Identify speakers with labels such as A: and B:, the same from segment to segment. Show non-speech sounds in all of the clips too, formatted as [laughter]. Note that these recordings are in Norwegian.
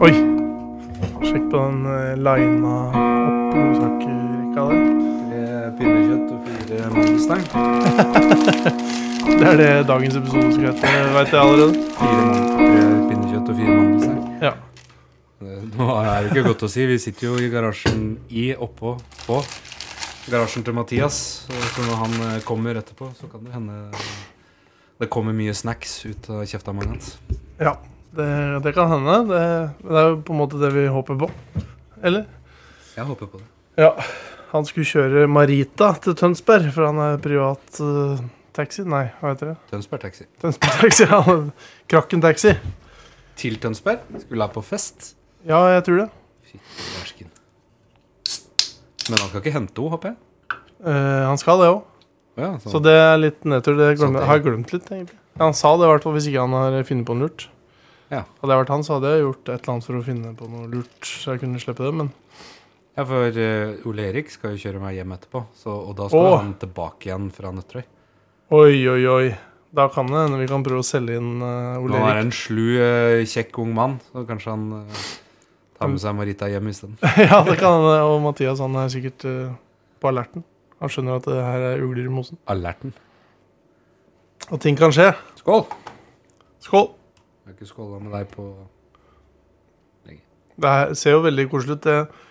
A: Oi. Sjekk på den eh, lina opp godsakerrekka der.
B: Tre Eh, pinnekjøtt og fire mandelstein.
A: Det er det dagens episode skal hete, veit jeg allerede.
B: Fire man- tre pinnekjøtt og fire mandelstein.
A: Ja.
B: Det- Nå er det ikke godt å si. Vi sitter jo i garasjen i, oppå, på. Garasjen til Mathias. Så når han eh, kommer etterpå, så kan det hende det kommer mye snacks ut av kjeftamangen hans.
A: ja. Det, det kan hende. Det, det er jo på en måte det vi håper på. Eller?
B: Jeg håper på det.
A: Ja. Han skulle kjøre Marita til Tønsberg, for han er privat eh, taxi. Nei, hva heter det?
B: Tønsberg Taxi.
A: Tønsberg taxi. [laughs] ja. Krakken taxi.
B: Til Tønsberg. Skulle ha på fest.
A: Ja, jeg tror det.
B: Fytti lærsken. Men han skal ikke hente henne, håper jeg.
A: Eh, han skal det òg.
B: Ja, så-
A: Så det er litt nedtur. Det
B: Sånn
A: glemmer,
B: ting.
A: har jeg glemt litt, egentlig. Ja, han sa det i hvert fall hvis ikke han har funnet på noe lurt.
B: Ja.
A: Hadde jeg vært han, så hadde jeg gjort et eller annet for å finne på noe lurt. Så jeg kunne slippe det, men
B: Ja, for eh, Ole Erik skal jo kjøre meg hjem etterpå, så, og da skal
A: Åh.
B: han tilbake igjen fra Nøtterøy.
A: oi, oi, oi. Da kan det hende vi kan prøve å selge inn eh, Ole
B: Han er
A: Erik.
B: en slu, eh, kjekk ung mann, så kanskje han eh, tar med seg Marita
A: [laughs]
B: hjem isteden.
A: ja, det kan hende. Og Mathias han er sikkert eh, på alerten. Han skjønner at det her er ugler i mosen.
B: Alerten.
A: Og ting kan skje.
B: Skål!
A: Skål!
B: Jeg har ikke skåla med deg på
A: Det her ser jo veldig koselig ut, det.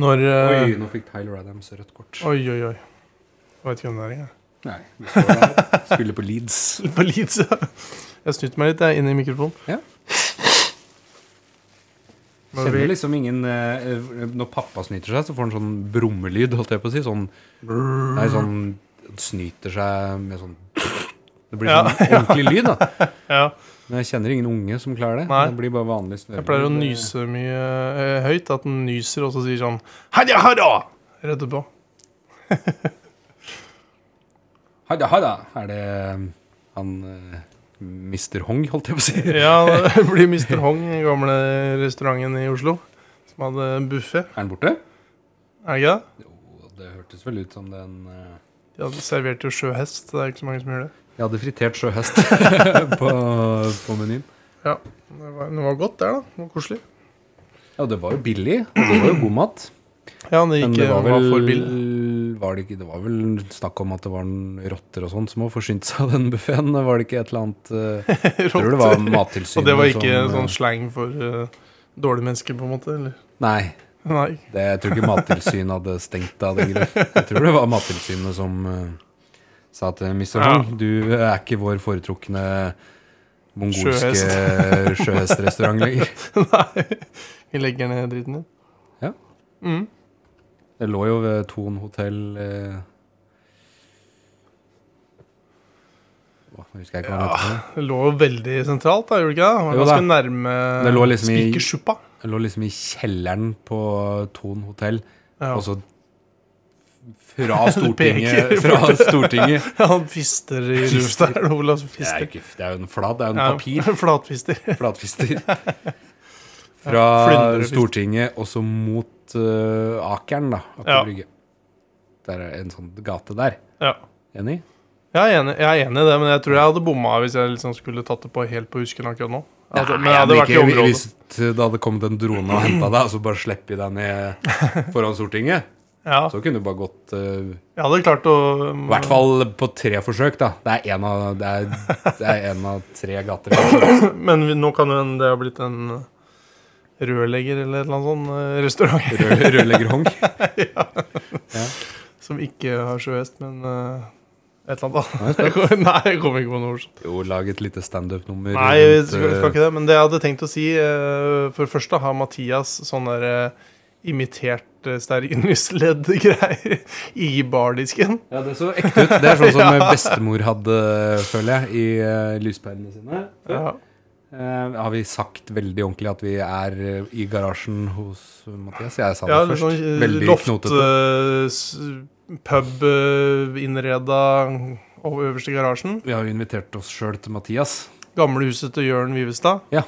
A: Når eh,
B: Oi, nå fikk Tyler Adams rødt kort.
A: Oi, oi, oi. Jeg vet ikke hvem det er engang.
B: Nei, vi står der. Spiller på Leeds.
A: [laughs] På Leeds, ja. Jeg snyter meg litt jeg, inn i mikrofonen.
B: Ja.
A: Men vi,
B: Kjenner liksom ingen eh, Når pappa snyter seg, så får han sånn brummelyd, holdt jeg på å si. Sånn Nei, sånn snyter seg med sånn Det blir
A: Ja,
B: sånn ordentlig lyd,
A: [laughs]
B: da.
A: ja,
B: Men jeg kjenner ingen unge som klarer det.
A: Nei.
B: Det blir bare vanlig snørring.
A: jeg pleier å nyse mye eh, høyt. At den nyser og så sier sånn Hadja, hadja! Rett etterpå.
B: Hadda, hadda. Er det um, han eh, Mr. Hong, holdt jeg på å si?
A: Ja,
B: [laughs]
A: det [laughs] blir Mr. Hong i gamle restauranten i Oslo. Som hadde buffé.
B: Er han borte?
A: Er det ikke det?
B: Jo, det hørtes vel ut som den eh,
A: De hadde servert jo sjøhest. Det er ikke så mange som gjør det.
B: Jeg hadde fritert sjøhest [laughs] på, på menyen.
A: Det var, det var godt der, da. Det var koselig.
B: Ja, det var jo billig. og Det var jo god mat.
A: Ja, det gikk eh,
B: Men det var
A: var
B: vel
A: for billig.
B: var det, ikke, det var vel snakk om at det var en rotter og sånn som hadde forsynt seg av den buffeen. Var det ikke et eller annet eh, Jeg tror det var Mattilsynet
A: [laughs] Og det var ikke
B: som, eh,
A: sånn slang for eh, dårlige mennesker, på en måte? Eller?
B: Nei.
A: Nei.
B: Det, jeg tror ikke Mattilsynet hadde stengt av den greia. Jeg tror det var Mattilsynet som eh, sa til Mr.
A: Ja.
B: Hong du er ikke vår foretrukne mongolske [laughs] sjøhestrestaurant lenger.
A: [laughs] Nei. Vi legger ned dritten din.
B: Ja.
A: Mm.
B: Det lå jo ved Thon hotell eh, åh, Jeg husker ikke hva det heter.
A: Det lå jo veldig sentralt, da, gjorde det ikke det? Det var
B: Jo da.
A: ganske nærme
B: Det lå liksom i-
A: Spikersuppa.
B: Det lå liksom i kjelleren på Thon hotell.
A: Ja.
B: Og så fra [laughs] Stortinget,
A: peker
B: fra Stortinget
A: [laughs] Han fister i lufta
B: Fister.
A: her. Olav som
B: det, er jo
A: fister.
B: ikke, det er jo en flat, det er jo en
A: Ja,
B: papir.
A: [laughs] Flatfister. [laughs]
B: Flatfister.
A: Ja,
B: Fra
A: flyndrefister.
B: Stortinget og så mot eh, Akeren, da. Aker
A: Ja.
B: Brygge. Der er en sånn gate der.
A: Ja.
B: Enig?
A: Jeg er, enig, jeg er enig i det, men jeg tror jeg hadde bomma hvis jeg liksom skulle tatt det på helt på husken akkurat nå. Altså, men jeg hadde
B: men
A: vært i
B: ikke
A: området.
B: Hvis det hadde kommet en drone og henta deg, og så bare slipper deg ned foran Stortinget,
A: Ja,
B: så kunne du bare gått eh,
A: jeg hadde klart å
B: I hvert fall på tre forsøk, da. Det er én av, det er, det er en av tre gater. kanskje.
A: [laughs] Men vi, nå kan jo hende det ha blitt en rørlegger eller et eller annet sånt eh, restaurant
B: Rød, Rødleggerhong.
A: som ikke har sjøhest, men eh, et eller annet annet. [laughs] Nei, jeg kommer ikke på noe. ord.
B: Jo, lag et lite standup-nummer.
A: Nei, jeg
B: rundt,
A: skal,
B: eh,
A: skal ikke det. Men det jeg hadde tenkt å si eh, For det første har Mathias sånn der eh, imitert eh, stearinlysledd-greier [laughs] i bardisken.
B: Ja, det så ekte ut. Det er
A: [laughs]
B: sånn som bestemor hadde, føler jeg, i eh, lyspærene sine.
A: Ja.
B: Eh, har vi sagt veldig ordentlig at vi er eh, i garasjen hos Mathias? Jeg sa det
A: ja litt
B: først.
A: sånn eh,
B: veldig
A: loft,
B: knotete.
A: eh, s- pub eh, innreda over øverste garasjen.
B: Vi har jo invitert oss sjøl til Mathias.
A: Gamle huset til Jørn Vivestad.
B: Ja.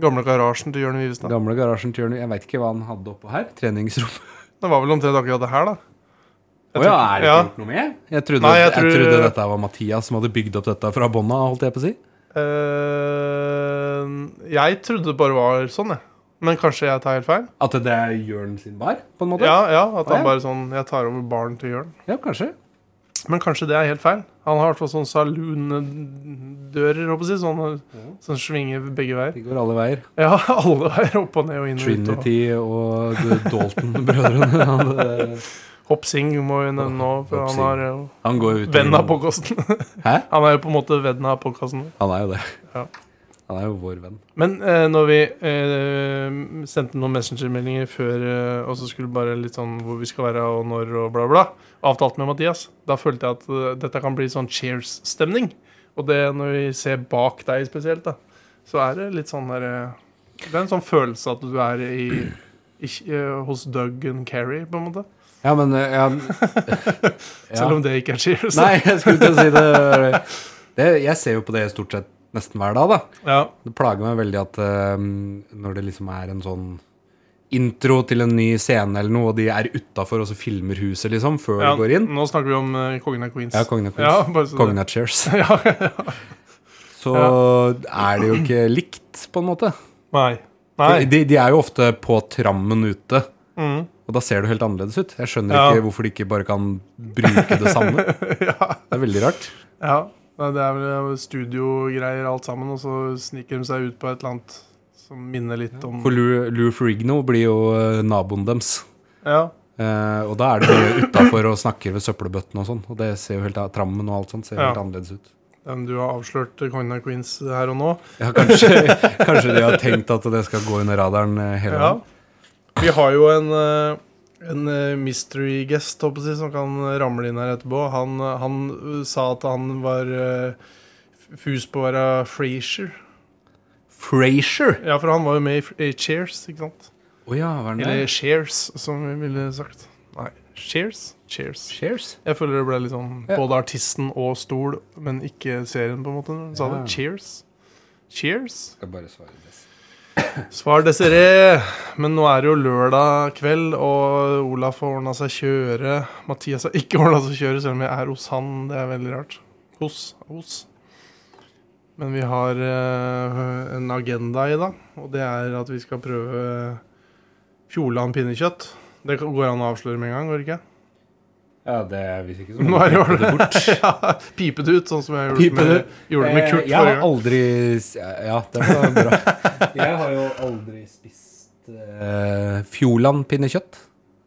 A: Gamle garasjen til Jørn Vivestad.
B: Gamle garasjen til Jørn. Jeg veit ikke hva han hadde oppå her. Treningsrom.
A: Det var vel omtrent akkurat det her, da.
B: Å
A: Jeg
B: ja,
A: tenker-
B: er det
A: ja.
B: ikke gjort noe med? Jeg trodde,
A: Nei,
B: jeg,
A: jeg tror-
B: trodde dette var Mathias som hadde bygd opp dette fra bånna, holdt jeg på å si.
A: Eh, eh, jeg trodde det bare var sånn, jeg. Men kanskje jeg tar helt feil?
B: At det er Jørn sin bar, på en måte?
A: Ja, ja, At
B: Å, ja.
A: han bare sånn Jeg tar over baren til Jørn.
B: Ja, kanskje.
A: Men kanskje det er helt feil. Han har i hvert fall sånn saloondører, håper jeg å si. Sånn,
B: Mm.
A: sånn svinger begge veier.
B: De går alle veier.
A: Ja, [laughs] alle veier opp og ned og inn og ut.
B: Trinity og The [laughs] Dalton-brødrene. Han, eh,
A: Og Hopp Singh må vi nevne nå, for
B: Hopp
A: han
B: Singh.
A: er jo
B: han går jo ut
A: venn av podkasten.
B: Hæ?
A: [laughs] Han er jo på en måte vennen av podkasten.
B: Han er jo det.
A: Ja.
B: Han er jo vår venn.
A: Men eh, når vi eh, sendte noen messengermeldinger før eh, Og så skulle bare litt sånn hvor vi skal være og når og bla, bla. Avtalt med Mathias. Da følte jeg at eh, dette kan bli sånn cheers-stemning. Og det når vi ser bak deg spesielt, da, så er det litt sånn der eh, Det er en sånn følelse at du er i, i eh, hos Doug and Carrie, på en måte.
B: Ja, men eh, ja, ja.
A: [laughs] Selv om det ikke er cheers.
B: Nei, jeg skulle til å si det. det. Jeg ser jo på det stort sett nesten hver dag, da.
A: [laughs] Ja,
B: Det plager meg veldig at eh, når det liksom er en sånn intro til en ny scene eller noe, og de er utafor og så filmer huset, liksom, før
A: ja,
B: de går inn.
A: Nå snakker vi om eh, Kongen av Queens.
B: Ja, Kongen av
A: Ja,
B: Queens.
A: bare så det-
B: Kongen av Cheers.
A: [laughs] Ja, ja.
B: Så er det jo ikke likt, på en måte.
A: Nei.
B: For
A: Nei.
B: De, de er jo ofte på trammen ute,
A: Mm.
B: og da ser det jo helt annerledes ut. Jeg skjønner
A: Ja.
B: ikke hvorfor de ikke bare kan bruke det samme.
A: Mm. [laughs] Ja.
B: Det er veldig rart.
A: Ja, nei, det er vel studiogreier alt sammen, og så sniker de seg ut på et eller annet som minner litt om
B: For Lou, Lou Ferrigno blir jo eh, naboen deres.
A: Ja,
B: Eh, og da er det mye utafor og snakker ved søppelbøttene og sånn. Og det ser jo helt a- trammen og alt sånt ser jo
A: Ja.
B: helt annerledes ut.
A: den du har avslørt eh, Kongen av Queens her og nå.
B: Ja, kanskje, [laughs] kanskje de har tenkt at det skal gå under radaren eh, hele
A: Ja.
B: veien.
A: Vi har jo en, eh, en eh, mystery guest håper jeg, å si, som kan ramle inn her etterpå. Han, eh, han eh, sa at han var eh, fus på å være Frasier.
B: Frasier!
A: Ja, for han var jo med i F- i Cheers, ikke sant?
B: Å ja, hva er
A: Eller
B: det?
A: Shares, som vi ville sagt. Nei, Cheers? Cheers.
B: Cheers?
A: Jeg føler det ble litt sånn
B: Ja.
A: både artisten og stol, men ikke serien, på en måte. Hun sa
B: Ja.
A: det. Cheers. Cheers.
B: Skal bare svare det.
A: Svar Desiree. Men nå er det jo lørdag kveld, og Olaf har ordna seg kjøre. Mathias har ikke ordna seg kjøre, selv om jeg er hos han. Det er veldig rart. Hos. Hos. Men vi har eh, en agenda i dag, og det er at vi skal prøve Fjordland pinnekjøtt. Det kan- går an å avsløre med en gang, går det ikke?
B: Ja, det visste ikke så
A: Nå
B: mange
A: er det
B: tenkte det bort.
A: [laughs] ja, pipet ut, sånn som jeg gjorde,
B: Pipet
A: med,
B: ut.
A: gjorde det med
B: Eh,
A: Kurt
B: Jeg
A: forrige
B: har
A: gang.
B: aldri s- Ja, det var bra.
A: [laughs]
B: Jeg har jo aldri spist eh, Fjordland-pinnekjøtt.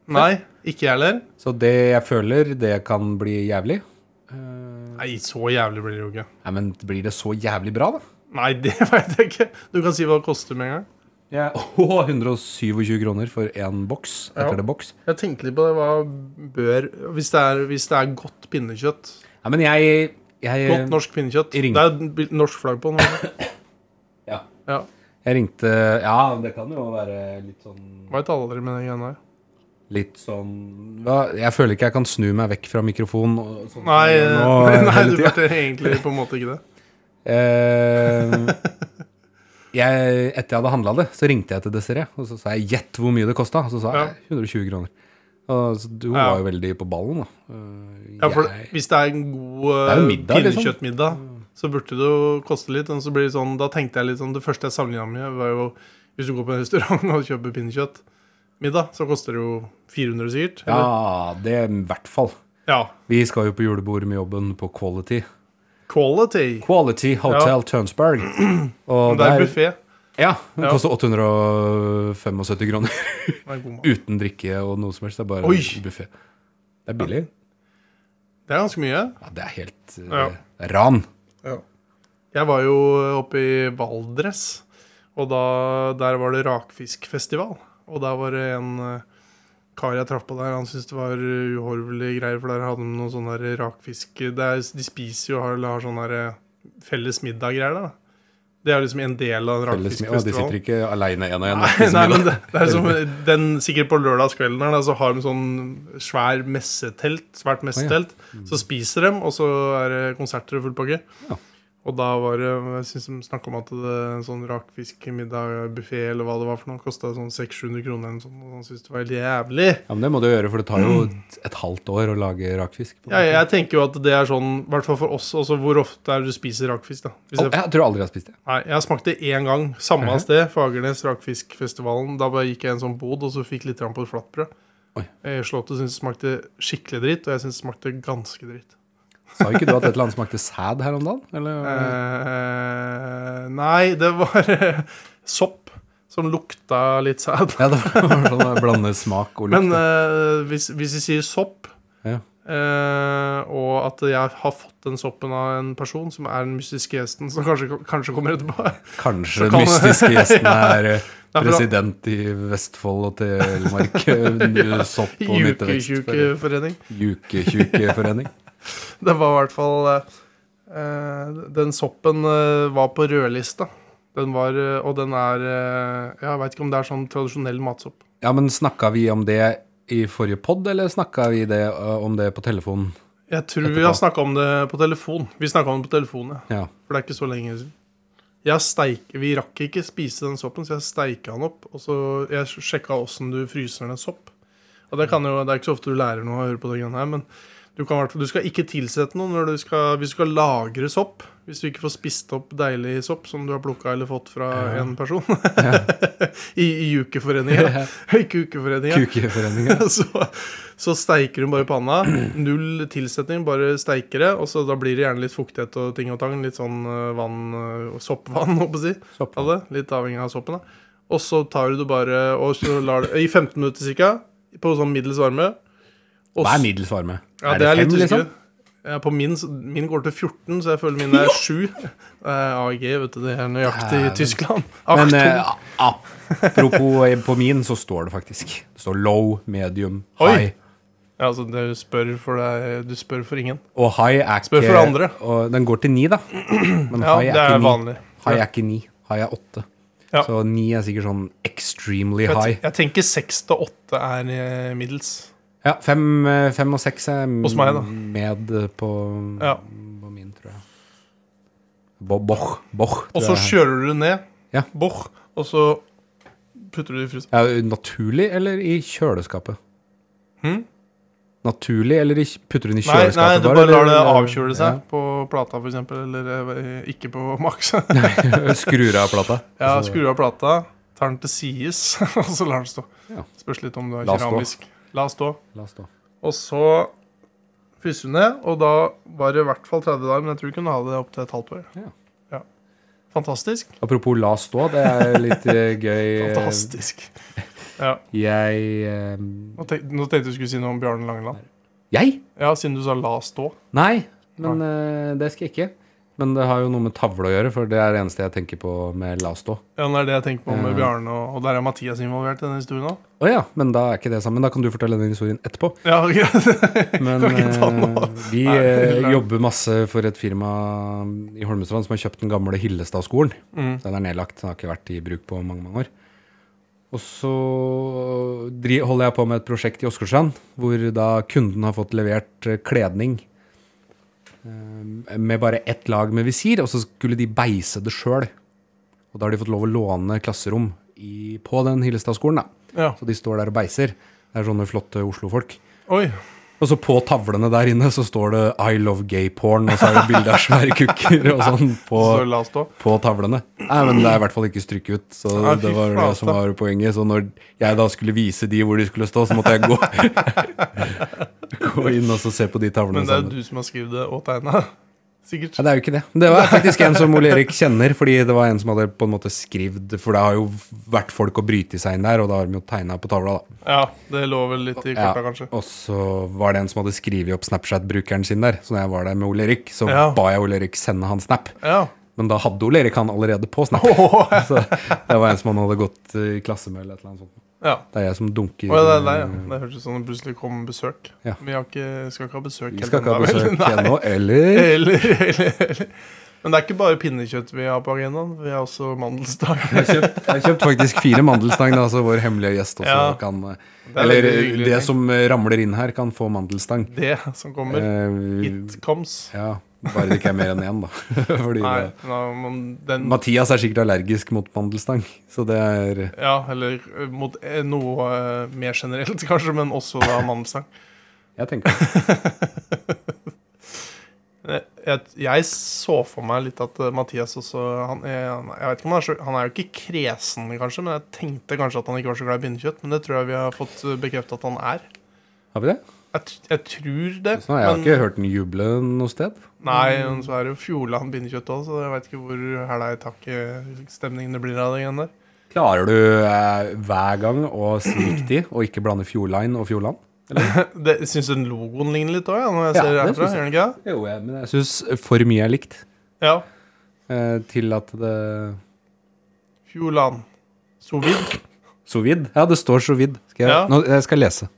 A: Nei, ikke jeg heller.
B: Så det jeg føler, det kan bli jævlig. Eh,
A: Nei, så jævlig blir det jo ikke.
B: Nei, men blir det så jævlig bra, da?
A: Nei, det [laughs] veit jeg ikke. Du kan si hva det koster med en gang.
B: Ja. Åh, 127 kroner for én boks.
A: Ja.
B: Heter det boks?
A: Jeg tenkte litt på det. Hva bør Hvis det er, hvis det er godt pinnekjøtt
B: Nei, men jeg, jeg
A: Godt norsk pinnekjøtt.
B: Eh, ring.
A: Det er bil- norsk flagg på den.
B: Ja.
A: Ja.
B: Jeg ringte Ja, det kan jo være litt sånn
A: Veit aldri med den greia her.
B: Litt sånn ja, Jeg føler ikke jeg kan snu meg vekk fra mikrofonen. og sånn som
A: Nei,
B: jeg gjør nå,
A: eh, [laughs] nei,
B: hele
A: du
B: tiden.
A: burde egentlig på en måte ikke det.
B: Eh, jeg, etter jeg hadde handla det, så ringte jeg til Desiree og så sa jeg 'gjett hvor mye det kosta'. Og så sa jeg 120 kroner. Og så, du
A: Ja.
B: var jo veldig på ballen, da. Eh,
A: Ja, for
B: jeg,
A: Hvis det er en god
B: Det er jo
A: eh,
B: middag, liksom.
A: pinnekjøttmiddag, så burde det jo koste litt. Og så blir det sånn, da tenkte jeg litt sånn Det første jeg sammenligna med, var jo Hvis du går på en [laughs] restaurant og kjøper pinnekjøttmiddag, så koster det jo 400 sikkert. eller?
B: ja, det i hvert fall.
A: ja.
B: Vi skal jo på julebord med jobben på Quality.
A: Quality.
B: Quality Hotel
A: [clears throat]
B: Tønsberg. Og
A: Men det er
B: der,
A: buffé.
B: ja, den
A: Ja.
B: koster 875 kroner
A: Det
B: [laughs]
A: er god mat.
B: uten drikke og noe som helst. Det er
A: Oi.
B: bare buffé. Det er billig.
A: Det er ganske mye.
B: Ja, det er helt eh,
A: Ja.
B: ran.
A: Jeg var jo oppe i Valdres, og da, der var det rakfiskfestival. Og der var det en eh, kar jeg traff på der, han syntes det var eh, uhorvelige greier, for der hadde de noe sånn der rakfisk det er, De spiser jo har, eller har sånn der eh, felles middag-greier, da. Det er jo liksom en del av
B: Felles, og de sitter
A: rakfiskfestivalen.
B: ikke aleine én og én.
A: Nei, nei, men det, det er som den, sikkert på lørdagskvelden her, da, så har de sånn svær messetelt, svært messetelt. Så spiser de, og så er det konserter og full pakke.
B: Ja.
A: Og da var det jeg synes de snakket om at det, en sånn rakfiskmiddagbuffé eller hva det var for noe, kosta sånn 600-700 kroner eller noe sånt. Og han syntes det var helt jævlig.
B: Ja, men det må du gjøre, for det tar jo et, et halvt år å lage rakfisk. på en
A: Ja,
B: måte.
A: jeg tenker jo at det er sånn, i hvert fall for oss, også hvor ofte er det du spiser rakfisk, da. Hvis
B: Å,
A: jeg,
B: jeg tror aldri jeg har spist det.
A: nei, jeg smakte det én gang, samme
B: Mhm.
A: sted, Fagernes rakfiskfestivalen. Da bare gikk jeg i en sånn bod, og så fikk litt grann på et flatbrød.
B: Oi.
A: Eh, Slottet syntes det smakte skikkelig dritt, og jeg syntes det smakte ganske dritt.
B: Sa ikke du at et eller annet smakte sæd her om dagen? Eller?
A: Eh, nei, det var eh, sopp som lukta litt sæd.
B: Ja, det var [laughs] sånn å blande smak og
A: Men
B: lukt.
A: eh, hvis, hvis vi sier sopp
B: Ja.
A: eh, og at jeg har fått den soppen av en person som er den mystiske gjesten som kanskje, kanskje kommer etterpå eh, så
B: Kanskje den
A: kan- [laughs]
B: mystiske gjesten er eh,
A: Nei, for da-
B: president i Vestfold og Telemark.
A: [laughs]
B: eh, Sopp og nyttevekst.
A: Juketjukeforening.
B: Juketjukeforening.
A: Det var i hvert fall eh, eh, Den soppen eh, var på rødlista. Den var, eh, og den er eh, Jeg veit ikke om det er sånn tradisjonell matsopp.
B: Ja, men snakka vi om det i forrige pod, eller snakka vi det, eh, om det på telefonen?
A: Jeg tror
B: Etterpå.
A: vi har snakka om det på telefon. Vi snakka om det på telefon, ja.
B: Ja.
A: For det er ikke så lenge siden. Jeg steik, vi rakk ikke spise den soppen, så jeg steika den opp. Og så jeg sjekka åssen du fryser ned sopp. Og det, kan jo, det er ikke så ofte du lærer noe av å høre på det greiene her, men du, kan, i hvert fall- du skal ikke tilsette noe når du skal, hvis du skal lagre sopp. Hvis du ikke får spist opp deilig sopp som du har plukka eller fått fra
B: Ja.
A: en person.
B: Ja.
A: [laughs] I, i
B: [laughs]
A: ukeforeninga. I kukeforeninga.
B: Kukeforeningen.
A: [laughs] så, så steiker hun bare i panna. Null tilsetning, bare steikere. Og så da blir det gjerne litt fuktighet og ting og tang. Litt sånn eh, vann, eh, soppvann, [laughs] håper jeg å si.
B: Sopp.
A: Av det. Litt avhengig av soppen, da. Og så tar du det bare og så lar det, i 15 minutter ca. På sånn middels varme. Og
B: Hva er
A: s-
B: middels varme?
A: Ja, det er litt
B: fem, liksom?
A: usikker. Ja, på min, s- min går til 14, så jeg føler min er 7. Eh, AG, vet du, det er nøyaktig i
B: Dæven.
A: Tyskland.
B: Men
A: Achtung.
B: eh, a- apropos eh, på min, så står det faktisk Det står low, medium,
A: Oi.
B: high.
A: ja, altså, du spør for deg Du spør for ingen.
B: Og high er ikke
A: Spør for andre.
B: Og den går til ni, da. Men
A: Ja,
B: high,
A: det
B: er
A: er
B: ikke ni.
A: vanlig.
B: high er ikke ni. High er åtte.
A: Ja.
B: Så ni er sikkert sånn extremely
A: Jeg,
B: high.
A: te- jeg tenker seks til åtte er eh, middels.
B: Ja, fem, eh, fem og seks er m-
A: Hos meg, da.
B: med eh, på,
A: Ja.
B: på min, tror jeg. Bo- Boch. Boch. tror
A: Og så
B: jeg.
A: kjøler du det ned.
B: Ja.
A: Boch. Og så putter du det i fryseren.
B: ja, Naturlig eller i kjøleskapet?
A: Hm?
B: Naturlig eller i, putter du den i
A: Nei,
B: kjøleskapet?
A: nei, du bare lar det
B: eller-
A: avkjøle seg
B: Ja.
A: på plata, for eksempel. Eller eh, ikke på [laughs] Max. [laughs]
B: [laughs] Skrur av plata.
A: ja,
B: Og så-
A: skru av plata, tar den til sides, [laughs] og så lar den stå.
B: Ja.
A: Spørs litt om du er
B: La stå.
A: keramisk. La stå.
B: La oss stå.
A: Og så fryser du ned, og da var det i hvert fall 30 dager, men jeg tror du kunne ha det opptil et halvt år.
B: Ja.
A: ja. Fantastisk.
B: Apropos la oss stå, det er litt eh, gøy.
A: [laughs] Fantastisk. Ja.
B: Jeg eh,
A: Nå tenkte, nå tenkte jeg du skulle si noe om Bjarne Langeland.
B: Jeg?
A: Ja, siden du sa la stå.
B: Nei, men eh, det skal jeg ikke. Men det har jo noe med tavle å gjøre, for det er det eneste jeg tenker på med la oss stå.
A: Ja, det er det jeg tenker på med
B: Ja.
A: Bjarne, og, og der er Mathias involvert i denne historien òg.
B: Å ja, men da er ikke det sammen. Da kan du fortelle den historien etterpå.
A: Ja, [laughs] greit.
B: Men
A: Kan ikke ta den nå.
B: eh, vi
A: Nei,
B: eh,
A: lang.
B: jobber masse for et firma i Holmestrand som har kjøpt den gamle Hillestad-skolen.
A: Mm.
B: Den er nedlagt, den har ikke vært i bruk på mange, mange år. Og så dri- holder jeg på med et prosjekt i Åsgårdstrand, hvor da kunden har fått levert eh, kledning eh, med bare ett lag med visir, og så skulle de beise det sjøl. Og da har de fått lov å låne klasserom i, på den Hillestad-skolen, da.
A: Ja.
B: Så de står der og beiser. Det er sånne flotte Oslo-folk.
A: Oi.
B: Og så på tavlene der inne så står det 'I love gay porn', og så er det bilde av svære kukker og sånn på,
A: [laughs] Så la stå.
B: på tavlene. Nei, men det er i hvert fall ikke strykket ut, så
A: Nei, fy
B: det var det
A: flate.
B: som var poenget. Så når jeg da skulle vise de hvor de skulle stå, så måtte jeg gå, gå [laughs] inn og så se på de tavlene
A: Men det er
B: sammen.
A: du som har skrevet det [laughs] og tegna. Sikkert.
B: Ja, det er jo ikke det. Det var faktisk en som Ole Erik kjenner, fordi det var en som hadde på en måte skrevet For det har jo vært folk og bryte seg inn der, og da har de jo tegna på tavla, da.
A: Ja, det lå vel litt i
B: Ja,
A: korta, kanskje.
B: Og så var det en som hadde skrevet opp Snapchat-brukeren sin der. Så når jeg var der med Ole Erik, så
A: Ja.
B: ba jeg Ole Erik sende han Snap.
A: Ja.
B: Men da hadde Ole Erik han allerede på Snap.
A: Åh,
B: [laughs] Så det var en som han hadde gått eh, i klasse med, eller et eller annet sånt.
A: ja.
B: Det er jeg som dunker. eh,
A: Å, ja, det er deg, ja. Det hørtes ut som det plutselig kom besøk.
B: Ja.
A: Vi har ikke, skal ikke ha besøk
B: Vi skal ikke ha
A: ennå, vel?
B: besøk
A: [laughs] Nei.
B: ennå,
A: [laughs]
B: eller
A: Eller, eller, eller. Men det er ikke bare pinnekjøtt vi har på agendaen. Vi har også mandelstang.
B: jeg har kjøpt, jeg har kjøpt faktisk fire mandelstang, da, så vår hemmelige gjest også
A: Ja.
B: kan eh,
A: Det er
B: Eller
A: veldig hyggelig,
B: det
A: tenk.
B: som eh, ramler inn her, kan få mandelstang.
A: Det som kommer.
B: Eh,
A: It comes.
B: Ja, Bare det ikke er mer enn én, da. [laughs] Fordi
A: Nei,
B: det-
A: nei, men den
B: Mathias er sikkert allergisk mot mandelstang, så det er
A: Ja, eller eh, mot eh, noe eh, mer generelt, [laughs] kanskje, men også da mandelstang.
B: Jeg tenker
A: Eh, Jeg, jeg så for meg litt at eh, Mathias også han er, han- jeg vet ikke om han, er så, han er jo ikke kresen, kanskje, men jeg tenkte kanskje at han ikke var så glad i bindekjøtt. Men det tror jeg vi har fått eh, bekreftet at han er.
B: Har vi det?
A: Jeg, t- jeg tror det.
B: Så nå, jeg Sånn har
A: men-
B: ikke hørt den juble noe sted.
A: Nei, men så er det jo Fjordland bindekjøtt òg, så jeg veit ikke hvor hæla i taket eh, stemningen det blir av det greiene der.
B: Klarer du eh, hver gang å si riktig og ikke blande Fjordline og Fjordland?
A: Det, syns den logoen ligner litt òg, ja, når jeg
B: Ja,
A: ser
B: det
A: herfra.
B: synes jeg.
A: Gjør den ikke det?
B: Jo, jeg, men jeg syns for mye er likt
A: Ja.
B: eh, til at det
A: Fjordland. Sovid.
B: Sovid? Ja, det står sovid. Skal jeg,
A: Ja.
B: nå, jeg skal lese.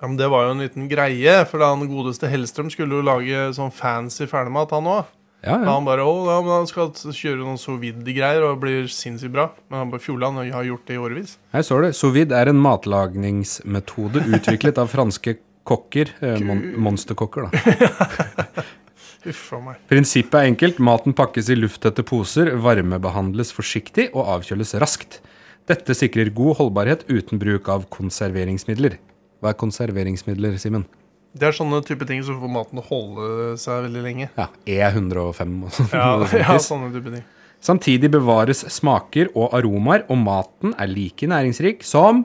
A: Ja, men det var jo en liten greie, for da han godeste Hellstrøm skulle jo lage sånn fancy ferdigmat, han òg.
B: Ja,
A: Da
B: ja.
A: han bare å, ja, men han skal kjøre noen sovid-greier og blir sinnssykt bra. Men han bare Fjordland har gjort det i årevis.
B: Her står det. Sovid er en matlagningsmetode utviklet av franske kokker. Eh, mon monsterkokker, da.
A: Uff a meg.
B: Prinsippet er enkelt. Maten pakkes i lufttette poser, varmebehandles forsiktig og avkjøles raskt. Dette sikrer god holdbarhet uten bruk av konserveringsmidler. Hva er konserveringsmidler, Simen?
A: Det er sånne type ting som får maten til å holde seg veldig lenge.
B: Ja, E105 og sånn. [laughs]
A: Ja,
B: noe sånt
A: ja
B: vis.
A: sånne type ting.
B: Samtidig bevares smaker og aromaer, og maten er like næringsrik som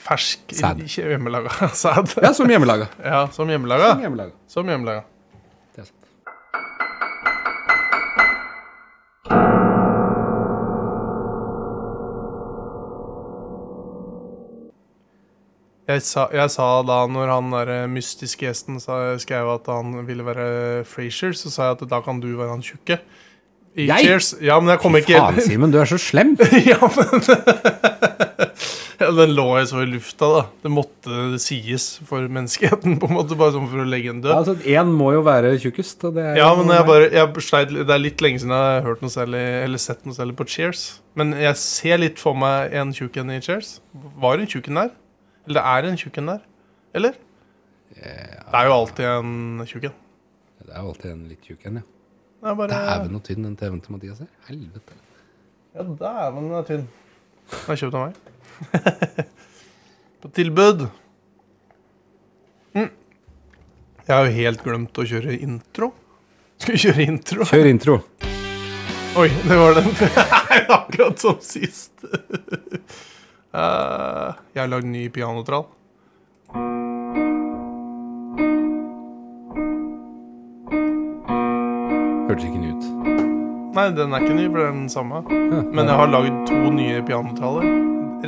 A: Fersk,
B: Sæd.
A: ikke hjemmelaga [laughs] sæd.
B: Ja, som hjemmelaga.
A: Ja, som hjemmelaga.
B: hjemmelaga.
A: Som hjemmelaga.
B: Det er sant.
A: Jeg sa, jeg sa da, når han der eh, mystiske gjesten sa, skrev at han ville være Frasier, så sa jeg at da kan du være han tjukke. I
B: Jeg?
A: Cheers. Ja, men jeg kom ikke
B: Faen, Simen, du er så
A: [laughs]
B: slem!
A: ja, men [laughs] ja, Den lå jeg så i lufta, da. Det måtte sies for menneskeheten, på en måte, bare sånn for å legge en død.
B: Altså, Én må jo være tjukkest. Og det er
A: Ja, men jeg bare, jeg sleit, litt- det er litt lenge siden jeg har hørt noe særlig, eller sett noe særlig på Cheers. Men jeg ser litt for meg en tjukk en i Cheers. Var en tjukk en der? Eller det er en tjukk en der? Eller? Det er jo alltid en tjukk en.
B: Det er jo alltid en litt tjukk en, ja.
A: Det er bare
B: Dæven og tynn den TV-en til Mathias her. Helvete.
A: Ja, dæven, den er tynn. Den er kjøpt av meg. [laughs] på tilbud. Mm. Jeg har jo helt glemt å kjøre intro. Skal vi kjøre intro?
B: Kjør intro.
A: Oi, det var den. [laughs] Akkurat som sist. [laughs] Eh, jeg har lagd ny pianotrall.
B: Hørtes ikke den ut.
A: Nei, den er ikke ny, for det er den samme.
B: Ja.
A: Men jeg har lagd to nye pianotraller.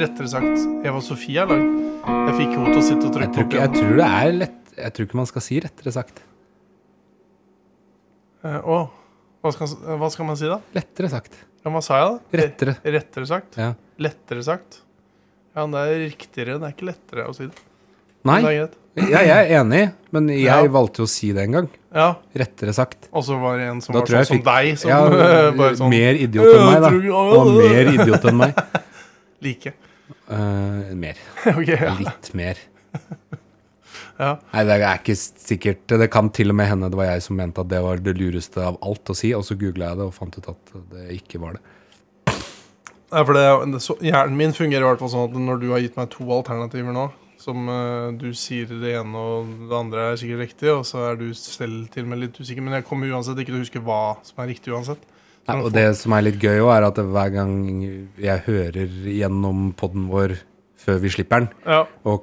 A: Rettere sagt, Eva Sofie har lagd. Jeg fikk henne til å sitte og
B: jeg,
A: trykke på
B: tror ikke, jeg
A: pianoet.
B: tror det er lett Jeg tror ikke man skal si rettere sagt.
A: Eh, å, hva, skal- hva skal man si, da?
B: Lettere sagt.
A: Ja, hva sa jeg, da? Eh,
B: Rettere.
A: Rettere sagt?
B: Ja.
A: Lettere sagt? Ja, men det er riktigere. Det er ikke lettere å si det.
B: Nei,
A: Men Det er greit.
B: ja, jeg er enig, men jeg
A: Ja.
B: valgte jo å si det en gang.
A: Ja,
B: Rettere sagt.
A: Og så var det en som
B: Da
A: var
B: tror
A: sånn
B: jeg
A: som
B: fikk-
A: deg, som [laughs]
B: ja, eh,
A: bare sånn
B: Mer idiot enn
A: Ja, jeg
B: meg, da.
A: tror ikke-
B: Han var mer idiot enn meg. [laughs]
A: like. [laughs]
B: Eh, mer.
A: ok, ja.
B: Litt mer.
A: Ja.
B: Nei, det er ikke sikkert. Det kan til og med hende det var jeg som mente at det var det lureste av alt å si, og så googla jeg det og fant ut at det ikke var det.
A: Nei, for det, så, hjernen min fungerer i hvert fall sånn at når du har gitt meg to alternativer nå, som eh, du sier det ene og det andre er sikkert riktig, og så er du selv til og med litt usikker, men jeg kommer uansett ikke til å huske hva som er riktig uansett.
B: Nei, og det som er litt gøy òg, er at hver gang jeg hører gjennom podden vår før vi slipper den,
A: Ja,
B: og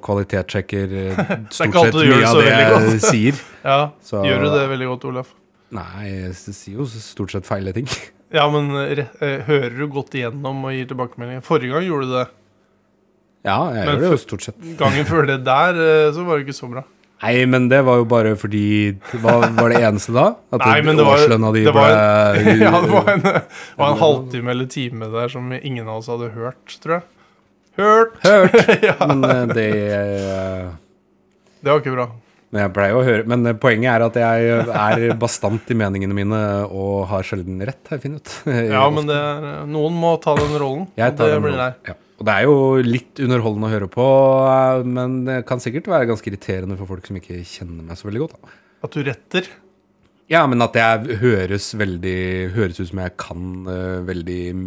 A: [laughs]
B: kvalitetssjekker eh, stort
A: ikke alltid
B: sett
A: du gjør
B: mye
A: det
B: av
A: så
B: det jeg
A: veldig godt.
B: sier.
A: ja.
B: Så-
A: [laughs] gjør du det veldig godt, Olaf?
B: Nei, jeg sier jo stort sett feile ting. [laughs]
A: Ja, men eh, re- eh, hører du godt igjennom og gir tilbakemeldinger? Forrige gang gjorde du det.
B: Ja, jeg
A: Men
B: gjør det jo stort sett.
A: Gangen før det der, eh, så var det ikke så bra.
B: Nei, men det var jo bare fordi Hva var det eneste da? At
A: Nei, men det var-
B: årslønna di
A: det var
B: ble
A: [laughs] ja, det var en, det var en halvtime eller time der som ingen av oss hadde hørt, tror jeg. Hørt!
B: hørt.
A: ja,
B: Men eh, det eh,
A: det var ikke bra.
B: Men jeg pleier jo å høre Men eh, poenget er at jeg er bastant i meningene mine og har sjelden rett, har jeg funnet ut. [laughs]
A: Ja, men det er, eh, noen må ta den rollen.
B: Jeg tar
A: det
B: den
A: blir
B: rollen.
A: deg.
B: Ja. Og det er jo litt underholdende å høre på, eh, men det kan sikkert være ganske irriterende for folk som ikke kjenner meg så veldig godt. Da.
A: At du retter.
B: Ja, men at jeg høres veldig Høres ut som jeg kan eh, veldig m-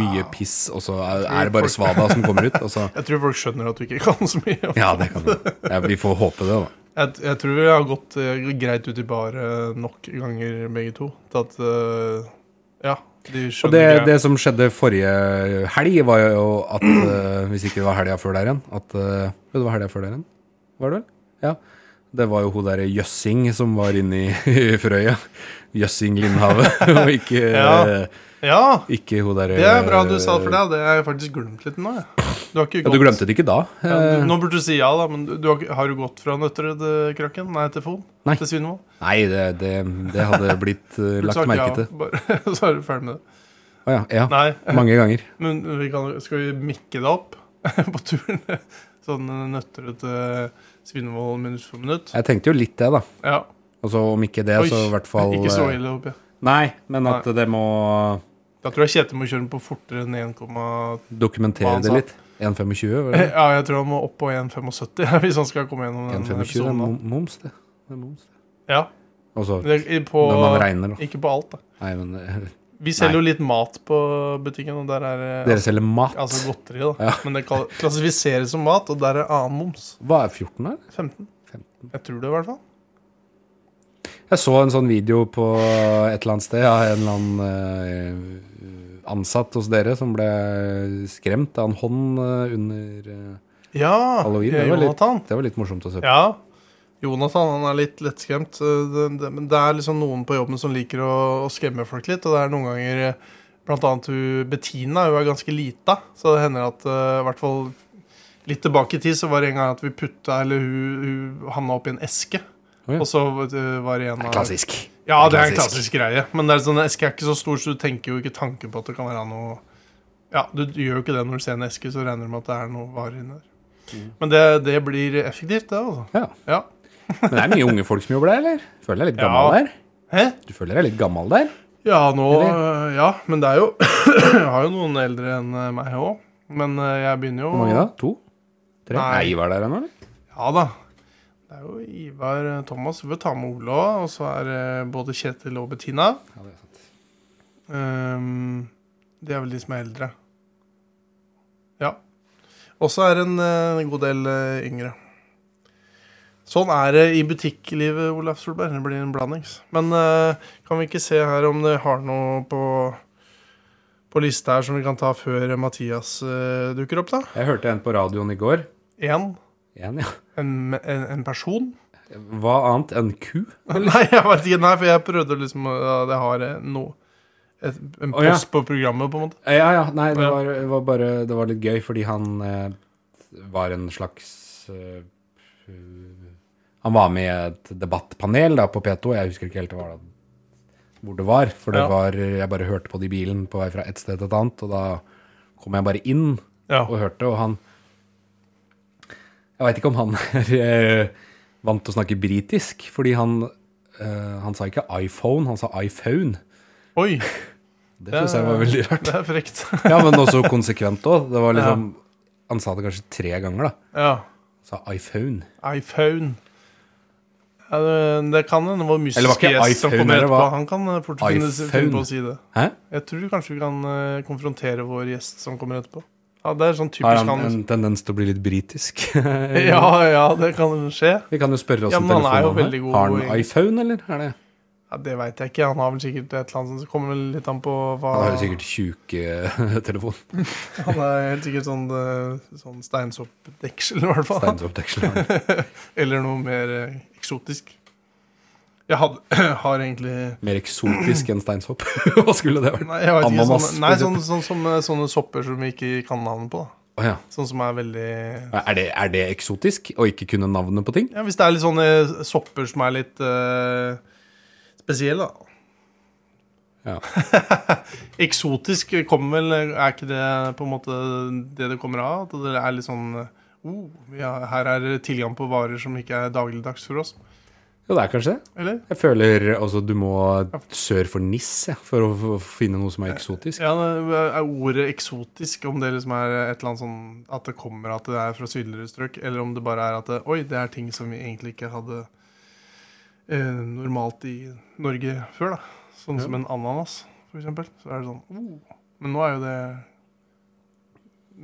B: mye piss, og så er, er det bare svada som kommer ut. Og så,
A: Jeg tror folk skjønner at du ikke [laughs] kan så mye.
B: ja, det kan vi. Ja, vi får håpe det, da.
A: Jeg, jeg tror vi har gått eh, greit ut i baret nok ganger, begge to. Til at eh, Ja, de
B: Og det,
A: skjønner greia.
B: det som skjedde forrige helg, var jo
A: [clears throat]
B: at eh, Hvis ikke det var helga før der igjen at, eh, Jo, det var helga før der igjen. Var det vel? Ja. Det var jo hun derre Jøssing som var inne i [laughs] Frøya. Jøssing
A: [laughs]
B: Lindhave, og ikke, eh,
A: Ja. Ja!
B: ikke hun derre
A: Det er bra du sa det for deg. Det har jeg faktisk glemt litt nå. Jeg. Du har ikke
B: Eh. Ja, du glemte det ikke da?
A: Ja,
B: eh,
A: du, nå burde du si ja, da, men du, du har, ikke- har du gått fra Nøtterøy til Krakken? Nei, til Fon?
B: Nei.
A: Til Svinvoll?
B: Nei, det, det, det
A: [laughs]
B: hadde blitt eh,
A: Burde
B: lagt
A: sagt
B: merke
A: ja,
B: til.
A: [laughs] bare, så er du ferdig med det.
B: Å ja, ja.
A: Nei,
B: Mange ganger.
A: men vi kan, skal vi mikke det opp [laughs] på turen? Sånn eh, Nøtterøy til Svinvoll minutt for minutt?
B: Jeg tenkte jo litt det, da.
A: Ja.
B: Altså om ikke det,
A: Oi,
B: så i hvert fall
A: Ikke så
B: eh,
A: ille, håper jeg.
B: Nei, men at det må
A: Da tror jeg Kjetil må kjøre den på fortere enn 1,2. Hva
B: dokumentere
A: han
B: det
A: sa?
B: litt. 1,25?
A: [laughs]
B: var det?
A: Ja, jeg tror han må opp på [laughs] 1,75 hvis han skal komme gjennom den
B: 1,25 det er
A: episoden.
B: mom- moms, det. det er moms, det.
A: da. Ja,
B: Og så
A: sånn det, i- på,
B: når man regner, da.
A: Ikke på alt, da.
B: Nei, men eh,
A: Vi selger jo litt mat på butikken, og der er det
B: dere selger mat.
A: Altså godteri, da.
B: Ja.
A: Men det kall- klassifiseres som mat, og der er annen moms.
B: Hva er 14, da?
A: 15.
B: 15.
A: Jeg tror det, i hvert fall.
B: Jeg så en sånn video på et eller annet sted av en eller annen eh, ansatt hos dere som ble skremt av en hånd eh, under eh,
A: Ja,
B: Halloween,
A: eh,
B: det var litt-
A: Jonathan.
B: Det var litt morsomt å se på.
A: Ja. Jonathan han er litt lettskremt. eh, det- det- Men det er liksom noen på jobben som liker å, å skremme folk litt, og det er noen ganger eh, Blant annet hun Bettina, hun er ganske lita, så det hender at eh, i hvert fall Litt tilbake i tid så var det en gang at vi putta Eller hun, hun havna oppi en eske.
B: Å ja.
A: Og så eh, var det en av
B: Klassisk.
A: Ja, det er en
B: Klassisk.
A: klassisk greie. Men det er sånn, en eske er ikke så stor, så du tenker jo ikke tanken på at det kan være noe Ja, du gjør jo ikke det når du ser en eske, så regner du med at det er noe varer inni der.
B: Mm.
A: Men det, det blir effektivt, det, altså.
B: Ja.
A: Ja.
B: Men det er mye unge folk som jobber der, eller? Føler jeg er litt gammel
A: Ja.
B: der?
A: Hæ?
B: Du føler jeg er litt gammel der?
A: Ja, nå
B: Eller?
A: øh, Ja, men det er jo [coughs] Jeg har jo noen eldre enn øh, meg òg. Men øh, jeg begynner jo
B: Hvor mange da? To? Tre?
A: Nei.
B: Nei, var der ennå, eller?
A: Ja da. Det er jo Ivar øh, Thomas. Vi får ta med Ole òg. Og så er øh, både Kjetil og Bettina.
B: Ja, det er sant.
A: Ehm, det er vel de som er eldre. Ja. Og så er det en, eh, en god del eh, yngre. Sånn er det i butikklivet, Olaf Solberg. Det blir en blandings. Men eh, kan vi ikke se her om det har noe på, på lista her som vi kan ta før Mathias eh, dukker opp, da?
B: Jeg hørte en på radioen i går.
A: Én.
B: En, ja.
A: En, en, en person?
B: Hva annet enn ku?
A: Nei, jeg vet ikke. Nei, for jeg prøvde liksom ja, Det har eh, noe et, En
B: Å, ja.
A: post på programmet, på en måte.
B: Eh, Ja, ja. Nei, det
A: Ja.
B: var, det var bare Det var litt gøy, fordi han eh, var en slags eh, Han var med i et debattpanel da, på P2. Jeg husker ikke helt hva det, hvor det var, for det
A: Ja.
B: var Jeg bare hørte på det i bilen på vei fra et sted til et annet, og da kom jeg bare inn
A: Ja.
B: og hørte, og han Jeg veit ikke om han [laughs] er eh, vant til å snakke britisk, fordi han eh, han sa ikke iPhone, han sa iPhone.
A: Oi!
B: Det syns jeg var veldig rart.
A: Det er frekt. [laughs]
B: Ja, men også konsekvent òg. Det var liksom Han sa det kanskje tre ganger, da.
A: Ja.
B: Sa iPhone.
A: iPhone. Ja, det, det kan hende det var
B: Eller var
A: mystisk
B: ikke
A: gjest som
B: iPhone,
A: kom
B: eller
A: etterpå.
B: hva?
A: Han kan eh, fort finne,
B: iPhone.
A: finne på å si det.
B: Hæ?
A: Jeg tror kanskje vi kan eh, konfrontere vår gjest som kommer etterpå. Ja, Det er sånn
B: Har
A: typisk
B: han
A: han.
B: en tendens til å bli litt britisk?
A: [laughs]
B: [laughs]
A: Ja, ja, det kan skje.
B: Vi kan jo spørre oss
A: Ja,
B: om
A: men han er jo
B: telefonen
A: veldig
B: her.
A: god
B: Har han
A: i-
B: iPhone, eller? Er det?
A: Ja, det veit jeg ikke. Han har vel sikkert et eller annet som kommer vel litt an på hva
B: Han har jo sikkert eh, [laughs] tjuktelefon.
A: Han er helt sikkert sånn, eh, sånn steinsoppdeksel, i hvert fall.
B: Steinsoppdeksel.
A: Eller noe mer eh, eksotisk. Jeg had, [clears throat] har egentlig
B: Mer eksotisk enn steinsopp. [laughs] Hva skulle det vært?
A: Nei, jeg vet ikke,
B: Ananas,
A: sånne, nei
B: for
A: sånn, sånn, som, eh, sånne sopper som vi ikke kan navnet på. Da.
B: Å ja.
A: Sånn som er veldig
B: er, det, er det eksotisk å ikke kunne navnet på ting?
A: Ja, Hvis det er litt sånne sopper som er litt eh, spesielle, da.
B: Ja.
A: [laughs] Eksotisk kommer vel Er ikke det på en måte det det kommer av? At det er litt sånn eh, oh, ja, Her er det tilgang på varer som ikke er dagligdags for oss?
B: Jo, det er kanskje det.
A: Eller?
B: Jeg føler altså du må sør for NIS jeg, for å f- finne noe som er eksotisk.
A: Ja, det er ordet eksotisk, om det liksom er et eller annet sånn At det kommer at det er fra sydligere strøk, eller om det bare er at det, Oi, det er ting som vi egentlig ikke hadde eh, normalt i Norge før. da Sånn
C: Ja.
A: som en ananas, for eksempel. Så er det sånn oh. Men nå er jo det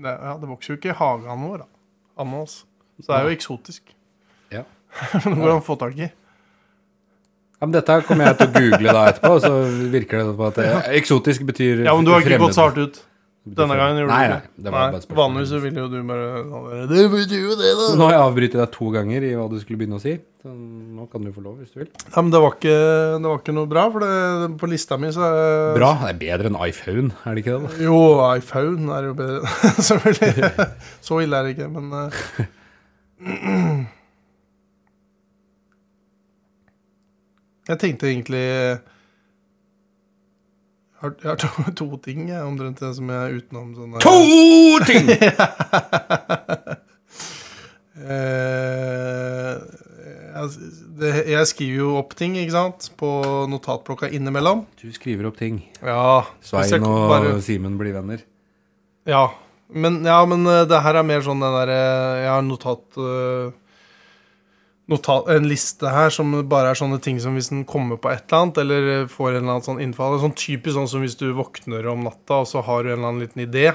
A: det, ja, det vokser jo ikke i hagen vår, da. Ananas. Så det er jo eksotisk. [laughs]
B: Ja.
A: Men Hvordan få tak i?
B: Ja, men dette kommer jeg til å google da etterpå, og så virker det på at det, eksotisk betyr
A: Ja, men du har ikke
B: fremmed.
A: gått så hardt ut. Denne gangen gjorde
B: nei,
A: du
B: nei, det. Var bare et spørsmål.
A: Vanligvis så ville jo du bare Det betyr jo det, da!
B: Nå har jeg avbrytet deg to ganger i hva du skulle begynne å si. Så nå kan du få lov hvis du vil.
A: Ja, men det var ikke, det var ikke noe bra, for det, på lista mi så er-
B: Bra. Det er bedre enn iPhone, er det ikke det? da?
A: Jo, iPhone er jo bedre, [laughs] selvfølgelig.
B: [laughs]
A: Så ille er det ikke, men eh, Jeg tenkte egentlig Jeg har, jeg har to, to ting jeg, omtrent det som jeg er utenom sånn sånne
B: To ting!
A: Eh, jeg, det, jeg skriver jo opp ting, ikke sant, på notatblokka innimellom.
B: Du skriver opp ting.
A: Ja, hvis jeg
B: Svein og
A: bare-
B: Simen blir venner.
A: Ja, men, ja, men eh, det her er mer sånn den derre Jeg har notat, eh, notat En liste her som bare er sånne ting som hvis den kommer på et eller annet, eller eh, får en eller annen sånn innfall. Sånn typisk sånn som hvis du våkner om natta, og så har du en eller annen liten idé.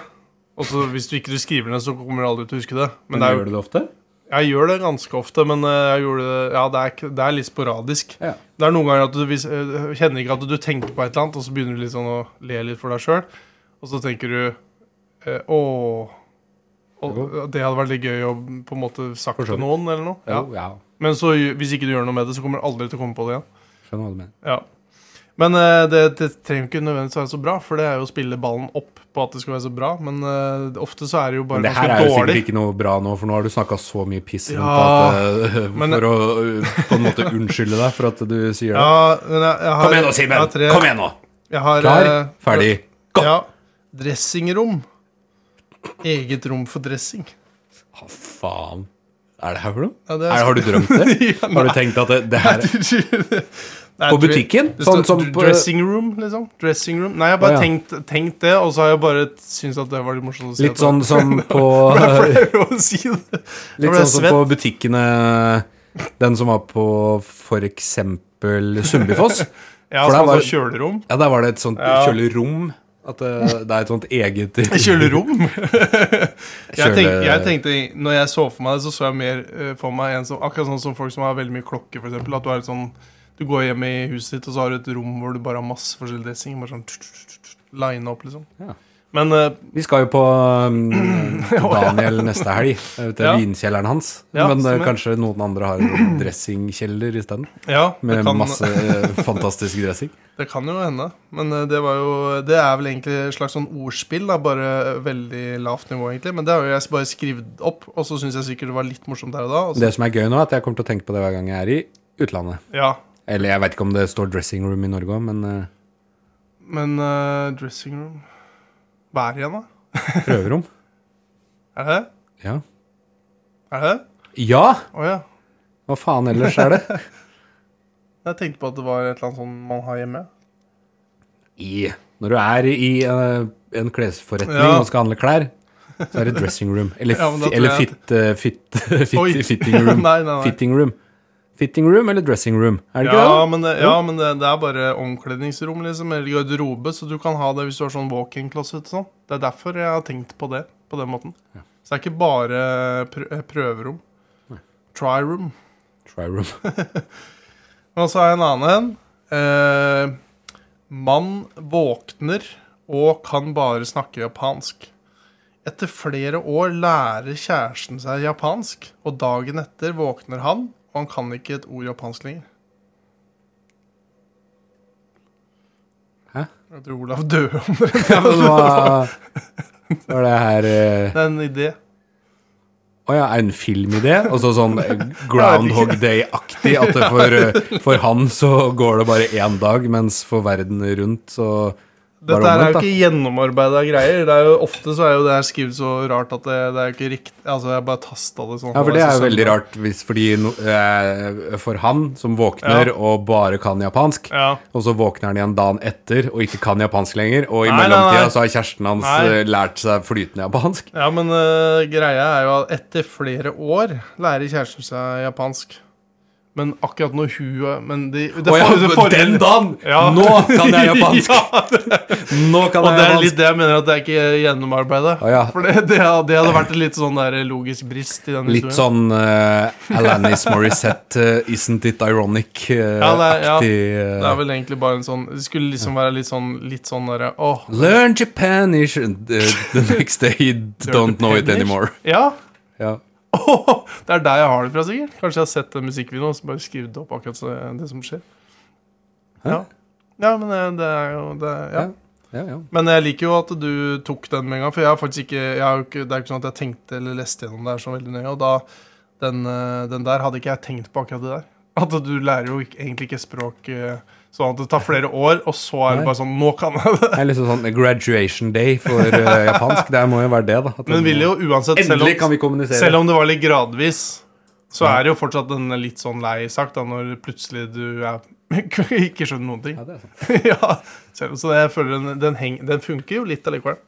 A: Og så Hvis du ikke du skriver den, så kommer du aldri til å huske det. Men det er,
B: gjør
A: jo-
B: du det ofte?
A: jeg gjør det ganske ofte, men eh, jeg gjorde det, ja, det, er, ikke- det er litt sporadisk.
B: Ja.
A: Det er noen ganger at du vis- eh, kjenner ikke at du tenker på et eller annet, og så begynner du litt sånn å le litt for deg sjøl. Og så tenker du eh, åh, og det hadde vært litt gøy å på en måte sagt
B: For så
A: til
B: vidt.
A: noen. eller noe ja.
B: Jo, ja.
A: Men så, gj- hvis ikke du gjør noe med det, så kommer du aldri til å komme på det igjen.
B: Skjønner hva du mener.
A: Ja. Men eh, det, det trenger ikke nødvendigvis være så bra, for det er jo å spille ballen opp på at det skal være så bra. Men eh, ofte så er det jo
B: Men
A: bare
B: det her er
A: ganske
B: jo sikkert
A: dårlig.
B: ikke noe bra nå, for nå har du snakka så mye piss rundt
A: Ja,
B: at, eh,
A: men-
B: for å eh, på en måte unnskylde deg for at du sier det.
A: Ja, men jeg, jeg har,
B: Kom igjen nå,
A: jeg
B: Simen!
A: har tre-
B: Kom igjen nå!
A: Jeg har,
B: Klar,
A: eh,
B: ferdig, gå!
A: Ja. Dressingrom. Eget rom for dressing.
B: Hva faen er det her for noe?
A: Ja, det er- sånn-
B: er, har du drømt
A: [laughs]
B: det?
A: Ja,
B: Har du tenkt at det, det her
A: [laughs] Nei,
B: På
A: dre-
B: butikken?
A: det
B: Sånn
A: står
B: som
A: dr-
B: på
A: Dressing room, liksom. Dressing room. Nei, jeg har bare
B: Å, ja.
A: tenkt, tenkt det, og så har jeg bare syntes at det var litt morsomt å si.
B: Litt
A: [laughs]
B: sånn som på [laughs]
A: Derfor er det å si det. Jeg
B: Litt
A: ble
B: sånn som på butikkene Den som var på for eksempel Sundbyfoss.
A: Ja,
B: for der
A: sånn
B: var-
A: som kjølerom.
B: Ja, der var det et sånt
A: Ja.
B: kjølerom. At det, det er et sånt
A: [laughs]
B: eget
A: Kjølerom? jeg,
B: Kjøle-
A: tenkte, jeg tenkte, Når jeg så for meg det, så så jeg mer eh, for meg en som Akkurat sånn som folk som har veldig mye klokker, for eksempel. At du er litt sånn Du går hjem i huset ditt, og så har du et rom hvor du bare har masse forskjellig dressing. Bare sånn Line opp, liksom.
B: Ja.
A: Men eh,
B: Vi skal jo på
A: [clears throat]
B: um, til Daniel neste helg. eh, Til
A: Ja.
B: vinkjelleren hans.
A: Ja,
B: Men eh,
A: stemmer.
B: kanskje noen andre har dressingkjeller isteden.
A: ja, det
B: Med
A: kan,
B: masse eh, fantastisk dressing.
A: det kan jo hende. Men eh, det var jo Det er vel egentlig et slags sånn ordspill, da, bare veldig lavt nivå, egentlig. Men det har jo jeg bare skrevet opp, og så syns jeg sikkert det var litt morsomt der og da. Og så,
B: [laughs] Det som er gøy nå, er at jeg kommer til å tenke på det hver gang jeg er i utlandet.
A: ja,
B: Eller jeg vet ikke om det står dressing room i Norge òg, men eh,
A: men eh, dressing room Hva er det igjen, da?
B: eh, prøverom.
A: Er det det?
B: Ja.
A: Er det det?
B: ja!
A: Å ja.
B: Hva faen ellers er [laughs] det?
A: Jeg tenkte på at det var et eller annet sånn man har hjemme.
B: I, når du er i eh, en klesforretning
A: Ja.
B: og skal handle klær, så er det dressing room. Eller,
A: Ja, men da
B: fi-
A: tror
B: eller
A: jeg
B: fit, eh,
A: [laughs]
B: fit, fit,
A: Oi.
B: [laughs] fitting room.
A: Nei, nei, nei.
B: Fitting room. Fitting room eller dressing room? Er det ikke
A: Ja,
B: det?
A: men, det, ja, men det, det er bare omkledningsrom, liksom, eller garderobe, så du kan ha det hvis du har sånn walk-in-closet og sånn. Det er derfor jeg har tenkt på det på den måten. Så det er ikke bare prø eh, prøverom. Try room.
B: Try room.
A: Og så har jeg en annen en. Eh, mann våkner og kan bare snakke japansk. Etter flere år lærer kjæresten seg japansk, og dagen etter våkner han, og han kan ikke et ord japansk lenger.
B: Hæ?
A: Jeg tror Olav døde om det.
B: Ja, men hva var det her eh,
A: Det er en idé.
B: Å ja, er det en filmidé? Og så [laughs] sånn eh, Groundhog Day-aktig. At det for, eh, for han så går det bare én dag, mens for verden rundt så var
A: Dette
B: det
A: her er
B: omvendt,
A: jo
B: da.
A: ikke gjennomarbeida greier. Det er jo, ofte så er jo det her skrevet så rart at det, det er jo ikke riktig Altså, jeg bare tasta det sånn.
B: Ja, for det er jo veldig rart, hvis, fordi no, eh, for han som våkner
A: Ja.
B: og bare kan japansk,
A: Ja.
B: og så våkner han igjen dagen etter og ikke kan japansk lenger, og i
A: Nei, nei, nei.
B: mellomtida så har kjæresten hans
A: Nei.
B: eh, lært seg flytende japansk.
A: Ja, men eh, øh, greia er jo at etter flere år lærer kjæresten seg japansk. Men akkurat når hun eh, Men de, det,
C: Å ja,
A: for- det
C: men
A: for-
C: den dagen!
A: [laughs] Ja.
C: Nå kan jeg
B: [laughs]
C: japansk!
A: [laughs] Ja,
C: Nå kan
A: og
C: jeg
A: det er litt
C: japansk!
A: det jeg mener at det er ikke gjennomarbeida.
B: Å ja.
A: For det, det, det hadde vært en litt sånn der logisk brist i den
B: Litt
A: historien.
B: sånn eh, Alanis Morissette, eh, Isn't It eh, Ironic-aktig
A: Ja, det er- ja.
B: eh,
A: Det er vel egentlig bare en sånn Det skulle liksom være litt sånn Litt sånn derre åh
B: Learn Japanish uh, the next day, you don't know it
A: Japanish?
B: anymore.
A: Ja,
B: Ja.
A: Åh, det er der jeg har det fra, sikkert. Kanskje jeg har sett en musikkvideo og så bare skrevet opp akkurat så, det som skjer. Ja. ja, men eh, det er jo det, er- ja.
B: Ja. Ja, ja.
A: Men jeg liker jo at du tok den med en gang, for jeg har faktisk ikke, jeg har jo ikke Det er ikke sånn at jeg tenkte eller leste gjennom det her så veldig nøye, og da den, eh, den der hadde ikke jeg tenkt på akkurat det der. At du lærer jo ikke, egentlig ikke språk eh, sånn at det tar flere år, og så er det
B: Nei.
A: bare sånn Nå kan jeg det!
B: Det er liksom sånn graduation day for eh, japansk. Det må jo være det, da. at
A: Men
B: det
A: vil jo
B: må-
A: uansett selv
B: Endelig
A: om-
B: kan vi kommunisere.
A: Selv om det var litt gradvis, så er det jo fortsatt en litt sånn lei sak da, når plutselig du er [laughs] ikke skjønner noen ting.
B: ja, det er sant.
A: [laughs] ja, selv, så det, jeg føler den, den, heng, den funker jo litt allikevel.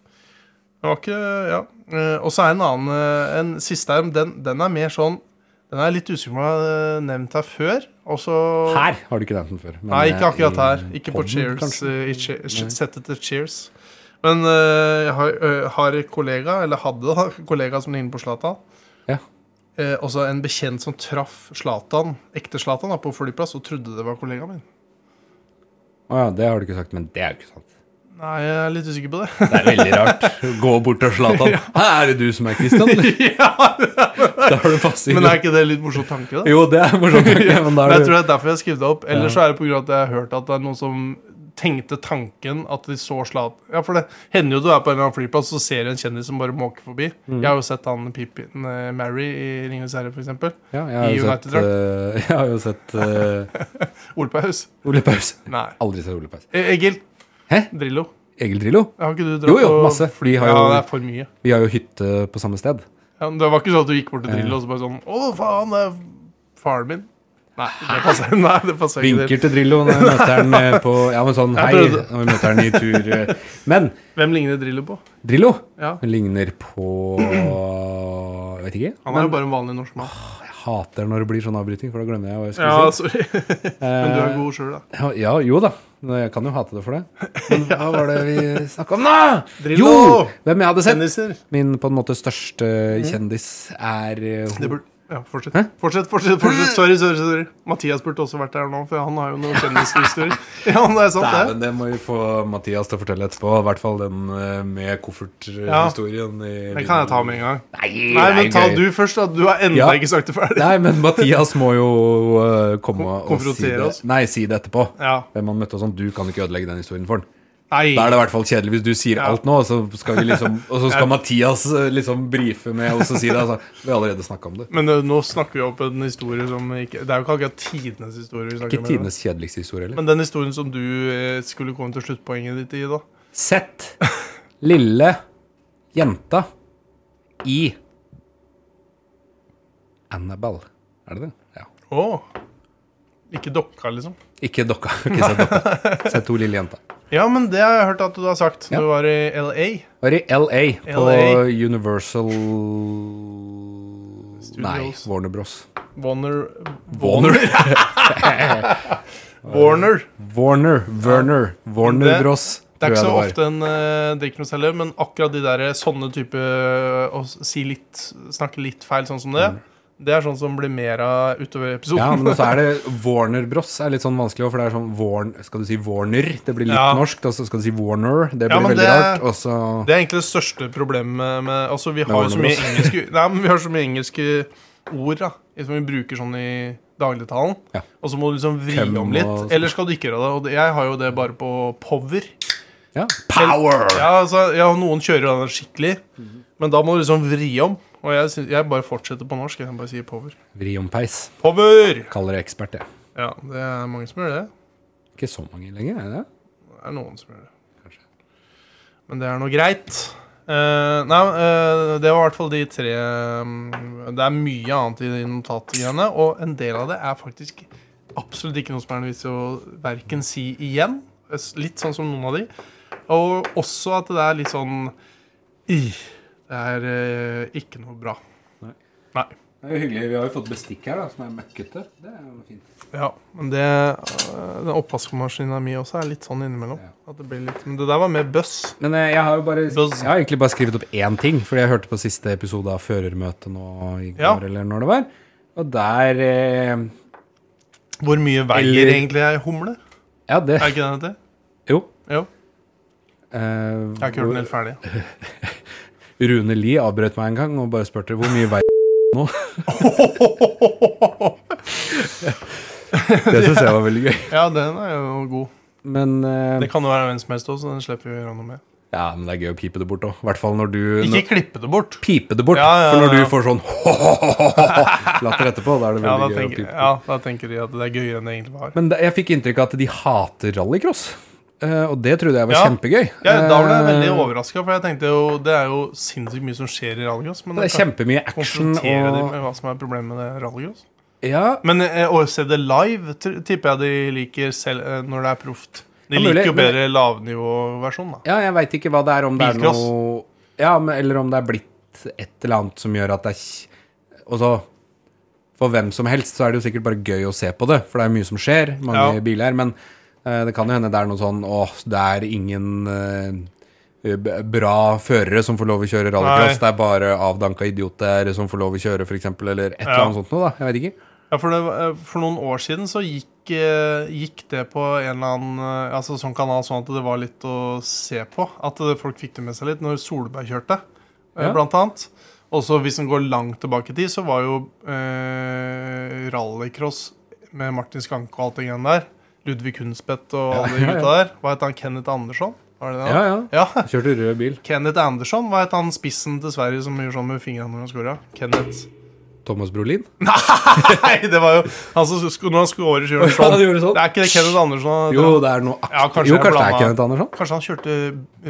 A: Den var ikke, ja. Eh, Og så er en annen, eh, en siste her, den, den er mer sånn Den er litt usikker på om jeg har nevnt her før. Og så
B: Her har du ikke nevnt den før. men,
A: Nei, ikke
B: eh,
A: akkurat her.
B: i
A: Ikke på
B: podden,
A: Cheers.
B: kanskje.
A: eh, I che settet til Cheers. Men eh, jeg har, eh, har en kollega, eller hadde da, en kollega som ligner på Zlatan.
B: Ja.
A: Eh, også en bekjent som traff Zlatan, ekte Zlatan, da, på flyplass og trodde det var kollegaen min.
B: Å ja, det har du ikke sagt, men det er jo ikke sant.
A: Nei, jeg er litt usikker på det.
B: Det er veldig rart. Gå bort til
A: [laughs]
B: Zlatan. Hæ, er det du som er Christian? eller? [laughs] Da har du
A: [laughs]
B: passing.
A: Men er ikke det litt morsom tanke, da?
B: Jo, det er
A: [laughs]
B: morsomt. tanke, Men
A: Men
B: da er
A: jeg tror
B: du
A: det er derfor jeg skrev det opp. Eller så er det på grunn av at jeg har hørt at det er noen som tenkte tanken at de så slat... Ja, for det hender jo du er på en eller annen flyplass og ser du en kjendis som bare måker forbi.
B: Mm.
A: Jeg har jo sett han Pippin eh, Mary i Ringenes herre, for eksempel.
B: ja, jeg, har
A: i
B: jo sett,
A: United-drakt.
B: eh, [laughs] jeg har jo sett eh,
A: Ole Paus.
B: Ole Paus.
A: Nei.
B: Aldri sett Ole Paus.
A: E- Egil.
B: Hæ?
A: Drillo.
B: Egil Drillo?
A: Har ikke du dratt
B: Jo, jo,
A: og-
B: masse. For de har
A: Ja, det
B: jo,
A: er for mye.
B: vi har jo hytte på samme sted.
A: Ja, men det var ikke sånn at du gikk bort til Drillo og så bare sånn Å, faen, det er faren min. Nei, det passer, [laughs] nei, det passer ikke.
B: Vinker til Drillo når vi møter han eh, på Ja, men sånn hei
A: [laughs] Jeg prøvde.
B: når vi møter han i tur. eh. Men
A: til. Hvem ligner Drillo på?
B: Drillo
A: Ja.
B: ligner på Jeg vet ikke.
A: Han er jo bare en vanlig norsk mann.
B: Jeg hater når det blir sånn avbryting, for da glemmer jeg hva jeg skulle
A: Ja,
B: si.
A: sorry.
B: Eh,
A: liksom. [laughs] Men du er god sjøl, da.
B: Ja, ja, jo da. Men Jeg kan jo hate det for det.
A: [laughs]
B: Men hva var det vi snakka om, da?
A: Drillo!
B: Jo! Hvem jeg hadde sett?
A: Kjendiser.
B: Min på en måte største kjendis er eh,
A: Mm. Det
B: hun.
A: burde ja, fortsett. fortsett. Fortsett, fortsett. Sorry, sorry. sorry Mathias burde også vært der nå, for han har jo noen kjendishistorier. [laughs] Ja, det er sant, det.
B: Dæven, det må vi få Mathias til å fortelle etterpå. I hvert fall den eh, med kofferthistorien. Ja.
A: Den kan jeg ta med en gang.
B: Nei,
A: Nei,
B: det er
A: men ta
B: gøy.
A: du først, da. Du har ennå
B: Ja.
A: ikke sagt det ferdig.
B: Nei, men Mathias må jo eh, komme og si
A: konfrontere
B: det.
A: oss.
B: Nei, si det etterpå.
A: Ja.
B: Hvem han møtte og sånn. Du kan ikke ødelegge den historien for han. Da er
A: Nei.
B: det i hvert fall kjedelig hvis du sier
A: Ja.
B: alt nå, og så skal, vi liksom, og så skal Mathias eh, liksom brife med oss og si det. Altså, vi har allerede snakka om det.
A: Men eh, nå snakker vi opp en historie som ikke Det er jo ikke akkurat tidenes historie. vi snakker
B: Ikke
A: om, eller?
B: tidenes kjedeligste historie heller.
A: Men den historien som du eh, skulle komme til sluttpoenget ditt i, da.
B: Sett lille jenta i Annabelle. Er det det? Ja.
A: Å! Ikke dokka, liksom.
B: Ikke dokka. [laughs] Ikke sett dokka. Sett to lille jenta.
A: Ja, men det har jeg hørt at du har sagt.
B: Ja.
A: Du var i LA.
B: Var i LA, på
A: LA.
B: Universal Nei,
A: Studios.
B: Warner Bros.
A: Warner
B: Warner.
A: Warner.
B: [laughs] Warner, Werner, Warner
A: Det-
B: Bros.
A: Det er ikke så
B: tror jeg
A: ofte en eh, det er ikke noe særlig, men akkurat de der sånne type eh, Å s- si litt, snakke litt feil sånn som det, det er sånn som blir mer av utover episoden.
B: Mm. Ja, men også er det Warner Bros. er litt sånn vanskelig, også, for det er sånn Warn, Skal du si Warner? Det blir litt
A: Ja.
B: norsk. Og så skal du si Warner. Det blir
A: Ja, men
B: veldig
A: det-
B: rart. Og så
A: [laughs] Det er egentlig det største problemet med, med Altså, vi har jo
B: Warner
A: så mye
B: Bros.
A: engelske [laughs] Nei, men vi har så mye engelske ord da som vi bruker sånn i dagligtalen.
B: Ja.
A: Og så må du liksom vri
B: Køm
A: om
B: og
A: litt.
B: sånn.
A: Ellers skal du ikke gjøre det. Og det- jeg har jo det bare på power.
B: ja. Power!
A: Ja, altså, ja, noen kjører jo den skikkelig, men da må du liksom vri om. Og jeg, syns- jeg bare fortsetter på norsk. Jeg bare sier power.
B: Vri om peis.
A: Power!
B: Kaller det ekspert, jeg.
A: Ja, det er mange som gjør det.
B: Ikke så mange lenger, er det?
A: Det er noen som gjør det.
B: Kanskje.
A: Men det er nå greit. Eh, nei, eh, det var i hvert fall de tre mm, Det er mye annet i de notatgreiene, og en del av det er faktisk absolutt ikke noe som er noe vits i å verken si igjen. s- Litt sånn som noen av de. Og også at det er litt sånn I. Det er eh, ikke noe bra.
B: Nei.
A: Nei.
C: Det er jo hyggelig. Vi har jo fått bestikk her da, som er møkkete. Det er jo fint.
A: Ja, men det øh, Den oppvaskmaskina mi også er litt sånn innimellom. At det blir litt, men det der var mer bøss.
B: Men eh, jeg har jo bare
A: Buzz.
B: Jeg har egentlig bare skrevet opp én ting, fordi jeg hørte på siste episode av Førermøtet nå i går,
A: Ja.
B: eller når det var. Og der eh,
A: Hvor mye veier
B: Eller-
A: egentlig ei humle?
B: Ja, det
A: Er ikke den heter?
B: Jo.
A: Jo.
B: Eh,
A: Jeg har ikke hørt den helt ferdig.
B: Rune Lie avbrøt meg en gang og bare spurte hvor mye vei
A: [laughs]
B: [laughs] Det syns jeg var veldig gøy.
A: Ja, den er jo god.
B: Men eh,
A: Det kan jo være hvem som helst òg, så den slipper vi å gjøre noe med.
B: Ja, men det er gøy å pipe det bort òg. I hvert fall når du
A: Ikke
B: når,
A: klippe det bort.
B: Pipe det bort.
A: Ja, ja,
B: For når
A: ja.
B: du får sånn [laughs] latter etterpå, da er det
A: Ja da,
B: veldig gøy å
A: tenker,
B: pipe.
A: ja, da tenker de at det er gøyere enn det egentlig var.
B: Men det, jeg fikk inntrykk av at de hater rallycross. Eh, og det trodde jeg var
A: Ja.
B: kjempegøy.
A: Ja, da ble jeg veldig
B: Eh,
A: overraska, for jeg tenkte jo det er jo sinnssykt mye som skjer i rallycross. Men
B: Det er kjempemye action
A: konfrontere dem
B: og
A: med hva som er problemet med det rallycross.
B: Ja,
A: Men eh, å se det live t- tipper jeg de liker selv eh, når det er proft. De
B: Ja, mulig,
A: liker jo
B: men-
A: bedre lavnivåversjon, da.
B: Ja, jeg veit ikke hva det er, om det er
A: Bilcross.
B: noe Ja, men, eller om det er blitt et eller annet som gjør at det er kj- Og så For hvem som helst så er det jo sikkert bare gøy å se på det, for det er mye som skjer, mange
A: Ja.
B: biler, men eh, det kan jo hende det er noe sånn Åh, det er ingen eh, b- bra førere som får lov å kjøre rallycross, det er bare avdanka idioter som får lov å kjøre, f.eks., eller et eller
A: Ja.
B: annet sånt noe, da. Jeg vet ikke.
A: Ja, for, det, eh, for noen år siden så gikk, eh, gikk det på en eller annen eh, altså sånn kanal sånn at det var litt å se på. At eh, folk fikk det med seg litt når Solberg kjørte, eh,
B: Ja.
A: blant annet. Også hvis en går langt tilbake i tid, så var jo eh, rallycross med Martin Skanke og alt det greiene der. Ludvig Kunstvedt og alle de
B: ja, ja.
A: gutta der. Hva het han? Kenneth Andersson? Var det det?
B: Ja,
A: han-
B: ja.
A: ja.
B: Kjørte rød bil.
A: Kenneth Andersson, hva het han spissen til Sverige som gjorde sånn med fingrene når han scora? Kenneth [laughs]
B: Thomas Brolin.
A: Nei, det var jo han som sk- når han scorer,
B: [laughs]
A: så gjør han sånn.
B: gjorde
A: Det er ikke det Kenneth Andersson
B: Jo, det er noe
A: Ja, kanskje
B: aktivt. Jo,
A: jeg
B: kanskje det
A: blanda-
B: er Kenneth Andersson?
A: Kanskje han kjørte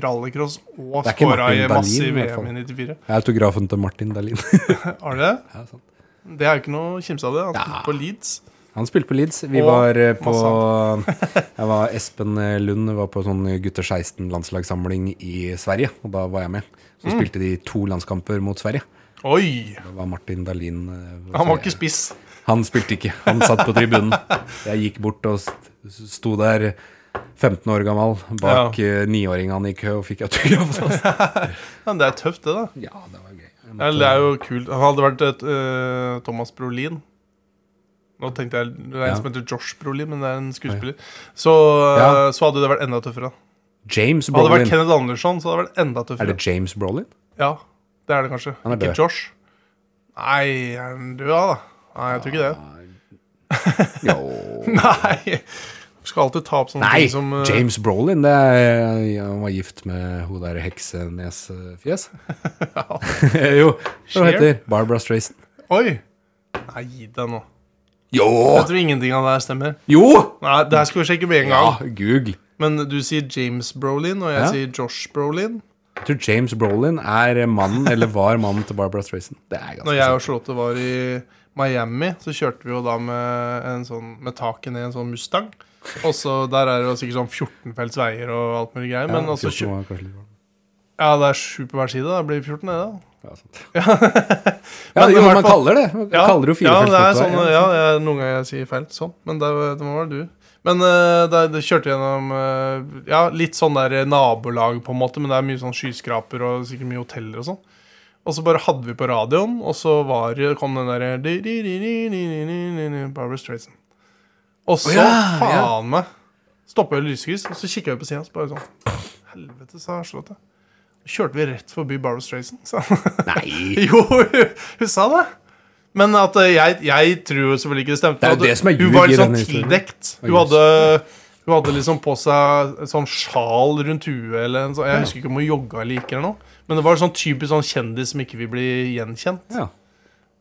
A: rallycross og
B: Det er ikke
A: scora
B: Martin
A: i masse i
B: Dahlin, i hvert
A: VM i 94.
B: Autografen til Martin Dahlin. [laughs]
A: Har du det?
B: Ja, sånn. sant.
A: Det er jo ikke noe å kimse av det. Han spilte på Leeds.
B: Han spilte på Leeds. Vi
A: Og
B: var eh, på
A: masse
B: [laughs] Jeg var Espen eh, Lund var på sånn gutter 16-landslagssamling i Sverige, og da var jeg med. Så
A: Mm.
B: spilte de to landskamper mot Sverige.
A: Oi!
B: Da var Martin Dahlin eh,
A: Han var ikke spiss.
B: Han spilte ikke. Han satt på tribunen. Jeg gikk bort og st- sto der 15 år gammel bak eh, niåringene i kø og fikk autograf.
A: [laughs] Men det er tøft, det, da.
B: Ja, det var gøy. Jeg
A: Ja,
B: måtte-
A: det er jo kult. Han hadde vært et, eh, Thomas Brolin. Nå tenkte jeg Det er en
B: Ja.
A: som heter Josh Brolin, men det er en skuespiller. Så,
B: Ja.
A: eh, så hadde det vært enda tøffere.
B: James
A: Hadde det vært
B: Brolin.
A: Kenneth Andersson, så hadde det vært enda
B: Er
A: tøffere.
B: det James
A: [laughs]
B: Brolin?
A: Ja, det er det kanskje.
B: Han er
A: ikke
B: død.
A: Josh. Nei, er han død, ja, da? Nei, jeg tror ikke det.
B: Jo
A: Nei! Du skal alltid ta opp sånne
B: Ah. Nei,
A: ting som eh,
B: James Brolin det er, ja, Han var gift med hun der
A: [laughs]
B: heksenesfjes. [laughs] jo, hva
A: Cher?
B: heter Barbara Strayson.
A: Oi! Nei, gi deg nå.
B: Jo!
A: Jeg tror ingenting av det her stemmer.
B: Jo!
A: Nei, Det her skal vi sjekke med en
B: Ja,
A: gang.
B: Google.
A: Men du sier James Brolin, og jeg
B: Ja.
A: sier Josh Brolin.
B: Jeg tror James Brolin er mannen, eller var mannen til Barbara Strayson. Det er ganske
A: Når jeg og
B: sant.
A: Charlotte var i Miami, så kjørte vi jo da med, en sånn, med taket ned i en sånn Mustang. Og så Der er det jo sikkert sånn 14-felts veier og alt mulig greier. men altså,
B: Ja,
A: også kjø-
B: 14 var kanskje litt varm.
A: ja, det er sju på hver side. Da blir det 14, det, da.
B: Ja, sant. ja,
A: Men i
B: det er jo,
A: hvert
B: man
A: fall-
B: kaller det Man kaller det jo
A: ja,
B: firefelts
A: det er
B: motorvei,
A: sånn,
B: ja.
A: ja, jeg, noen ganger jeg sier feil. Sånn. Men det, det må være du. Men eh, det, det kjørte gjennom eh, Ja, litt sånn der nabolag, på en måte, men det er mye sånn skyskraper og sikkert mye hoteller og sånn. Og så bare hadde vi på radioen, og så var, det- kom den derre di- di- di- di- di- di- di- di- Barbra Streisand. Og så,
B: Å ja, ja.
A: faen meg, stoppa vi lysekryss, og så kikka vi på sida, og så bare sånn Helvete, sa Charlotte. Kjørte vi rett forbi Barbra Streisand? sa han.
B: Nei,
A: [laughs] Jo, hun sa det. Men at eh, jeg, jeg tror jo selvfølgelig ikke det stemte.
B: Det er jo
A: At
B: det som er
A: hun
B: ljug
A: var
B: i
A: litt sånn
B: denne historien.
A: tildekt. Hun
B: Å,
A: hadde, hun hadde liksom på seg et sånn sjal rundt huet eller en sånn, Jeg husker ikke om hun jogga eller gikk eller noe. Men det var sånn typisk sånn kjendis som ikke vil bli gjenkjent.
B: [laughs] ja.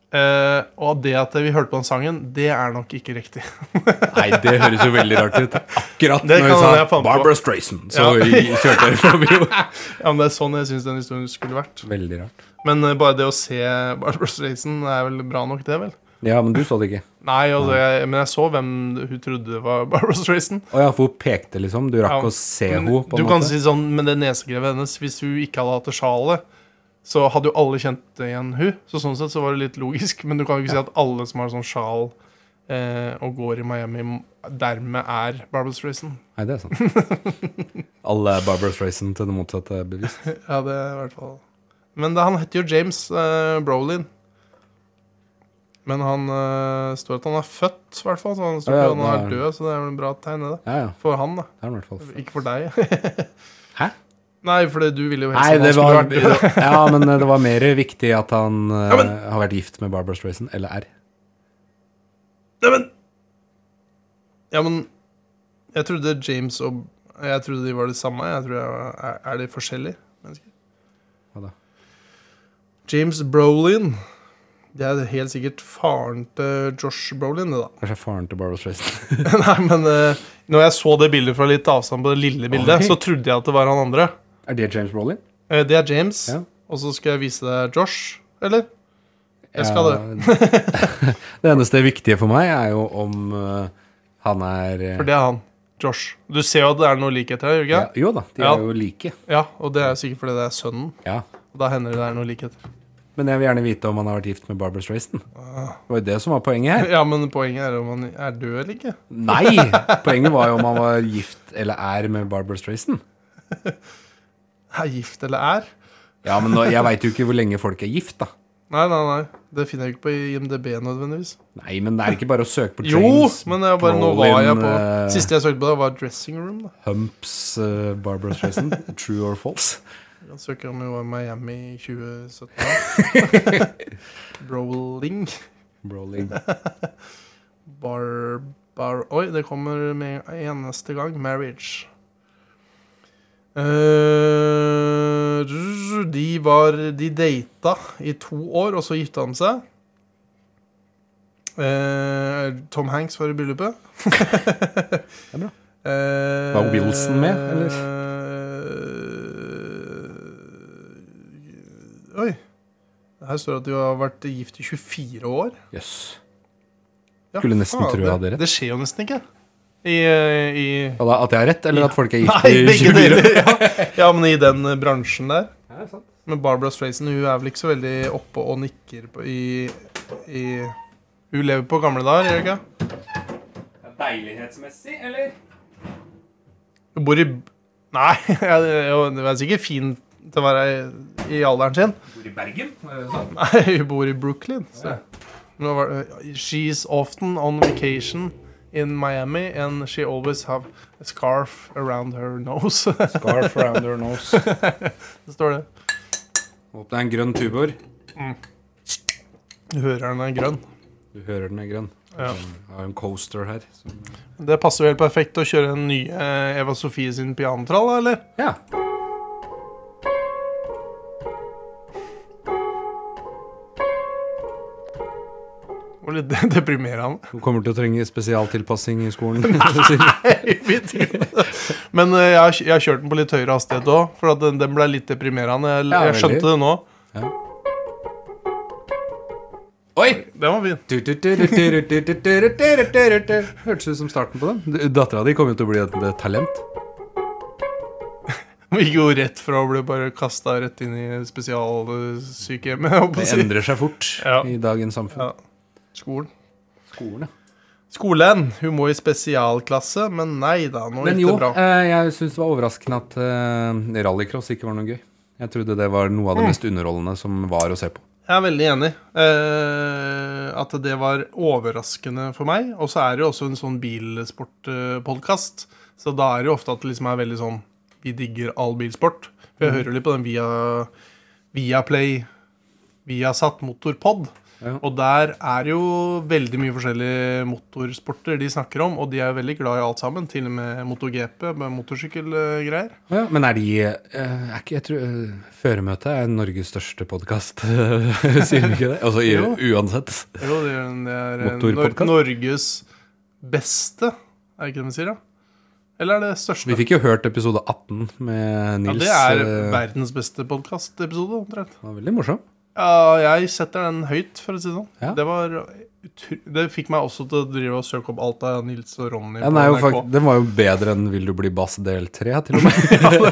A: Eh, og det at vi hørte på den sangen, det er nok ikke riktig. [laughs]
B: Nei, det høres jo veldig rart ut. Akkurat
A: Det kan
B: når
A: jeg
B: jeg sa
A: fant på.
B: Barbara Strayson, så
A: Ja.
B: kjørte jeg forbi
A: [laughs]
B: henne.
A: Ja, men Det er sånn jeg syns den historien skulle vært.
B: Veldig rart.
A: Men eh, bare det å se Barbra Streisand er vel bra nok, det, vel?
B: Ja, men du så det ikke.
A: Nei, altså, jeg, men jeg så hvem hun trodde var [laughs] Barbra Streisand.
B: Å ja, for hun pekte, liksom. Du rakk
A: Ja,
B: å se
A: Men
B: hene på
A: du
B: en
A: kan
B: måte.
A: si sånn, men det nesegrevet hennes Hvis hun ikke hadde hatt det sjalet så hadde jo alle kjent igjen hun. Så sånn sett så var det litt logisk. Men du kan jo ikke si at alle som har sånn sjal eh, og går i Miami, dermed er Barbra Streisand.
B: Nei, det er sant.
A: [laughs]
B: Alle er Barbara Streisand til det motsatte er bevisst.
A: Ja, det er i hvert fall Men det, han heter jo James eh, Brolin. Men han eh, står at han er født, i hvert fall. Så han står
B: Ja,
A: ikke
B: ja,
A: at han er
B: det er-
A: død, så det er vel en bra tegn, det.
B: Ja, ja.
A: For han, da.
B: Det er den i hvert fall.
A: Ikke for deg. [laughs]
B: Hæ?
A: Nei, for du ville jo helst
B: Nei,
A: at han
B: det
A: skulle
B: var,
A: vært død.
B: [laughs] ja, men eh, det var mer viktig at han eh,
A: Ja, men-
B: har vært gift med Barbara Streisand, eller er.
A: Neimen Ja, men Jeg trodde James og Jeg trodde de var det samme. Jeg tror jeg, er- er de forskjellige mennesker?
B: Hva da?
A: James Brolin. Det er helt sikkert faren til Josh Brolin, det, da. [laughs]
B: Kanskje faren til Barbara Streisand. [laughs]
A: Nei, men eh, når jeg så det bildet fra litt avstand på det lille bildet,
B: Ok.
A: så trodde jeg at det var han andre.
B: Er det James Brolin?
A: Eh, Det er James,
B: Ja.
A: og så skal jeg vise deg Josh, eller? Jeg skal det.
B: det. [laughs] det eneste viktige for meg er jo om eh, han er eh,
A: For det er han. Josh. Du ser jo at det er noe likhet her, gjør du
B: ja,
A: ikke?
B: Jo da, de
A: Ja.
B: er jo like.
A: Ja, og det er sikkert fordi det er sønnen.
B: Ja.
A: Og da hender det det er noe likhet.
B: Men jeg vil gjerne vite om han har vært gift med Barbara Streisand.
A: Ah.
B: Det var jo det som var poenget her.
A: [laughs] Ja, men poenget er om han er død eller ikke.
B: Nei! Poenget var jo om han var gift eller er med Barbara Streisand.
A: Er gift eller er.
B: Ja, men nå, jeg veit jo ikke hvor lenge folk er gift, da.
A: Nei, nei, nei. Det finner jeg ikke på IMDb nødvendigvis.
B: Nei, men det er ikke bare å søke på
A: Jo,
B: James
A: men jeg bare, nå var jeg på
B: eh,
A: Siste jeg søkte på, da var Dressing Room. da
B: Humps eh, Barbara Streisand. True or false?
A: Han søker om jo Miami i 2017.
B: [laughs]
A: [laughs] Brolling.
B: Brolin.
A: Bar, bar Oi, det kommer med eneste gang. Marriage. Eh, de var De data i to år, og så gifta de seg. Eh, Tom Hanks var i
B: [laughs]
A: bryllupet. Eh, det
B: er bra.
A: var
B: Wilson med, eller?
A: Eh, Oi. Her står det at de har vært gift i 24 år.
B: Jøss.
A: Ja,
B: Skulle nesten tro jeg hadde rett.
A: Det skjer jo nesten ikke. I, eh, i
B: Ja, da, At jeg har rett, eller at folk er gift
A: [laughs] Nei,
B: i
A: begge
B: 24 år?
A: deler.
B: [laughs]
A: Ja. ja, men i den eh, bransjen der.
C: Ja, sant.
A: Men Barbara Streisand hun er vel ikke så veldig oppe og nikker på, i, i Hun lever på gamle dager, gjør hun ikke?
C: Deilighetsmessig, eller?
A: Hun bor i Nei, [laughs] hun er sikkert fin til å være i- i alderen sin. [laughs]
C: Bor i Bergen?
A: Nei, hun bor i Brooklyn. Så. Nå var det- She's often on vacation in Miami and she always have a scarf around her nose.
B: [laughs]
A: [laughs]
B: Scarf around her nose.
A: Det står det.
B: Åpne en grønn tubor.
A: Du hører den er grønn.
B: Du hører den er grønn.
A: Ja.
B: Jeg har en coaster her. som-
A: Det passer jo helt perfekt å kjøre den nye eh, Eva Sofie sin pianotrall, da, eller?
B: Ja.
A: Og litt [laughs] de- deprimerende.
B: Hun kommer til å trenge spesialtilpassing i
A: [laughs]
B: skolen. [laughs]
A: Men eh, jeg har, kj- jeg har kjørt den på litt høyere hastighet òg, for at den, den ble litt deprimerende. Jeg,
B: Ja,
A: jeg skjønte
B: veldig.
A: det nå.
B: Oi!
A: Den var fin.
B: Hørtes ut som starten på den. Dattera di kommer jo til å bli et, et talent.
A: Vi gikk jo rett fra å bli bare kasta rett inn i spesialsykehjemmet, jeg holdt på
B: Det
A: å si.
B: endrer seg fort
A: Ja.
B: i dagens samfunn.
A: Ja. Skolen.
B: Skolen, ja.
A: Skolen. Hun må i spesialklasse, men nei da, nå
B: Men
A: gikk
B: jo,
A: det bra.
B: eh, jeg syns det var overraskende at eh, rallycross ikke var noe gøy. Jeg trodde det var noe
A: Mm.
B: av det mest underholdende som var å se på.
A: Jeg er veldig enig. Eh, at det var overraskende for meg. Og så er det jo også en sånn bilsportpodkast. Så da er det jo ofte at det liksom er veldig sånn Vi digger all bilsport. For jeg hører jo litt på den via Viaplay, Viasat Motorpod.
B: Ja.
A: Og der er jo veldig mye forskjellige motorsporter de snakker om. Og de er jo veldig glad i alt sammen. Til og med MotoGP med motorsykkelgreier.
B: Ja, men er de eh, er ikke, jeg tror, eh, Føremøtet er Norges største podkast, [laughs] sier de ikke det? Altså i,
A: Jo.
B: uansett.
A: Jo, det er, det er eh, Nor
B: Motorpodcast?
A: Norges beste, er det ikke det de sier? da? Eller er det største?
B: Vi fikk jo hørt episode 18 med
A: ja,
B: Nils.
A: det er
B: eh,
A: verdens beste podkastepisode, omtrent.
B: det var veldig morsom.
A: Ja, jeg setter den høyt, for å si det sånn.
B: Ja.
A: Det, var utro- det fikk meg også til å drive og søke opp alt av Nils og Ronny
B: Ja, den, er jo
A: [laughs]
B: fakt, den var jo bedre enn Vil du bli bass del 3, til og med.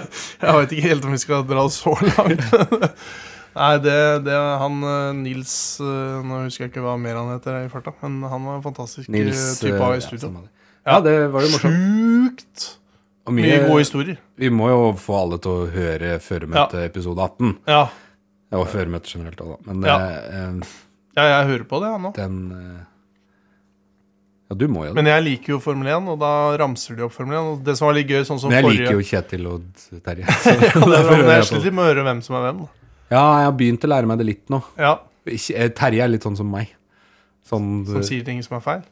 A: [laughs] Jeg vet ikke helt om vi skal dra så langt. Nei, det, det han eh, Nils eh, Nå husker jeg ikke hva mer han heter i farta, men han var en fantastisk eh,
B: Nils
A: type
B: eh,
A: av
B: ja,
A: i studio.
B: samme det. Ja, det var jo morsomt.
A: Sjukt
B: Og
A: mye gode historier.
B: vi må jo få alle til å høre Føremøte episode 18.
A: Ja.
B: Det var føremøte generelt òg, da. Men
A: Ja.
B: eh, eh,
A: ja, jeg hører på det, jeg nå.
B: den eh, Ja, du må jo det.
A: Men jeg liker jo Formel 1, og da ramser de opp Formel 1. Og det som var litt gøy, sånn som
B: Men jeg
A: forrige
B: liker jo Kjetil og
A: [laughs]
B: Terje. så derfor
A: det var,
B: hører
A: men Jeg
B: jeg på
A: sliter
B: det. sånn-
A: litt med å høre hvem som er hvem. da.
B: Ja, jeg har begynt å lære meg det litt nå.
A: Ja,
B: Ikke- eh, Terje er litt sånn som meg. Sånn,
A: Som sier ting som er feil.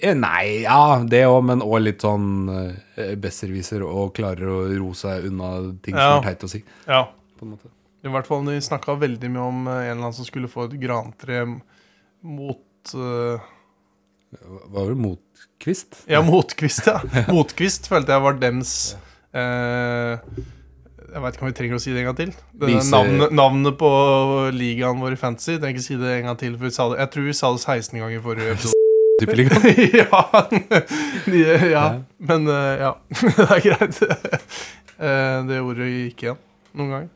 B: eh, Nei, ja, det òg, men òg litt sånn eh, besserwisser og klarer å ro seg unna ting
A: Ja.
B: som er teit å si.
A: Ja.
B: På en måte.
A: I hvert fall de snakka veldig mye om eh, en eller annen som skulle få et grantre mot eh,
B: Hva var det? Motkvist?
A: Ja, motkvist, ja. Motkvist følte jeg var dems eh, Jeg veit ikke om vi trenger å si det en gang til. Det der
B: Vise-
A: navnet, navnet på ligaen vår i fantasy. Trenger ikke si det en gang til, for vi sa det, jeg tror vi sa det 16 ganger i forrige episode. [laughs]
B: Tippeligaen?
A: ja, de, ja.
B: Ja.
A: Men eh, ja, [laughs] det er greit. [laughs] Eh, det ordet gikk igjen noen ganger.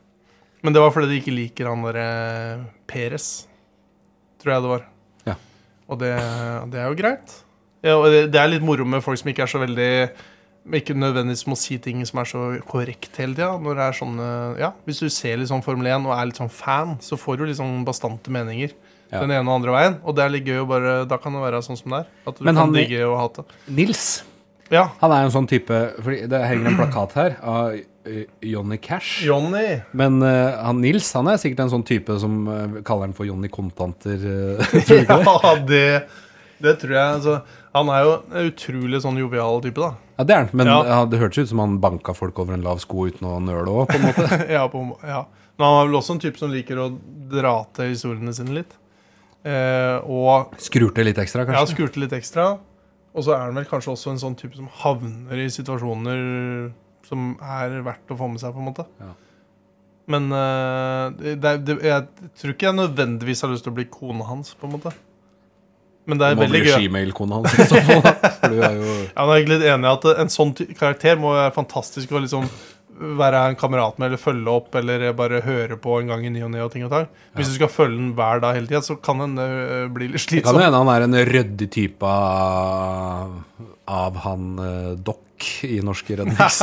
A: Men det var fordi de ikke liker han eh, derre Peres, tror jeg det var.
B: Ja.
A: Og det, det er jo greit. Ja, og det, det er litt moro med folk som ikke er så veldig men ikke nødvendigvis må si ting som er så korrekt hele tida. Når det er sånne, ja, hvis du ser litt sånn Formel 1 og er litt sånn fan, så får du litt sånn bastante meninger.
B: Ja.
A: Den ene og andre veien. Og det er litt gøy å bare Da kan det være sånn som det er. At du
B: Men
A: kan
B: han-
A: digge og hate.
B: [laughs] Nils.
A: Ja.
B: Han er jo en sånn type Fordi Det henger en plakat her av eh, Johnny Cash.
A: Johnny.
B: Men eh, han Nils han er sikkert en sånn type som eh, kaller han for Johnny Kontanter. eh, [laughs] [laughs] tror du ikke det?
A: Ja, det, det tror jeg. Altså, han er jo en utrolig sånn jovial type, da.
B: Ja, det er han. Men
A: Ja.
B: ja, det hørtes ut som han banka folk over en lav sko uten å nøle òg, på en måte.
A: [laughs] ja, på, ja. Men han er vel også en type som liker å dra til historiene sine litt. Eh, og
B: Skrurte litt ekstra,
A: Jeg har
B: kanskje.
A: skurte litt ekstra. Og så er han vel kanskje også en sånn type som havner i situasjoner som er verdt å få med seg, på en måte.
B: Ja.
A: Men eh, det, det- det, jeg tror ikke jeg nødvendigvis har lyst til å bli kona hans, på en måte. Men det er
B: Må
A: veldig
B: bli
A: gøy.
B: Gmail-kona hans i så fall.
A: [laughs]
B: da. For du er jo
A: Ja, men jeg er egentlig litt enig i at En sånn ty- karakter må være fantastisk å liksom være en kamerat med, eller følge opp, eller bare høre på en gang i ny og ne. og ting og tang. Hvis du skal følge den hver dag hele tida, så kan den eh, bli litt
B: Det kan jo
A: slitsom.
B: hende han er en ryddig type av, av han eh, Dock i
A: [laughs]
B: Norske Rednecks.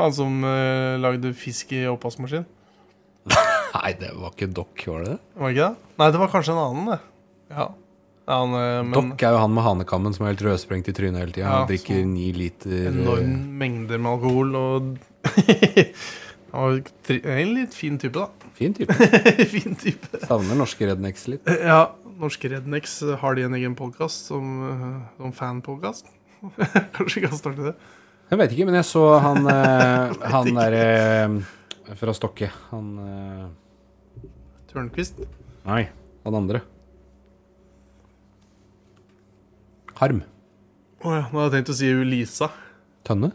A: Han som eh, lagde fisk i oppvaskmaskin.
B: Nei, det var ikke Dock, var det det?
A: Var det ikke det? Nei, det var kanskje en annen, det. Ja. Ja, han, eh, men
B: Dock er jo han med hanekammen som er helt rødsprengt i trynet hele tida.
A: Ja,
B: Han drikker
A: så-
B: ni liter eh,
A: enorme mengder med alkohol og [laughs] Han var tri- en litt fin type, da. [laughs]
B: Fin type.
A: fin type.
B: Savner Norske Rednecks litt.
A: Eh, Ja, Norske Rednecks eh, har de en egen podkast som, eh, som fanpodkast. [laughs] Kanskje vi kan starte det.
B: Jeg vet ikke, men jeg så han
A: [laughs]
B: eh, Han derre eh, fra Stokke. Han eh,
A: Tørnquist.
B: Nei, han andre. Harm.
A: Å ja, nå hadde jeg tenkt å si Lisa.
B: Tønne?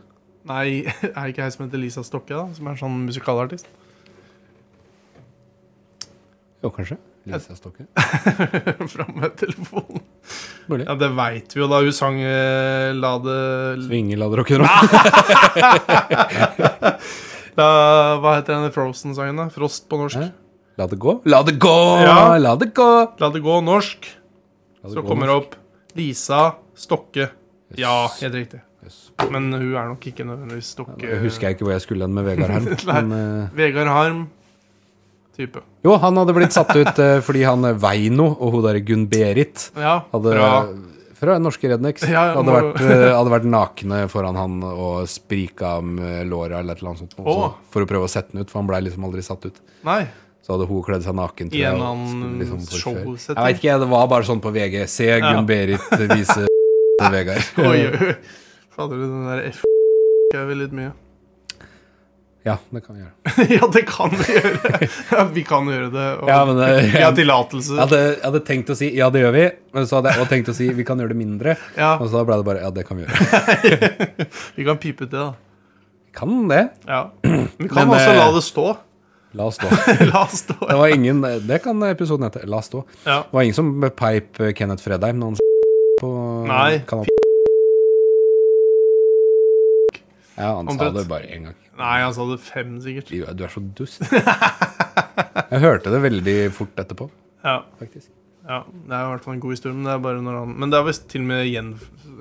A: Nei, [laughs] er det ikke ei som heter Lisa Stokke, da? Som er sånn musikalartist? [laughs]
B: Jo, kanskje. Lisa
A: [laughs]
B: Stokke.
A: Fram med telefonen.
B: Mulig.
A: Ja, det veit vi jo, da. Hun sang eh, 'La det
B: Svinge, lader og rock'n'roll.
A: La, hva heter den Frozen-sangen, da? Frost på norsk.
B: Hæ? La det gå. La det gå!
A: Ja.
B: La det gå!
A: La det gå norsk.
B: La
A: Så kommer det opp Lisa Stokke.
B: Yes.
A: Ja, helt riktig.
B: Yes. eh,
A: Men hun er nok ikke nødvendigvis Stokke.
B: Jeg husker jeg ikke hvor jeg skulle hen med Vegard
A: [laughs]
B: Harm. Men, eh,
A: Vegard Harm. Type.
B: jo, han hadde blitt satt ut eh, fordi han eh, Veino og hun derre Gunn-Berit
A: Ja,
B: hadde
A: bra.
B: Fra norske Rednecks.
A: Ja,
B: hadde,
A: må-
B: vært, eh, hadde vært nakne foran han og sprika med låra eller et eller annet sånt. Også,
A: Åh.
B: For å prøve å sette den ut, for han blei liksom aldri satt ut.
A: Nei.
B: [laughs] Så hadde hun kledd seg naken. tror
A: I
B: jeg,
A: en
B: og
A: annen
B: skulle forføre.
A: showsetting.
B: Jeg veit ikke, det var bare sånn på VG. Se Gunn-Berit vise
A: [laughs]
B: til Vegard.
A: Oi, oi. Fader, den der F... er vel litt mye. [laughs]
B: Ja, det kan vi gjøre.
A: ja, det kan vi gjøre. [laughs] Ja, vi kan gjøre det. Og
B: Ja, men det-
A: [laughs] vi har
B: Jeg
A: tillatelse.
B: hadde, jeg hadde tenkt å si ja, det gjør vi, men så hadde jeg også tenkt å si vi kan gjøre det mindre.
A: Ja,
B: Og så da ble det bare ja, det kan vi gjøre.
A: vi kan pipe ut det, da.
B: Kan det.
A: Ja.
B: [clears throat]
A: Vi kan
B: Men,
A: også
B: eh,
A: la det stå. [laughs]
B: La oss stå.
A: La det stå.
B: Det var ingen Det kan episoden hete. La oss stå.
A: Ja.
B: Det var ingen som peip Kenneth Fredheim når han s- på
A: Nei.
B: kanal. Ja, han sa
A: Omtrent.
B: det bare én gang.
A: Nei, han sa det fem, sikkert.
B: Du er så dust. Jeg hørte det veldig fort etterpå,
A: Ja.
B: faktisk.
A: Ja, Det er i hvert fall en god historie. Men det er bare når han Men det er visst til og med igjen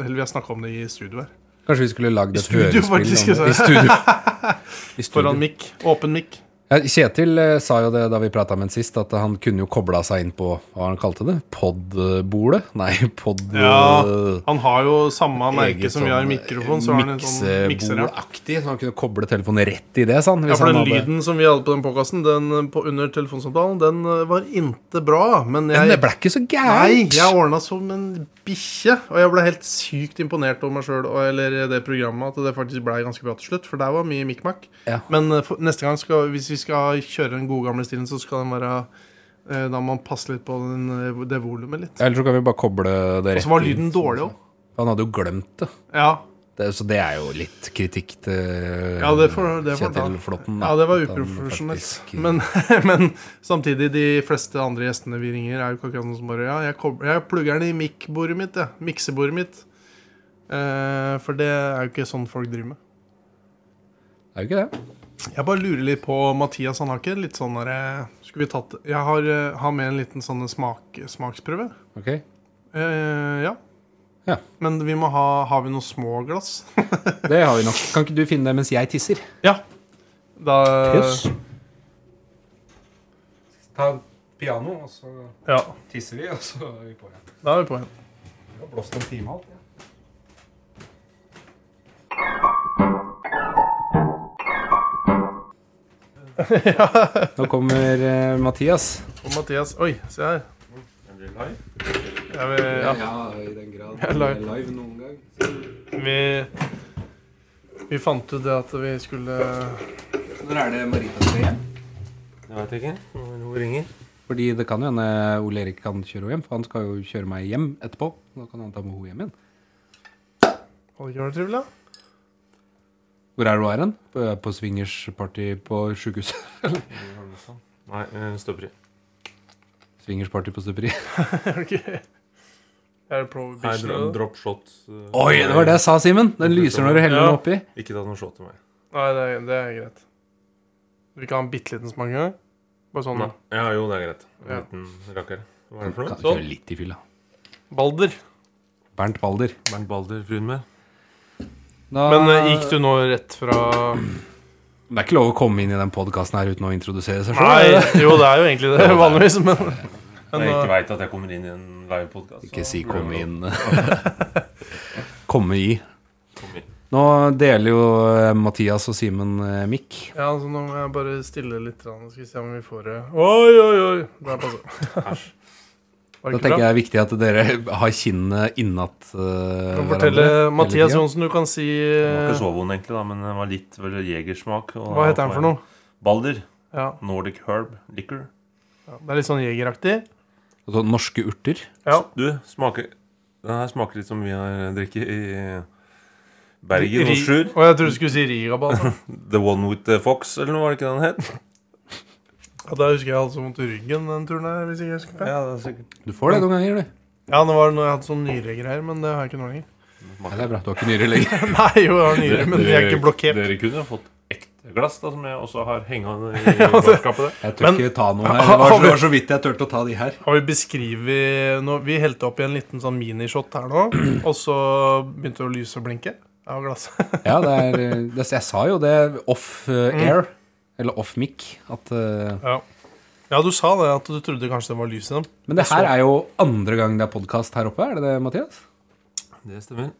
A: Eller vi har snakka om det i studio her.
B: Kanskje vi skulle lagd
A: I
B: et
A: studio, faktisk,
B: hørespill? om det.
A: jeg [laughs]
B: I studio. I
A: Foran
B: studio.
A: mikk. Åpen mikk.
B: Ja, Kjetil eh, sa jo det da vi prata med ham sist, at han kunne jo kobla seg inn på hva han kalte det? Podbolet? Nei, pod...
A: Ja.
B: eh,
A: Han har jo samme merke
B: eget sånn,
A: som vi har i mikrofon, så har han en sånn mikser her.
B: miksebordaktig, så han kunne koble telefonen rett i det, sa han.
A: Ja,
B: hvis
A: for
B: han
A: den
B: hadde-
A: lyden som vi hadde på den podkasten, den eh, på, under telefonsamtalen, den eh, var inte bra. Men
B: Men det
A: jeg
B: ble ikke så
A: Nei,
B: gærent!
A: jeg ordna som en bikkje. Og jeg ble helt sykt imponert over meg sjøl eller det programmet at det faktisk ble ganske bra til slutt. For der var mye mikk-makk.
B: Ja.
A: Men eh, for, neste gang, skal, hvis vi skal kjøre den gode gamle stilen, så skal den være eh, Da må man passe litt på den, eh, det volumet litt.
B: Eller så kan vi bare koble det
A: Og
B: rett
A: så var
B: inn,
A: lyden
B: sånn
A: dårlig
B: som-
A: òg.
B: Han hadde jo glemt det.
A: Ja.
B: det. Så det er jo litt kritikk til eh,
A: Ja, det får- det får
B: Kjetil
A: ta.
B: Flåtten. da,
A: ja, det var
B: at han
A: uprofesjonelt.
B: faktisk-
A: Men, [laughs] men samtidig, de fleste andre gjestene vi ringer, er jo ikke akkurat noen som bare Ja, jeg, kob- jeg plugger den i mic-bordet mitt, jeg. Miksebordet mitt. Eh, for det er jo ikke sånn folk driver med.
B: Det er jo ikke det.
A: Jeg bare lurer litt på Mathias. Han har ikke litt sånn derre Skulle vi tatt Jeg har, eh, har med en liten sånn smak, smaksprøve.
B: Ok.
A: Eh, ja.
B: Ja.
A: Men vi må ha Har vi noen små glass? [laughs]
B: Det har vi nok. Kan ikke du finne det mens jeg tisser?
A: ja. Da
C: Ta piano, og så
A: Ja.
C: tisser vi, og så er vi på igjen.
A: Da er vi på igjen.
C: Vi har blåst en time alt. Ja.
B: [laughs] Nå kommer eh, Mathias.
A: Og Mathias Oi, se her. Ja, vi, ja.
B: i den grad
A: er live.
B: noen gang.
A: vi Vi fant ut det at vi skulle
B: Når er det Marita skal hjem?
D: Det veit jeg ikke. men Hun ringer.
B: Fordi det kan jo hende Ole Erik kan kjøre henne hjem, for han skal jo kjøre meg hjem etterpå. Da kan han ta med henne hjem igjen.
A: Hadde ikke vært trivelig? da?
B: Hvor er du her hen? På, på swingersparty på sjukehuset?
D: Nei, eh, støperi.
B: Swingersparty på stuperi.
A: Ok. Er det
D: Nei,
A: prohibition?
D: dro-
A: eller?
D: drop shot. eh,
B: [laughs] Oi, det var det jeg sa, Simen! Den lyser når du heller
A: Ja.
B: den oppi.
D: Ikke ta noe shot til meg.
A: Nei, det er, det er greit. Du vil ikke ha en bitte liten smak engang? Bare sånn
D: Nei. Ja, jo, det er greit. En
A: Ja.
D: liten rakker. Hva er
B: Kan
D: det for noe?
B: kjøre litt i fylla.
A: Balder.
B: Bernt Balder.
D: Bernt Balder, fruen med.
B: Da,
A: Men eh, gikk du nå rett fra
B: Det er ikke lov å komme inn i den podkasten her uten å introdusere seg
A: Nei,
B: sjøl.
A: jo, det er jo egentlig [laughs] det, vanligvis, men,
D: Når
A: men
D: jeg
A: eh,
D: ikke veit at jeg kommer inn i en livepodkast.
B: Ikke si 'komme [laughs] inn'. komme i.
D: Kom inn.
B: Nå deler jo eh, Mathias og Simen eh, mikk.
A: Ja, så nå må jeg bare stille litt, grann, skal vi se om vi får det Oi, oi, oi! Der passer.
D: Æsj.
A: Var
B: Da
A: det ikke
B: tenker
A: bra?
B: jeg det er viktig at dere [laughs] har kinnene innat uh,
A: Du kan fortelle Mathias Johnsen, du kan si
D: Den var ikke
A: eh,
D: så vond, egentlig, da, men den var litt vel jegersmak. og-
A: Hva heter han for noe?
D: Balder.
A: Ja,
D: Nordic Herb Liquor.
A: ja, Det er litt sånn jegeraktig.
B: Altså, norske urter.
A: Ja.
D: Du, smaker Den her smaker litt som vi har eh, drikket i Bergen og
A: Ri-
D: Sjur.
A: Å, jeg trodde du skulle si Rigaball.
D: The One With The Fox, eller noe, var det ikke den het?
A: Ja, da husker jeg hadde så vondt i ryggen den turen her. hvis ikke jeg husker feil.
D: Ja, det er sikkert.
B: Du får det noen ganger, du.
A: Ja, det var når jeg hadde sånn nyregreier, men det har jeg ikke nå lenger. [laughs]
B: Nei, det er bra. Du har ikke nyre lenger.
A: Nei, jo, jeg har nyere, men jeg er ikke blokkert.
D: Dere kunne fått ekte glass, da, som jeg også har hengende i glassskapet. der.
B: Jeg tør
A: Men-
B: ikke ta
A: [laughs]
B: noe her. Det var, så- det var så vidt jeg turte å ta de her.
A: Har vi beskrevet nå, Vi helte opp i en liten sånn minishot her nå, og så begynte det å lyse og blinke av glasset.
B: Ja, det er, eh, det, jeg sa jo det off eh,
A: Mm.
B: air, eller off mic, at eh,
A: Ja. ja, du sa det, at du trodde kanskje det var lys i dem.
B: Men det her er jo andre gang det er podkast her oppe, er det det, Mathias?
D: Det stemmer.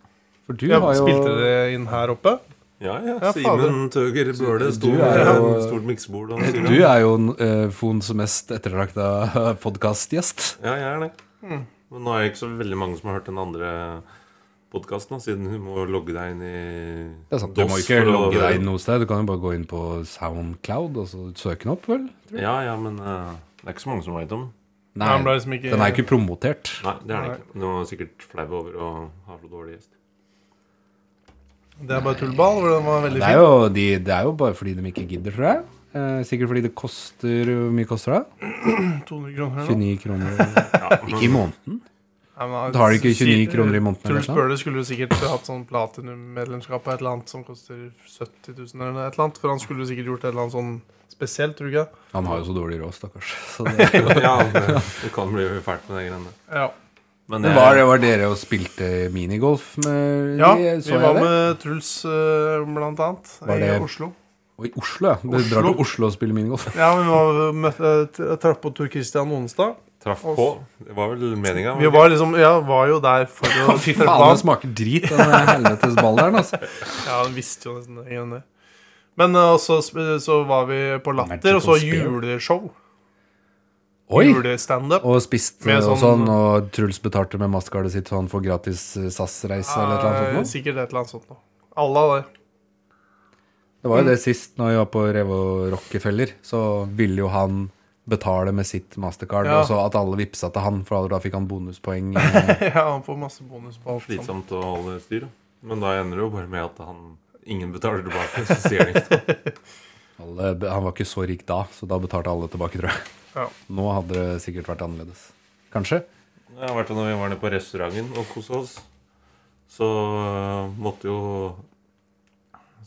B: For du
A: Ja,
B: har jo
A: Spilte det inn her oppe?
D: Ja, ja.
A: Ja,
D: Simen Tøger Bøhle sto
B: du
D: med
B: er jo-
D: et stort miksebord. og sier,
B: Du er jo eh, Fons mest ettertrakta [laughs] podkastgjest.
D: Ja, jeg er det. Men nå er det ikke så veldig mange som har hørt den andre podkasten, siden du må logge deg inn i
B: Det er sant. Du
D: DOS
B: må ikke
D: for å-
B: logge deg inn noe sted. Du kan jo bare gå inn på Soundcloud og så søke den opp, vel?
D: Ja, ja, men eh, det er ikke så mange som veit om
A: Nei, han ble liksom ikke,
B: Den er ikke promotert.
D: Nei, det er det ikke. Du er sikkert flau over å ha så dårlig gjest.
A: Det er bare tullball, hvor den var veldig
B: Det er,
A: fin.
B: jo, de, det er jo bare fordi de ikke gidder, tror jeg. Eh, sikkert fordi det koster Hvor mye koster det?
A: 200 kroner eller noe.
B: 29 kroner Ikke i måneden?
A: Nei, men, altså,
B: Da har de ikke 29 kroner i måneden
A: Truls
B: eller sånn? noe?
A: Bøhler skulle jo sikkert hatt sånn platinummedlemskap på et eller annet som koster 70 000 eller et eller annet. For han skulle jo sikkert gjort et eller annet sånn spesielt, tror du ikke?
B: Han har jo så dårlig råd, stakkars. [laughs] Så det,
D: Ja, det, det kan bli fælt med de greiene.
A: Ja.
D: Men
B: men
D: jeg,
B: var, det- var dere og spilte minigolf med
A: ja
B: de?
A: vi
B: Så jeg
A: var
B: det?
A: med Truls eh, blant annet
B: Var
A: i
B: det-
A: Oslo.
B: Og i Oslo, ja. Du drar til Oslo og spiller minigolf.
A: Ja, men vi var, eh, møtte- jeg traff på Tor Christian Onstad.
D: traff på. Det var vel meninga.
A: Vi var liksom, ja, var jo der
B: [laughs]
A: for å
B: Fy
A: treffe
B: faen,
A: han.
B: det smaker drit, den der helvetes balleren. Altså.
A: Ja, han visste jo nesten det. ingen det. Men eh, og så, sp- så var vi på Latter, og så juleshow.
B: Oi!
A: Julestandup.
B: Og spiste
A: Med
B: og
A: sånn-
B: sånn, og Truls betalte med mastercardet sitt, så han får gratis eh, SAS-reise eller et eller
A: Eh,
B: annet sånt.
A: Sikkert et eller annet sånt noe. Alle av det. [laughs]
B: nå. Det var jo det sist, når vi var på Revo Rockefeller, så ville jo han betale med sitt mastercard,
A: Ja.
B: og så at alle vippsa til han, for da fikk han bonuspoeng. eh.
A: Ja, han får masse bonus på alt. sammen.
D: slitsomt å holde styr. da. Men da ender det jo bare med at han ingen betaler tilbake. Så sier de ikke
B: Alle, han var ikke så rik da, så da betalte alle tilbake, tror jeg. [laughs]
A: Ja.
B: Nå hadde det sikkert vært annerledes. Kanskje?
D: Ja, I hvert fall når vi var nede på restauranten og kosa oss, så øh, måtte jo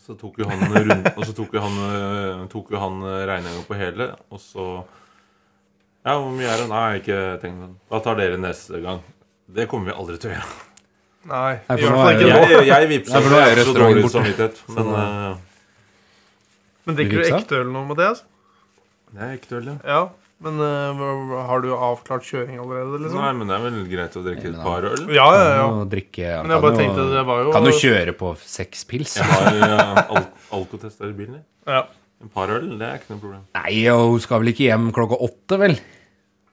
D: Så tok jo han runden, og så tok jo han, øh, tok jo han øh, regninga på hele, og så Ja, hvor mye er det? Nei, ikke tenk på det. Da tar dere neste gang. Det kommer vi aldri til å gjøre.
A: Nei,
B: Nei,
A: i
B: for nå
A: hvert fall
B: er
A: ikke
B: det-
A: nå.
D: Jeg, jeg vippsa,
B: Nei, for nå er
D: jeg har så
B: restauranten
D: dårlig
B: borte.
D: samvittighet. Men
B: da-
D: øh,
A: Men drikker du
B: Vipsa?
A: ekte øl nå, Mathias?
D: det øh, er ikke dårlig.
A: Ja. Men eh, hva- har du avklart kjøring allerede, liksom?
D: Nei, men det er vel greit å drikke et par øl?
A: Ja, ja, ja.
B: Og drikke, ja,
A: Men jeg
B: kan
A: bare
B: jo-
A: tenkte det var jo
B: Kan jo kjøre på seks pils.
D: Jeg har øh, al alkotest i bilen. jeg.
A: Ja.
D: Et par øl, det er ikke noe problem.
B: Nei, og hun skal vel ikke hjem klokka åtte, vel?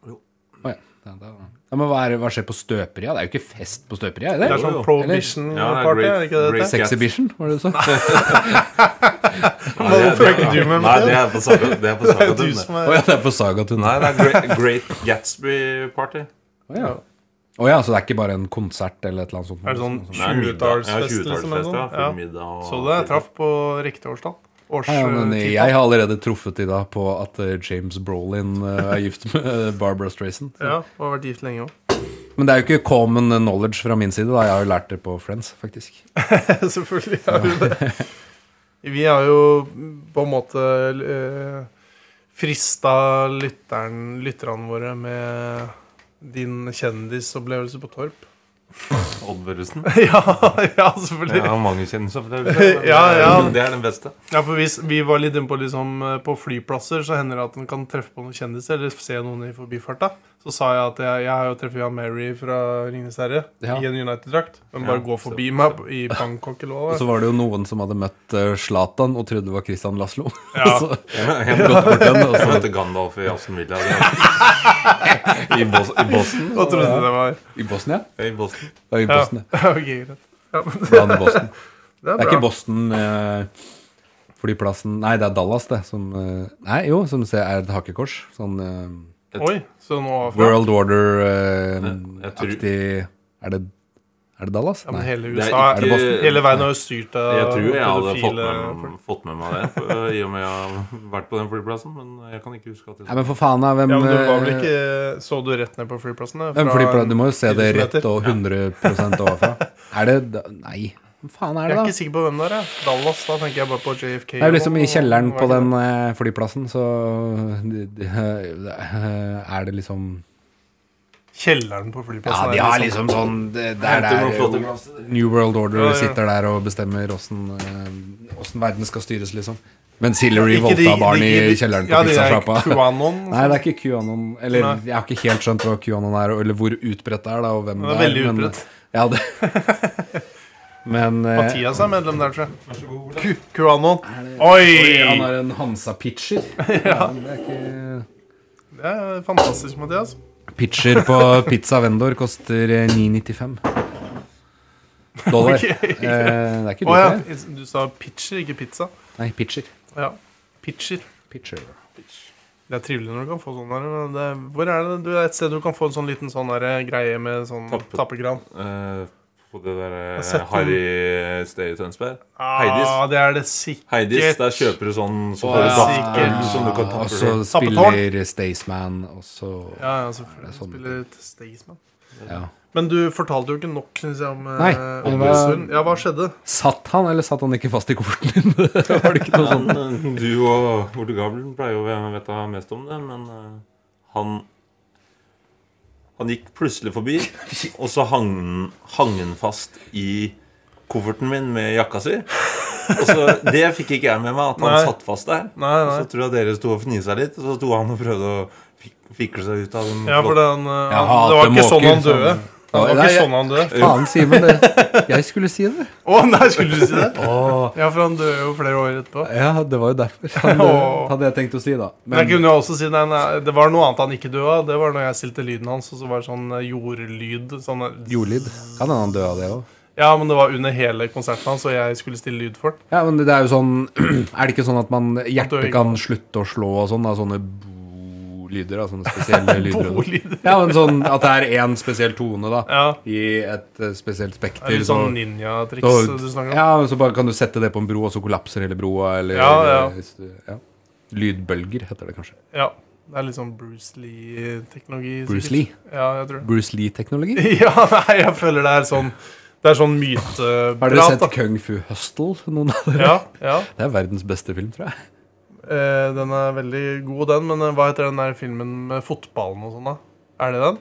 D: Jo.
B: Å ja. Ja, da- ja, men hva, er, hva skjer på Støperia? Det er jo ikke fest på Støperia, er
A: Det
B: det?
A: er sånn
D: Eller- Ja, det er
A: prohibition-party, er det ikke det?
D: great-
A: det? heter?
B: Sexhibition, var det du sa?
D: Nei, det-
A: Hvorfor er ikke du med,
D: Nei,
A: Mathias?
D: det er på Saga, det er
A: [laughs]
D: på
A: Det er
D: saga
A: jo du
D: Dune.
A: som
B: Å
A: er
B: ja, det er på Sagatun.
D: Nei, det er Great, great Gatsby-party.
B: Å ja. Å ja, så det er ikke bare en konsert eller et eller annet sånt?
A: Er det sånn
D: Ja,
A: 20-tallsfest, liksom? eller
D: 20-tallsfest, ja.
A: noe?
D: Full
A: Ja.
D: middag og
A: Så det jeg traff på riktig årstall. Års,
B: Ja, ja, men
A: eh,
B: jeg har allerede truffet i dag på at eh, James Brolin eh, er gift med eh, Barbara Strayson.
A: tidtall. Ja, og har vært gift lenge òg.
B: Men det er jo ikke common knowledge fra min side. da Jeg har jo lært det på Friends, faktisk.
A: [laughs] Selvfølgelig har vi det. Vi har jo på en måte eh, frista lytteren, lytterne våre med din kjendisopplevelse på Torp. [laughs]
D: Odd Børresen.
A: ja, ja,
D: Jeg
A: selvfølgelig.
D: har mange kjendisopplevelser. men
A: [laughs] Ja, ja.
D: Det er den beste.
A: Ja, for vi, s- vi var litt inne på liksom, eh, på flyplasser så hender det at en kan treffe på noen kjendiser eller se noen i forbifarta. Så sa jeg at jeg, jeg har jo treffet Jan Mary fra Ringenes herre
B: Ja.
A: i en United-drakt. Men bare
D: Ja,
A: gå
D: så-
A: forbi meg i Bangkok eller hva
B: Og
A: det
B: så var det jo noen som hadde møtt eh, Zlatan og trodde det var Christian Laslo.
A: [laughs] Ja.
B: [laughs] så
D: Jeg
B: gått
A: [laughs]
B: bort den, og så
D: møtte Gandalf i Aston Villa. det er- [laughs] I, Bos I Boston.
A: var. Hva trodde du det var?
B: I Bosnia?
D: I Boston.
B: Det er i
A: Ja.
B: Bosnia.
A: [laughs] ok, greit. Ja, men det,
B: Bland Boston.
A: er
B: Det er
A: bra.
B: ikke Boston eh, flyplassen Nei, det er Dallas, det. Som, eh, nei, jo, som ser er et hakekors. Sånn eh,
A: Oi, så nå fra
B: World
D: Jeg tror-
B: Order-aktig er, det, er det Dallas?
A: ja, men
B: Nei.
A: hele USA
D: Det er ikke-
A: er det Boston? Hele verden er jo styrt av
D: Jeg tror jeg hadde fått
A: pedofile
D: med,
A: folk.
D: fått med meg det, for- i og med jeg har vært på den flyplassen. Men jeg kan ikke huske at jeg
B: Nei, men for faen, da. Hvem,
A: Ja, men du var vel
B: eh,
A: ikke Så du rett ned på flyplassen? da,
B: hvem
A: fra
B: flyplass? Du må jo se det
A: 1000
B: rett
A: meter?
B: og 100 [laughs] overfra. Er det da- Nei. Hva faen er
A: Jeg
B: det,
A: er
B: da?
A: ikke sikker på hvem det er. jeg. Dallas, da tenker jeg bare på JFK.
B: Det er jo liksom i
A: og-
B: kjelleren
A: og-
B: på den eh, flyplassen, så de- de- eh, er det liksom
A: Kjelleren på flyplassen.
B: Ja,
A: er
B: de har liksom sånn Det det er
D: Henter noen flotte
B: der
D: glasser.
B: New World Order
A: Ja, ja.
B: sitter der og bestemmer åssen eh, åssen verden skal styres, liksom. Mens Hillary
A: Ikke de-
B: voldta barn
A: de-
B: i
A: de-
B: kjelleren
A: ja,
B: på
A: de er
B: pizzasjappa.
A: QAnon.
B: [laughs] Nei, det er ikke QAnon Eller
A: sånn. Nei.
B: jeg har ikke helt skjønt hva QAnon er, og- eller hvor utbredt det er, da, og hvem
A: Det er
B: det er.
A: veldig
B: men-
A: utbredt.
B: Ja, det
A: [laughs]
B: Men eh,
A: Mathias er medlem der, tror jeg. Q- QAnon. Oi!
B: oi, Han er en
A: [laughs]
B: Hansa-pitcher. Ja. Det er ikke
A: Det er fantastisk, Mathias.
B: Pitcher på pizza vendor koster eh, 9,95 dollar.
A: Ok.
B: Eh, det er ikke
A: Å
B: dyrt, det.
A: ja. Du sa pitcher, ikke pizza.
B: Nei, pitcher.
A: Ja. Pitcher.
B: Pitcher.
A: Det er trivelig når du kan få sånn der. men Det, er- hvor er det du er et sted du kan få en sånn liten sånn der, greie med sånn
D: Tappe.
A: tappegran?
D: Eh, På det der
A: har sett
D: eh, Harry Stay i Tønsberg.
A: Ah, det er det sikkert.
D: Heidis, der kjøper du sånn som
A: Å,
D: får
A: ja.
D: dafter som du kan
B: Og
D: tappe.
B: så spiller Staysman, og så
A: Ja, ja,
B: Det er
A: selvfølgelig.
B: sånn.
A: Spiller et Staysman.
B: ja.
A: Men du fortalte jo ikke nok, syns jeg, om, eh,
B: Nei,
A: om
B: men hva-
A: Husund. Ja, hva skjedde?
B: Satt han, eller satt han ikke fast i kofferten din? [laughs] Var det ikke noe sånt?
D: Han,
A: eh,
D: du og Ole Gabelen pleier jo å vite mest om det, men eh, han Han gikk plutselig forbi, og så hang han- hang han fast i kofferten min med jakka si. Og så, Det fikk ikke jeg med meg, at han
A: Nei.
D: satt fast der.
A: Nei,
D: Og
A: nei.
D: Så tror jeg dere sto og fnisa litt, og så sto han og prøvde å fik- fikle seg ut av den.
A: Ja, for
D: flåtten.
A: den, eh,
B: Jeg
A: han, det var
B: hater
A: ikke sånn
B: måker,
A: han døde.
B: sånn.
A: Det var
B: Nei,
A: ikke
B: jeg-
A: sånn han døde.
B: Faen, Simen. det- Jeg skulle si det.
A: Å, nei, skulle du si det?
B: Åh,
A: Ja, for han døde jo flere år etterpå.
B: ja, det var jo derfor. Han,
A: Åh.
B: eh, hadde jeg tenkt å si, da.
A: Men jeg kunne jo også si nei, nei, det var noe annet han ikke døde av. Det var når jeg stilte lyden hans, og så var det sånn eh, jordlyd. Sånn, eh,
B: Jordlyd. Kan hende han døde av det òg.
A: Ja, men det var under hele konserten hans, og jeg skulle stille lyd for den.
B: Ja, men det er jo sånn [clears throat] Er det ikke sånn at man hjertet
A: ikke.
B: kan slutte å slå og sånn? Da, sånne bo-lyder? da, Sånne
A: [laughs]
B: spesielle lyder? og sånn.
A: Bolyder.
B: Ja, men sånn at det er én spesiell tone, da.
A: Ja.
B: I et eh, spesielt
A: Det er
B: spekter.
A: litt sånn
B: så-
A: ninja-triks
B: så-
A: du snakker om.
B: ja, men så bare kan du sette det på en bro, og så kollapser hele broa, eller
A: Ja, ja.
B: hvis du- ja. Lydbølger heter det kanskje.
A: Ja. Det er litt sånn Bruce Lee-teknologi. sikkert.
B: Bruce Lee.
A: Ja, jeg tror det.
B: Bruce
A: [laughs]
B: Lee-teknologi?
A: Ja, nei, jeg føler det er sånn Det er sånn myteprat.
B: Har dere
A: da.
B: sett Kung Fu Hustle? Noen av dere?
A: Ja, ja.
B: Det er verdens beste film, tror jeg.
A: Eh, den er veldig god, den. Men eh, hva heter den der filmen med fotballen og sånn, da? Er det den?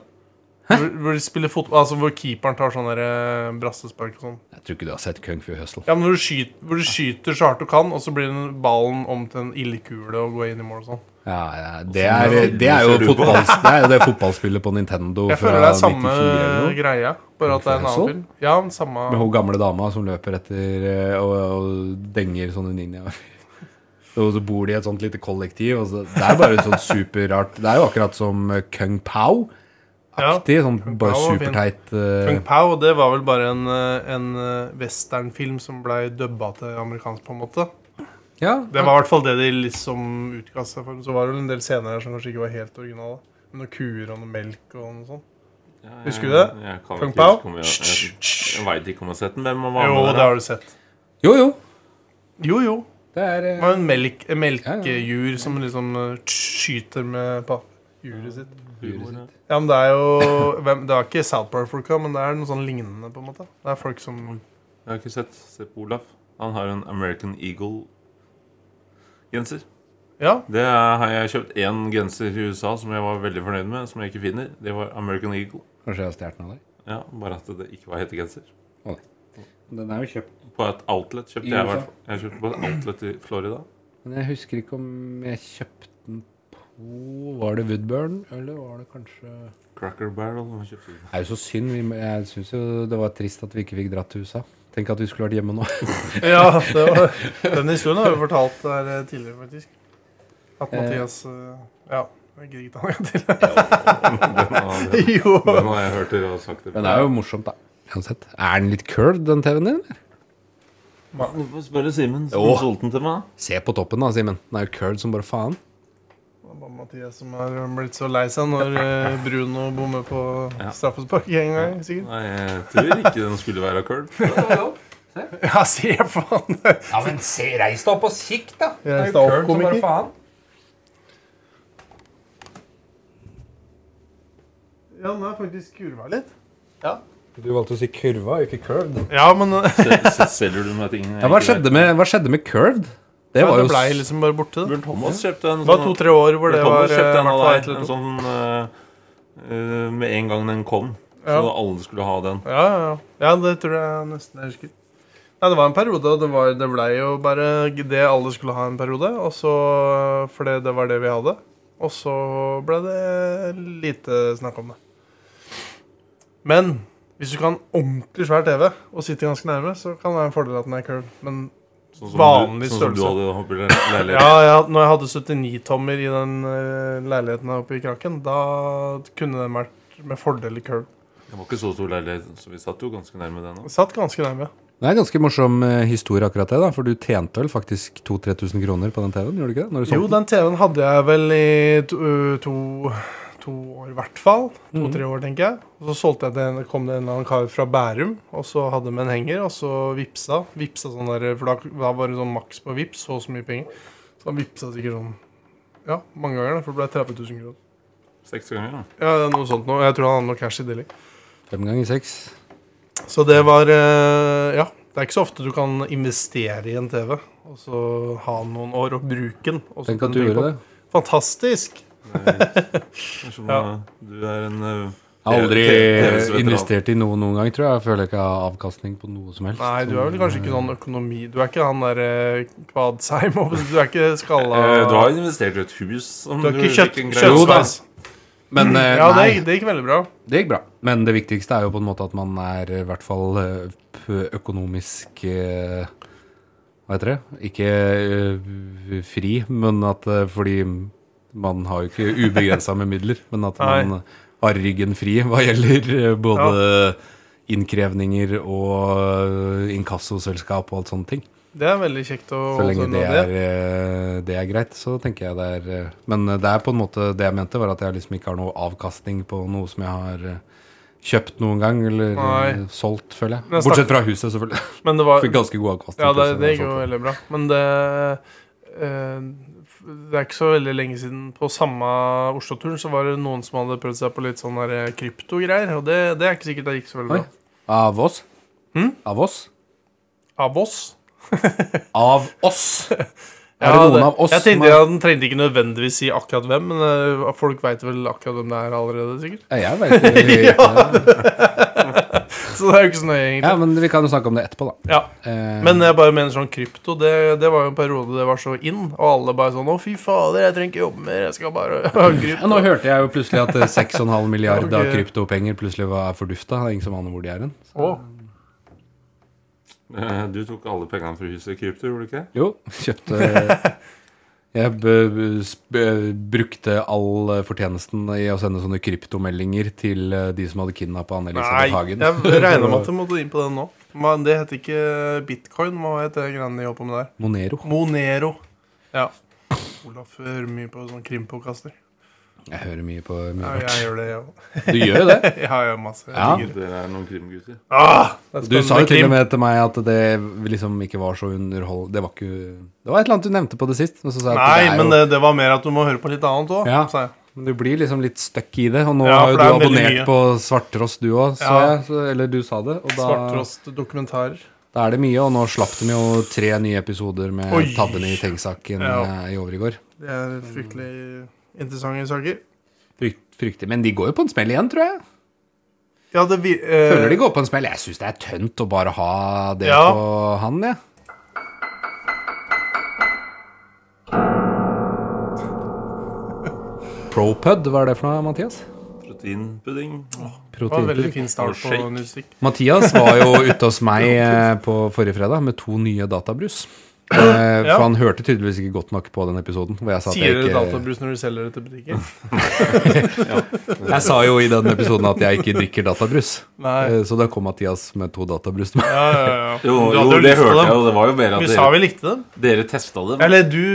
A: Hvor, hvor de spiller fotball Altså hvor keeperen tar sånn der, eh, brassespark og sånn.
B: Jeg tror ikke du har sett Kung Fu Hustle.
A: Ja, men hvor du skyter, hvor du skyter så hardt du kan, og så blir den ballen om til en ildkule og går inn i mål og sånn.
B: Ja, ja det, er, det er jo
D: Ser du på?
B: fotballs, det, er jo det fotballspillet på Nintendo
A: Jeg
B: fra
A: føler det er
B: 94
A: samme
B: eller noe.
A: greia, bare at det er en annen film. Ja, men samme
B: Med hun gamle dama som løper etter eh, og, og denger sånne ninjaer. Og så bor de i et sånt lite kollektiv. Og så, det er bare et sånt superrart Det er jo akkurat som eh, Kung Pao-aktig.
A: Ja,
B: sånn
A: Kung
B: bare
A: Pao var fin.
B: superteit eh,
A: Kung Pao, det var vel bare en, eh, en eh, westernfilm som blei dubba til amerikansk, på en måte.
B: Ja,
A: Det var i hvert fall det de liksom utga seg for. Så var det vel en del scener her som kanskje ikke var helt originale. Med noen kuer og noe melk og noe sånt.
D: Ja, jeg-
A: Husker du det?
D: Jeg, kan
A: Kung
D: ikke
A: Pao?
D: huske om jeg, jeg, jeg veit ikke om jeg har sett den. Hvem var med
A: Jo,
D: der,
A: det
D: da?
A: har du sett.
B: Jo, jo.
A: Jo, jo.
B: Det er
A: Det
B: eh,
A: var jo en melk, en melkejur som liksom eh, skyter med pa- hjulet sitt.
D: Humor, ja.
A: Ja, men det er jo hvem, Det er ikke South Park-folka, men det er noe sånn lignende, på en måte. Det er folk som
D: Jeg har ikke sett Se på Olaf. Han har en American Eagle-genser.
A: Ja.
D: Det er- har jeg kjøpt én genser i USA som jeg var veldig fornøyd med, som jeg ikke finner. Det var American Eagle.
B: Kanskje jeg har stjålet den av deg?
D: Ja, Bare at det ikke var hettegenser.
B: Den er jo kjøpt.
D: På et outlet kjøpte
B: I
D: jeg i
B: USA?
D: hvert fall. Jeg kjøpte på et outlet i Florida.
B: Men jeg husker ikke om jeg kjøpte den på Var det Woodburn, eller var det kanskje Det
D: Cracker Barrel.
B: [laughs]
D: hva kjøpte du?
B: er jo så synd. Vi, må- jeg syns jo det var trist at vi ikke fikk dratt til USA. Tenk at vi skulle vært hjemme [laughs] nå.
A: Ja, det var, den historien har vi fortalt her eh, tidligere, faktisk. At Mathias eh, Ja, jeg gidder ikke ta den til. [laughs]
D: Den har- den-
A: Jo.
D: den har jeg hørt dere har
B: [laughs]
D: sagt. Det.
B: Den er jo morsomt, da. Uansett. Er den litt curled, den TV-en din? eller?
D: Du får spørre Simen, som
B: Jo.
D: solgte den til meg.
B: Se på toppen, da, Simen. Den er jo curled som bare faen. [laughs]
A: Det er bare Mathias som har blitt så lei seg når eh, Bruno bommer på
D: Ja.
A: straffespark en gang, sikkert.
D: Nei, jeg tror ikke den skulle være curl.
A: Ja, se faen!
B: Ja, men se, reis deg opp og kikk, da.
A: er Reis jo deg opp, curled som bare komiker.
B: faen.
A: Ja, den er faktisk kurva litt.
B: Du valgte å si kurva, ikke curved.
A: Ja, men eh,
D: Selger du meg ting? jeg
B: Ja, hva
D: ikke
B: skjedde med, hva skjedde med curved? Det
A: det
B: var jo
A: blei
B: s-
A: liksom bare borte.
D: vet?
A: Det
D: Bjørn Thomas kjøpte en
A: Det var to-tre år hvor det var eh,
D: kjøpte en
A: i
D: av
A: hvert fall
D: deg,
A: et
D: en
A: eller to.
D: sånn eh, eh, Med en gang den kom, så
A: Ja.
D: alle skulle ha den.
A: Ja, ja, ja. ja, det tror jeg nesten jeg husker. Nei, Det var en periode, og det, var, det blei jo bare det alle skulle ha en periode. Og så, for det, det var det vi hadde. Og så ble det lite snakk om det. Men hvis du kan ha ordentlig svær TV og sitte ganske nærme, så kan det være en fordel at den er curved. Men
D: Sånn
A: Vanlig
D: du, sånn som du
A: størrelse.
D: hadde oppe i le- leiligheten.
A: ja, ja, når jeg hadde 79-tommer i den eh, leiligheten her oppe i Kraken, da kunne den vært med fordel curved.
D: Det var ikke så stor leilighet, så vi satt jo ganske nærme den. også.
A: Satt ganske nærme.
B: Det er en ganske morsom eh, historie, akkurat det. da For du tjente vel faktisk 2000-3000 kroner på den TV-en? gjorde du ikke det? Når du
A: Jo,
B: solgte den?
A: den TV-en hadde jeg vel i to, ø, to, to år, i hvert fall.
B: Mhm.
A: To-tre år, tenker jeg. Og så solgte jeg den, kom det en eller annen kar fra Bærum, og så hadde de en henger, og så vipsa. Vipsa sånn der, For da, da var det sånn maks på vips, så og så mye penger. Så han vipsa sikkert sånn ja, mange ganger, da, for det ble 30 000 kroner.
D: Seks ganger, da.
A: Ja, det er noe sånt nå. Jeg tror han hadde noe cash i tillegg.
B: Mm. Fem ganger seks.
A: Så det var eh, Ja. Det er ikke så ofte du kan investere i en TV, og så ha den noen år og bruke den. og så
B: Tenk
A: kan
B: at du
A: tenke
B: gjorde det.
A: på- Fantastisk!
D: Det er som,
A: Ja.
D: eh, Du er en eh,
B: Jeg har aldri
D: TV-veteran.
B: investert i noe noen gang, tror jeg. Jeg føler ikke jeg har avkastning på noe som helst.
A: Nei, du er vel kanskje ikke sånn økonomi Du er ikke han derre Kvadsheim, [laughs] du er ikke skalla
D: Eh, Du har investert i et hus som
A: Du er ikke
D: fikk
A: kjøtt,
D: en greie-
B: Jo da.
A: kjøttsveis.
B: Men eh,
A: Ja,
B: nei,
A: det, det gikk veldig bra.
B: det gikk bra. Men det viktigste er jo på en måte at man er i hvert fall eh, p- økonomisk eh, Hva heter det? Ikke eh, fri, men at eh, fordi man har jo ikke ubegrensa med midler, men at
A: Nei.
B: man har ryggen fri hva gjelder eh, både innkrevninger og eh, inkassoselskap og alt sånne ting.
A: Det er veldig kjekt å
B: Så lenge
A: unna
B: det er, eh, det er greit, så tenker jeg det er eh, Men eh, det er på en måte det jeg mente, var at jeg liksom ikke har noe avkastning på noe som jeg har eh, kjøpt noen gang, eller
A: Nei.
B: eh, solgt, føler jeg.
A: Men jeg
B: Bortsett fra huset, selvfølgelig.
A: Men det var
B: Fikk ganske god avkastning.
A: Ja,
B: på
A: det,
B: huset
A: det
B: jeg
A: gikk jo
B: solgte.
A: veldig bra. Men det eh, f- Det er ikke så veldig lenge siden på samme Oslo-turen så var det noen som hadde prøvd seg på litt sånn der, eh, kryptogreier, og det, det er ikke sikkert det gikk så veldig bra.
B: Oi. Av oss?
A: Hm?
B: Av oss?
A: Av oss?
B: Av oss! Er det
A: Ja,
B: noen av oss
A: Jeg
B: som
A: tenkte
B: har-
A: jeg den trengte ikke nødvendigvis si akkurat hvem, men eh, folk veit vel akkurat hvem det er allerede, sikkert. [laughs]
B: Ja, Jeg vet ikke.
A: Så det er jo ikke så nøye,
B: Ja,
A: egentlig.
B: men vi kan jo snakke om det etterpå, da.
A: Ja.
B: Eh,
A: Men jeg bare mener sånn krypto, det, det var jo en periode det var så in, og alle bare sånn 'Å, fy fader, jeg trenger ikke jobbe mer, jeg skal bare [laughs] ha
B: ja, nå
A: krypto'.
B: hørte jeg jo plutselig at eh, 6,5 milliard
A: [laughs]
B: av
A: Ok.
B: kryptopenger plutselig var fordufta. Det er ingen som aner hvor de er hen.
A: Å,
D: Eh, Du tok alle pengene fra huset i krypto, gjorde du ikke?
B: Jo,
A: [laughs]
B: kjøpte Jeg b- b- sp- brukte all eh, fortjenesten i å sende sånne kryptomeldinger til eh, de som hadde kidnappa
A: Nei,
B: Anne-Elisabeth Hagen.
A: jeg regner med at
B: [laughs]
A: jeg måtte inn på den nå. Men det heter ikke bitcoin. Hva het det greiene de holdt på med der?
B: Monero.
A: Monero. Ja. Olaf hører mye på sånn krimpåkaster.
B: Jeg hører mye på mye
A: Ja,
B: rart.
A: jeg gjør det, jeg [laughs] òg.
B: Du gjør jo det.
A: Jeg har jo masse. Jeg
B: Ja.
A: digger det.
D: Dere er noen krimgutter.
A: Ah, det er
B: Du sa jo
A: spennende
B: til og
A: krim.
B: med til meg at det liksom ikke var så underhold... Det var ikke Det var et eller annet du nevnte på det sist. Og så sa jeg at
A: Nei,
B: det er
A: men
B: jo,
A: det, det var mer at du må høre på litt annet òg,
B: Ja.
A: sa jeg.
B: Du blir liksom litt stuck i det. Og nå
A: Ja,
B: har jo
A: for det
B: du
A: er veldig
B: abonnert
A: mye.
B: på Svarttross, du òg, så
A: Ja.
B: jeg. Så, eller du sa det. Og da,
A: Svarttrost-dokumentarer.
B: Da er det mye, og nå slapp de jo tre nye episoder med
A: Oi.
B: tabben i Teng-saken
A: Ja.
B: eh, i overgår.
A: Det er fryktelig interessante saker.
B: Frykt, fryktelig. Men de går jo på en smell igjen, tror jeg.
A: Ja, det vi... eh,
B: Føler de går på en smell. Jeg syns det er tønt å bare ha det
A: Ja.
B: på han, jeg. Propud, hva er det for noe, Mathias?
D: Proteinpudding.
A: det var en veldig
B: Proteinpulver.
A: fin start på
D: Shake.
A: mystikk.
B: Mathias var
A: [laughs]
B: jo ute hos meg eh, på forrige fredag med to nye databrus. Eh,
A: Ja.
B: For han hørte tydeligvis ikke godt nok på den episoden. Hvor jeg sa at
A: Sier
B: jeg
A: dere
B: ikke...
A: databrus når du selger det til
B: [laughs]
A: butikker?
B: Jeg sa jo i den episoden at jeg ikke drikker databrus.
A: Nei.
B: Eh, Så da kom Mathias med to databrus til meg.
A: Ja, ja, ja.
D: Jo,
A: Du hadde
D: jo det
A: lyst på
D: hørte
A: dem.
D: jeg, og det var jo mer at
A: Vi sa
D: dere,
A: vi likte dem.
D: dere testa dem.
A: Eller du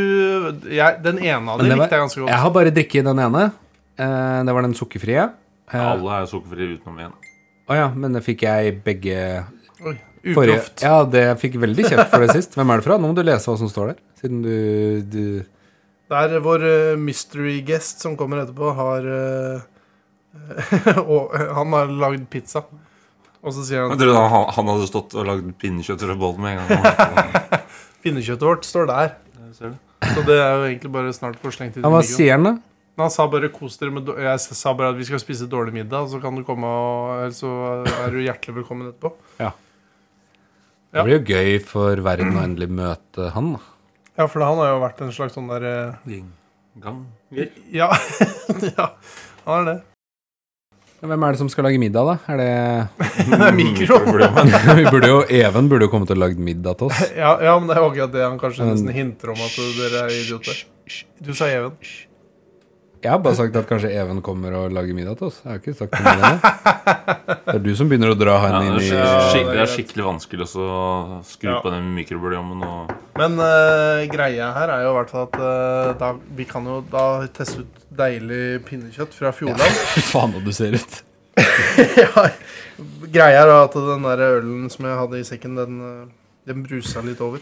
A: jeg, Den ene av
B: Men
A: dem
B: det var-
A: likte jeg ganske godt.
B: Jeg har bare drikket den ene. Eh, Det var den sukkerfrie. Eh, Å
D: Alle er jo sukkerfrie utenom én.
B: ja, men det fikk jeg begge
A: Oi,
B: forrige
A: Uproft.
B: Ja, det jeg fikk veldig kjeft for det sist. Hvem er det fra? Nå må du lese hva som står der. Siden du, du
A: Det er vår eh, mystery guest som kommer etterpå, har eh, [laughs] Og han har lagd pizza. Og så sier han
D: Men tror du han, han hadde stått og lagd pinnekjøttrødbolle med
A: [laughs]
D: en gang?
A: at pinnekjøttet vårt står der.
D: Jeg ser det.
A: Så det er jo egentlig bare snart for slengt i
B: Ja, hva
A: mikroen.
B: sier han, da?
A: Men han sa bare 'kos dere med dår- Jeg sa bare at vi skal spise dårlig middag, så kan du komme og eller Så er du hjertelig velkommen etterpå. Ja.
B: Det blir jo gøy for verden å endelig møte han. da.
A: Ja, for han har jo vært en slags sånn derre
D: Ding, gang. [laughs]
A: ja. [laughs] ja, han er det.
B: Hvem er det som skal lage middag, da? Er det
A: Det er mikro.
D: Mikroproblemet.
B: [laughs] Vi burde jo, Even burde jo kommet og lagd middag til oss.
A: Ja, ja, men det er jo akkurat det han kanskje
B: Men-
A: nesten hinter om at dere er idioter. Du sa Even.
B: Jeg har bare sagt at kanskje Even kommer og lager middag til oss. Jeg har ikke sagt noe om det. Det er du som begynner å dra
D: Ja,
B: han
D: det, er
B: inn i
D: skikkelig,
A: Ja, det er
D: skikkelig- det er
A: greit.
D: skikkelig vanskelig også å skru
A: Ja.
D: på den mikroproblemen og
A: Men eh, greia her er jo i hvert fall at eh, da, vi kan jo da teste ut deilig pinnekjøtt fra
B: [laughs]
A: Fjordland.
B: Fy faen, hva du ser ut.
A: Ja. [laughs] greia er da at den der ølen som jeg hadde i sekken, den, eh, den brusa litt over.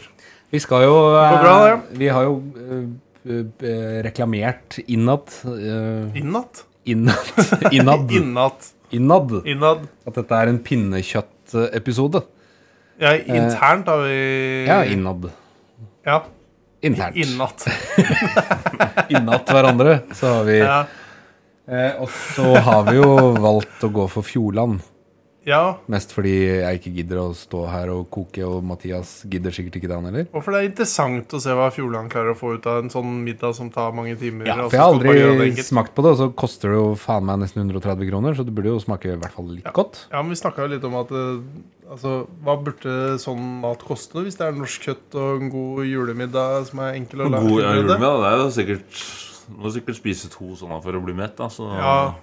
B: Vi skal jo eh,
A: går bra, det.
B: Vi har jo eh, eh, reklamert innad. eh,
A: Innatt?
B: innad. [laughs] Innad.
A: [laughs] Innad.
B: innad.
A: Innad.
B: At dette er en pinnekjøttepisode.
A: Ja, internt har vi
B: Eh. Ja, innad.
A: Ja,
B: Internt.
A: innad.
B: [laughs] Innat hverandre. Så har vi
A: Ja.
B: eh, Og så har vi jo valgt å gå for Fjordland.
A: ja,
B: Mest fordi jeg ikke gidder å stå her og koke, og Mathias gidder sikkert ikke det, han heller.
A: og for det er interessant å se hva Fjordland klarer å få ut av en sånn middag som tar mange timer.
B: Ja,
A: og så
B: for jeg har
A: skal du bare gjøre det
B: aldri
A: enkelt.
B: smakt på det, og så koster det jo faen meg nesten 130 kroner, så det burde jo smake i hvert fall litt godt.
A: Ja, men vi snakka jo litt om at eh, Altså, hva burde sånn mat koste hvis det er norsk kjøtt og en god julemiddag som er enkel å
D: God
A: lage?
D: ja, julemiddag, det er jo sikkert Du må sikkert spise to sånne for å bli mett, da. Så
A: Ja.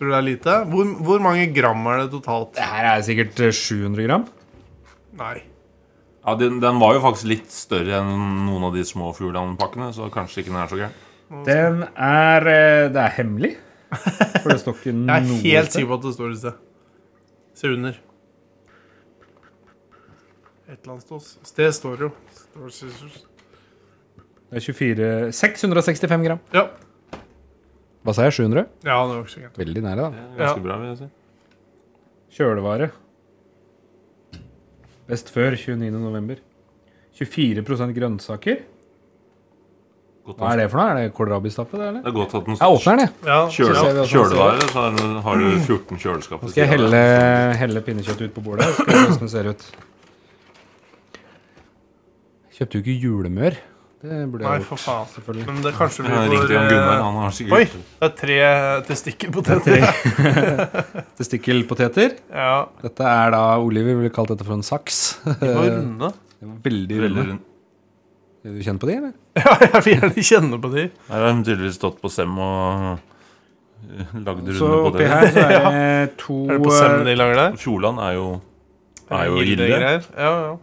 A: Tror du det er lite? Hvor, hvor mange gram er det totalt?
B: Det her er sikkert 700 gram.
A: Nei.
D: Ja, den, den var jo faktisk litt større enn noen av de små Fjordland-pakkene, så kanskje ikke den er så gæren.
B: Den er eh, Det er hemmelig. For det står
A: [laughs]
B: ikke noe
A: Jeg er helt
B: sted.
A: sikker på at det står et sted. Se under. Et eller annet sted. Sted står jo. Står scissors.
B: Det er 24 665 gram.
A: Ja.
B: Hva sa jeg? 700?
A: ja, det var ikke så gærent.
B: Veldig nære, da.
D: Ganske bra, vil jeg si.
B: Kjølevare. Best før 29.11. 24 grønnsaker.
D: Godt
B: Hva
D: at,
B: er det for noe? Er det kålrabistappe, det, eller?
D: det er godt at den
B: Jeg åpner den, jeg.
A: Ja,
D: Kjøle,
A: ja.
B: vi hva som
D: kjølevare, så er det- har
A: [clears throat]
D: du 14 kjøleskap. ved
B: Skal jeg
D: siden av
B: helle,
D: deg.
B: helle pinnekjøttet ut på bordet? her? Skal vi se hvordan det ser ut. Jeg Kjøpte jo ikke julemør. Det burde
A: Nei,
B: jeg
A: for
B: gjort.
A: faen.
B: Selvfølgelig.
A: Men det kanskje
D: Jeg
A: blir
D: ringte
A: for
D: Jan Gunnar,
A: eh,
D: han har
A: Oi!
D: sikkert
A: Det er tre eh, [laughs] testikkelpoteter.
B: Testikkelpoteter.
A: Ja.
B: Dette er da Oliver ville kalt dette for en saks.
A: De
B: Eh.
A: var runde.
B: [laughs] Det var Veldig
D: veldig
B: runde.
D: rundt.
B: Er du kjent på de, eller?
A: [laughs] Ja, jeg vil gjerne kjenne på de.
D: Her har de tydeligvis stått på Sem og eh, lagd runde
B: Så
D: på
B: oppi
D: det.
B: her så er det to eh,
A: Er det på Sem de lager der?
D: Fjordland er jo, er jo
A: Gilde
D: ille.
A: greier. Ja, ja.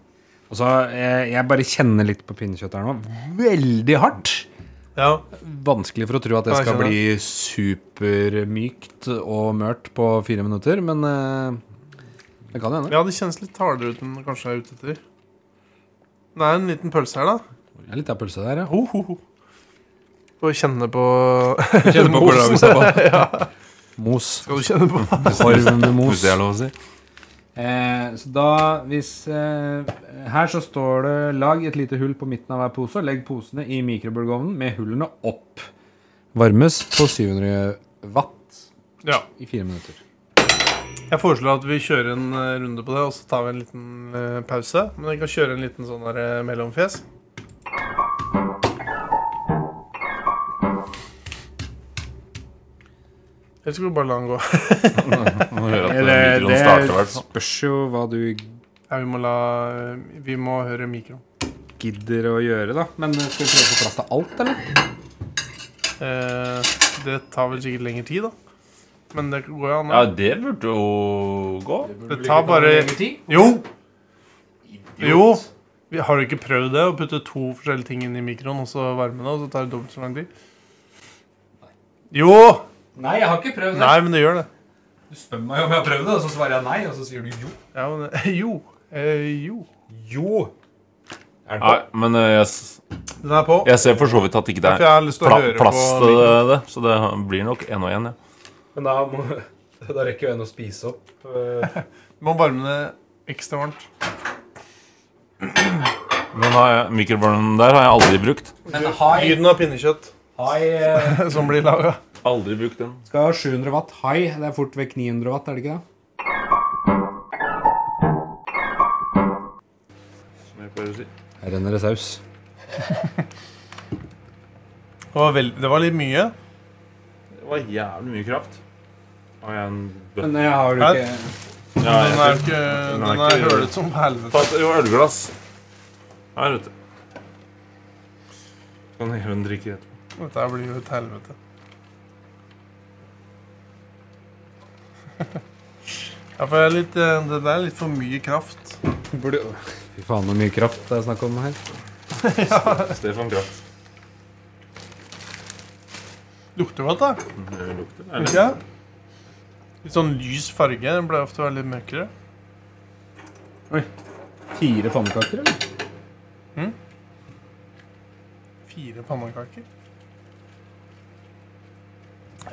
B: Og så eh, Jeg bare kjenner litt på pinnekjøttet her nå. Veldig hardt.
A: ja.
B: Vanskelig for å tro at det
A: Ja, jeg
B: skal
A: skjønner.
B: bli supermykt og mørt på fire minutter, men eh, det kan hende.
A: ja, det kjennes litt hardere ut enn det kanskje jeg er ute etter. Det er en liten pølse her, da.
B: Det er litt av pølse
A: [laughs]
B: der, ja.
A: Ho, ho, ho. Får kjenne på
B: Kjenner
A: [laughs]
B: på
A: Mosen.
B: kålrabistappe. Mos.
A: Skal du kjenne på?
B: Korv med
D: Hvis
B: mos.
D: det er lov å si.
B: Eh, så da, hvis eh, Her så står det 'lag et lite hull på midten av hver pose', og legg posene i mikrobølgeovnen med hullene opp. Varmes på 700 watt
A: Ja.
B: i fire minutter.
A: Jeg foreslår at vi kjører en eh, runde på det, og så tar vi en liten eh, pause. Men vi kan kjøre en liten sånn der eh, mellomfjes. Eller skal vi bare la den gå?
D: Man hører at
B: Eller,
D: mikroen starter i
B: Eh, det
D: hvert fall.
B: spørs jo hva du
A: Ja, vi må la eh, Vi må høre mikroen.
B: gidder å gjøre, da. Men eh, skal vi prøve å få plass til alt, eller?
A: Eh, det tar vel sikkert lengre tid, da. Men det går jo an.
D: Ja,
A: da.
D: det burde jo gå.
A: Det tar bare Jo! Jo! Vi har jo ikke prøvd det, å putte to forskjellige ting inn i mikroen og så varme det, og så tar det dobbelt så lang tid? Jo!
B: Nei, jeg har ikke prøvd
A: Nei, men det gjør det.
B: Du spør meg om jeg har prøvd det, og så svarer jeg nei, og så sier du jo.
A: Ja, men, [laughs] det- jo. Eh, jo.
B: Jo. Er
D: Nei, men eh, jeg, s-
A: Den er på.
D: jeg ser for så vidt at ikke det
A: For jeg
D: er
A: har lyst til å
D: pla eh,
A: høre på
D: plass til
A: mikroen.
D: det, så det blir nok én og én. Ja.
B: Men da, må, [laughs] da rekker jo en å spise opp. eh,
A: Du må varme det ekstra varmt.
D: Den har jeg- Mikrobølgen der har jeg aldri brukt.
B: Men hai,
A: Lyden av pinnekjøtt
B: hai eh,
A: [laughs] som blir laga.
D: Aldri brukt den.
B: skal ha 700 watt hai. Det er fort vekk 900 watt, er det ikke det?
D: som jeg pleier å si.
B: Her renner det saus.
A: Det, var veld- det var litt mye.
D: Det var jævlig mye kraft. Har jeg en bøtte?
B: Men jeg har jo
A: Nei.
B: ikke
D: Ja,
A: Den er
D: jeg
A: jo
D: fikk-
A: ikke
D: den
A: Den
D: er
A: er
D: ikke-
A: hølet som
D: Ta
A: helvete.
D: et jo, ølglass. Her ute. Kan heve en drikke etterpå.
A: Dette her blir jo et helvete. [laughs] Ja, for jeg er litt, eh, det der er litt for mye kraft.
B: Fy faen, hvor mye kraft det er snakk om her.
D: Stefan Kraft.
A: Lukter godt, da.
D: Det lukter. Er det-
A: Ikke det? Litt sånn lys farge. Den ble ofte veldig mørkere.
B: Fire pannekaker, eller?
A: Fire pannekaker.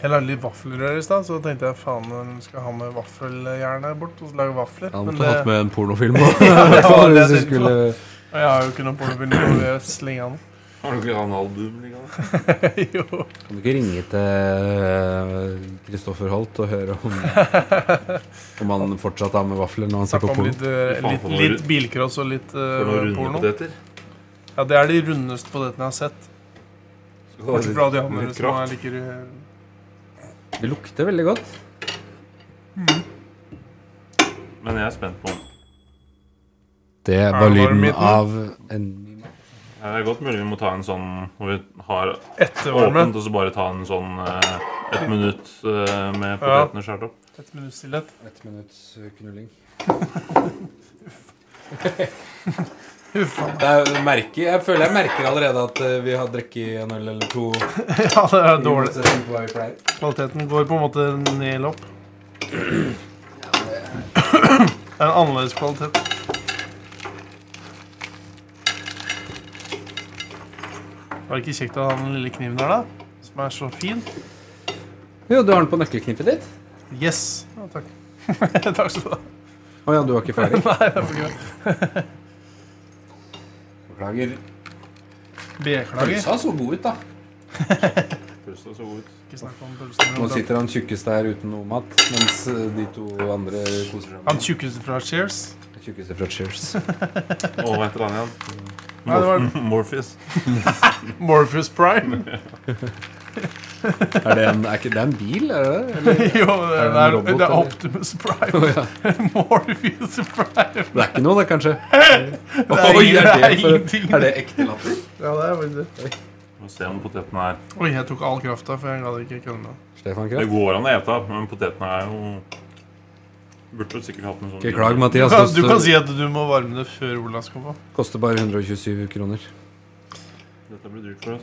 A: Jeg lagde litt vaffelrør i stad, så tenkte jeg faen, hun skal ha med vaffeljernet bort og så lage vafler.
B: Han
A: Men
B: måtte hatt
A: det,
B: med en pornofilm [laughs] også, i hvert fall,
A: det er
B: hvis du
A: det.
B: skulle
A: og jeg har jo ikke noe pornofilm å slenge an.
D: Har du ikke han album
A: Eh,
D: liggende?
A: jo.
B: Kan du ikke ringe til Kristoffer Holt og høre om [laughs] Om han fortsatt har med vafler når han ser
A: Snakke
B: på
A: om
B: porno?
A: litt, eh,
D: Fy faen,
A: litt,
D: for noe
A: litt bilcross og litt eh,
D: For noen
A: porno.
D: rundepoteter.
A: Ja, det er de rundeste potetene jeg har sett. Bortsett fra de andre
D: litt
A: som
D: kraft.
A: er like eh, ru-
B: Det lukter veldig godt.
D: Men jeg er spent på den.
B: Det var
A: det
B: lyden
A: varmheten?
B: av en
D: Ja, Det er godt mulig vi må ta en sånn hvor vi har
A: Ettervarme.
D: åpent, og så bare ta en sånn eh, ett minutt eh, med
A: Ja.
D: potetene skåret opp.
A: Et minutts stillhet.
B: Ett minutts eh, knulling.
A: Huff. [laughs] Ja,
B: Jeg, merker, jeg føler jeg merker allerede at eh, vi har drukket en øl eller to.
A: det er dårlig.
B: dårlig.
A: Kvaliteten går på en måte ned eller opp. Det er en annerledes kvalitet. Var det ikke kjekt å ha den lille kniven der, da? Som er så fin.
B: Jo, du har den på nøkkelknippet ditt?
A: Yes. Ja, [laughs] takk. takk skal du ha.
B: Å ja, du var ikke ferdig?
A: Nei, det er for greit.
B: Beklager.
A: Beklager.
B: Pølsa så god ut, da.
D: Pølsa så god ut.
A: Ikke snakk om pølser.
B: Nå sitter han tjukkeste her uten noe mat, mens eh, de to andre koser seg
A: Han
B: med
A: tjukkeste fra Cheers.
B: tjukkeste fra Cheers.
D: Og hva heter han igjen?
A: Nei, det var-
D: Morph- Morpheus.
A: Morpheus Prime.
B: Er det en, er ikke, det er en bil, er det det? [laughs] Eller?
A: Jo, det
B: Er det en
A: er,
B: robot,
A: det er
B: eller?
A: Optimus
B: [laughs]
A: Prime. Morpheus Prime.
B: Det er ikke noe, det, kanskje?
A: [laughs] Det er,
B: Oi,
A: ingen- det
B: er,
A: er
B: det
A: ingenting.
B: for, er det ekte latter?
A: Ja, det er faktisk det.
D: Må se om potetene er
A: Oi, jeg tok all krafta, for jeg gadd ikke kødde.
B: Stefan
D: Det
B: Krag.
D: går an å ete, men potetene er jo Burde vel sikkert hatt en sånn
B: Ikke klag, Mathias.
A: [laughs] Du kan si
B: Koster,
A: at du må varme det før Olav skal på.
B: koster bare 127 kroner.
D: Dette blir dyrt for oss.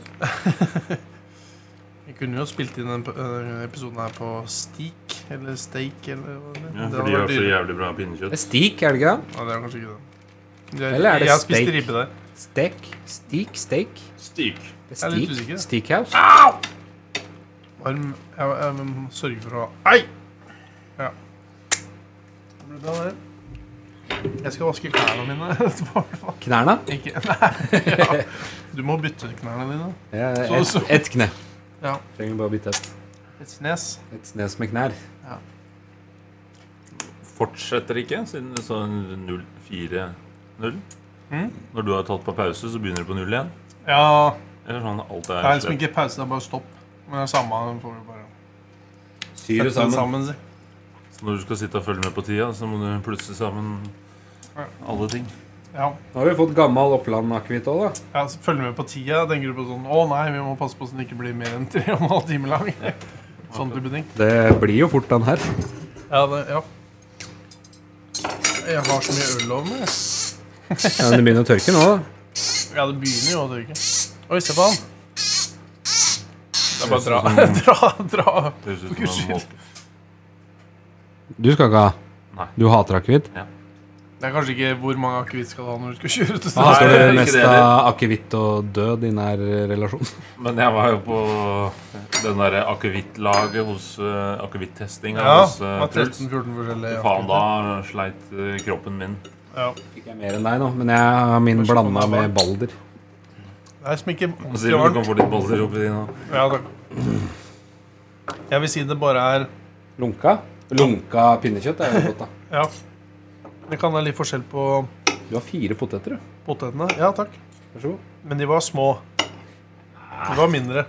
A: Vi kunne jo spilt inn den øh, episoden her på Steak, eller Steak, eller hva det
D: Ja,
A: Det
D: for
A: hadde
D: de har
A: vært
D: så
A: dyrere.
D: jævlig bra pinnekjøtt.
B: Det er stik, er det ikke det?
A: Ja, det er kanskje ikke det. Jeg,
B: Eller er det
A: jeg spiste
B: steak?
A: ribbe der.
B: Stek? Stik? Steak?
D: Stik.
B: Det
A: Jeg er
B: er
A: litt
B: stik?
A: usikker. Ah!
B: Steakhouse?
A: Varm Jeg, jeg, må sørge for å Ei! Ja. Bra, det. Jeg skal vaske klærne [laughs] mine etterpå. i hvert fall.
B: Knærne?
A: Ikke [laughs] Nei. Ja. Du må bytte ut knærne dine.
B: Ja, det er
A: Så-
B: Ett
A: så-
B: ett kne.
A: Ja.
B: Trenger bare å bytte ett.
A: Et snes.
B: Et snes med knær.
D: Fortsetter ikke, siden det står 0-4-0.
A: Mm.
D: Når du har tatt på pause, så begynner du på null igjen.
A: Ja.
D: Eller sånn alt
A: Det er
D: er
A: liksom
D: slett.
A: ikke pause, det er bare stopp. Men det er samme, den får vi bare
B: Syr
A: sette den sammen si.
D: Så når du skal sitte og følge med på tida, så må du plutselig sammen
A: Ja.
D: alle ting.
A: Ja.
B: Nå har vi fått gammel Oppland akevitt òg, da.
A: ja, så følg med på tida. Tenker du på sånn Å nei, vi må passe på så den ikke blir mer enn tre og en halv time lang. [laughs] Sånn type ting.
B: Det blir jo fort den her.
A: Ja, det, ja. Jeg har så mye øl over meg. jeg.
B: Ja, men det begynner å tørke nå, da.
A: Ja, det begynner jo å tørke. Oi, se på han. Det er bare å dra. [laughs] dra, dra.
D: Det høres ut
A: Gud,
D: som en
A: shit.
D: måte.
B: Du skal ikke ha?
D: Nei.
B: Du hater akevitt?
A: Det er kanskje ikke hvor mange akevitt skal du ha når du skal kjøre ut. til stedet.
B: Her
D: Nei.
B: står det
D: ikke
B: mest
D: det
B: av
D: heller.
B: akevitt og død i nær relasjon. [laughs]
D: Men jeg var jo på den derre akevittlaget hos uh, akevittestinga
A: Ja,
D: hos
A: det
D: eh,
A: var
D: Truls.
A: 13-14 forskjellige
D: Faen, da sleit eh, kroppen min.
A: akevitter. Ja.
B: Ikke jeg mer enn deg nå, men jeg har min
A: Kanskje
B: blanda
A: noen er
B: med Balder.
A: Det er liksom ikke
D: Og
A: ordentlig
D: sier du du
A: varmt.
D: kan få litt boller oppi dina.
A: Ja, takk. Jeg vil si det bare er
B: Lunka? Lunka pinnekjøtt er jo godt, da.
A: Ja. Det kan være litt forskjell på
B: Du har fire poteter, du.
A: potetene. Ja takk.
B: Vær så god.
A: Men de var små. De var mindre.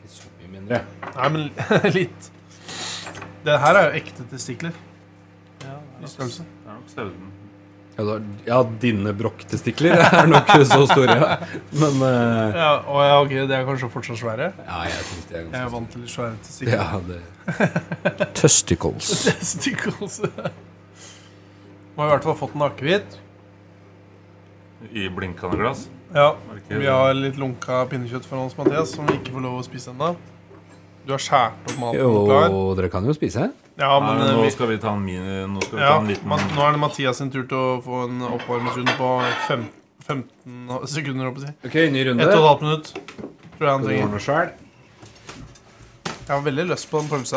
B: Ikke så mye mindre.
A: Nei, men [laughs] litt. Det her er jo ekte testikler i størrelse.
D: Det er nok sauen.
B: Ja, da, ja dine [laughs] brokktestikler er nok så store, ja. Men eh,
A: Ja, og ja, ok, de er kanskje fortsatt svære.
B: Ja, jeg syns det er
A: Jeg er
B: ganske
A: vant til litt svære testikler.
B: Ja, det Testicles.
A: [laughs]
B: [laughs]
A: Testicles. Nå har vi i hvert fall fått en akevitt.
D: I blinkende glass.
A: Ja,
D: Er det ikke-
A: vi har litt lunka pinnekjøtt foran oss, Mathias, som vi ikke får lov å spise ennå. Du har skåret opp maten
B: Jo,
A: og klar.
B: dere kan jo spise.
A: Ja,
D: Nei,
A: men
D: men
A: eh,
D: nå
A: vi,
D: skal vi ta en mini Nå skal vi
A: ja,
D: ta en liten
A: man, nå er det Mathias sin tur til å få en oppvarmingsrunde på fem, 15 sekunder. holdt jeg på å si.
B: Ok, ny
A: Ett og et halvt minutt tror jeg han trenger.
B: sjøl.
A: Jeg har veldig lyst på den pølsa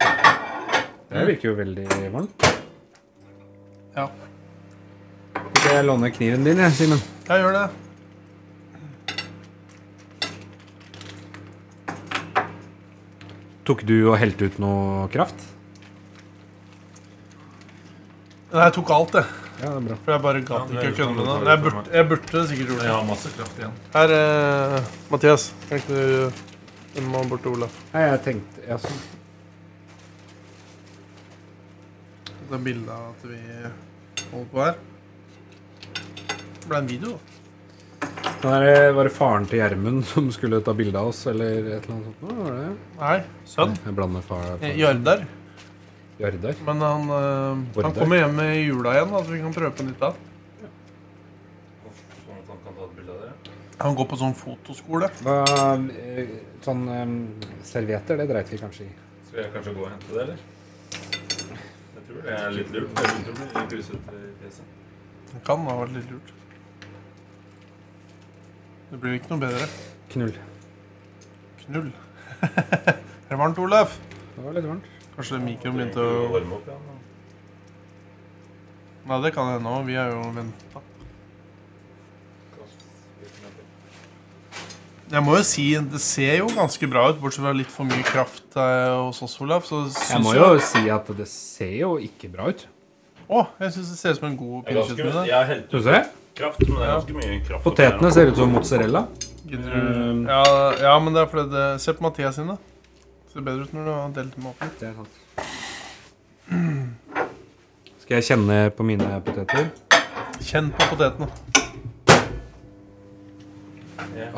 A: her.
B: Det virker jo veldig varmt.
A: Ja.
B: Skal jeg låne kniven din, jeg, Simen?
A: Jeg gjør det.
B: Tok du og helte ut noe kraft?
A: Nei, jeg tok alt, jeg.
B: Ja, det er bra.
A: For jeg bare gadd
D: Ja,
A: ikke
D: det
A: å
D: er jo
A: kødde med det.
D: sånn
A: Men Jeg
D: det er for
A: burde, jeg burde sikkert gjort
D: Jeg
A: det.
D: har masse kraft igjen.
A: Her, eh, Mathias. Kan ikke du Den må bort til Olaf.
B: Nei, jeg tenkte ja, sånn.
A: Det bildet av at vi holder på her. Det ble en video, da.
B: Den der, Var Sånn det faren til Gjermund [laughs] som skulle ta bilde av oss, eller et eller annet sånt? Hva var det?
A: Nei, sønn.
B: Jeg blander far,
A: Eh,
B: far.
A: Jardar.
B: Jardar.
A: Men han, eh, han
B: Jardar.
A: kommer hjem i jula igjen, da, så vi kan prøve på nytt da.
D: Sånn at han kan ta et bilde av dere.
A: Han går på sånn fotoskole.
B: Hva, eh, sånn eh, servietter, det dreit vi kanskje i.
D: Skal jeg kanskje gå og hente det, eller? Jeg tror det er litt lurt. Jeg begynte å bli litt grusete i fjeset.
A: Det kan ha vært litt lurt. Det blir jo ikke noe bedre.
B: Knull.
A: Knull. [laughs] Er det varmt, Olaf?
B: Det var litt varmt.
A: Kanskje mikroen begynte
D: Trenger ikke
A: å
D: varme opp, ja, men-
A: Nei, det kan hende òg. Vi er jo venta. Jeg må jo si, det ser jo ganske bra ut, bortsett fra litt for mye kraft eh, hos oss, Olaf. Så syns
B: Jeg må jo si at det ser jo ikke bra ut.
A: Å, jeg syns det ser ut som en god
D: Det er ganske mye.
A: pinnekjøttmiddag.
D: Jeg har helt
B: Syns du det?
D: kraft, men det er ganske mye kraft. oppi her,
B: Potetene ser ut som mozzarella.
A: Gidder
B: Um.
A: du- Ja, ja, men det er fordi det Se på Mathias sine. Ser bedre ut når du har delt dem opp litt.
B: Det er sant. Skal jeg kjenne på mine poteter?
A: Kjenn på potetene.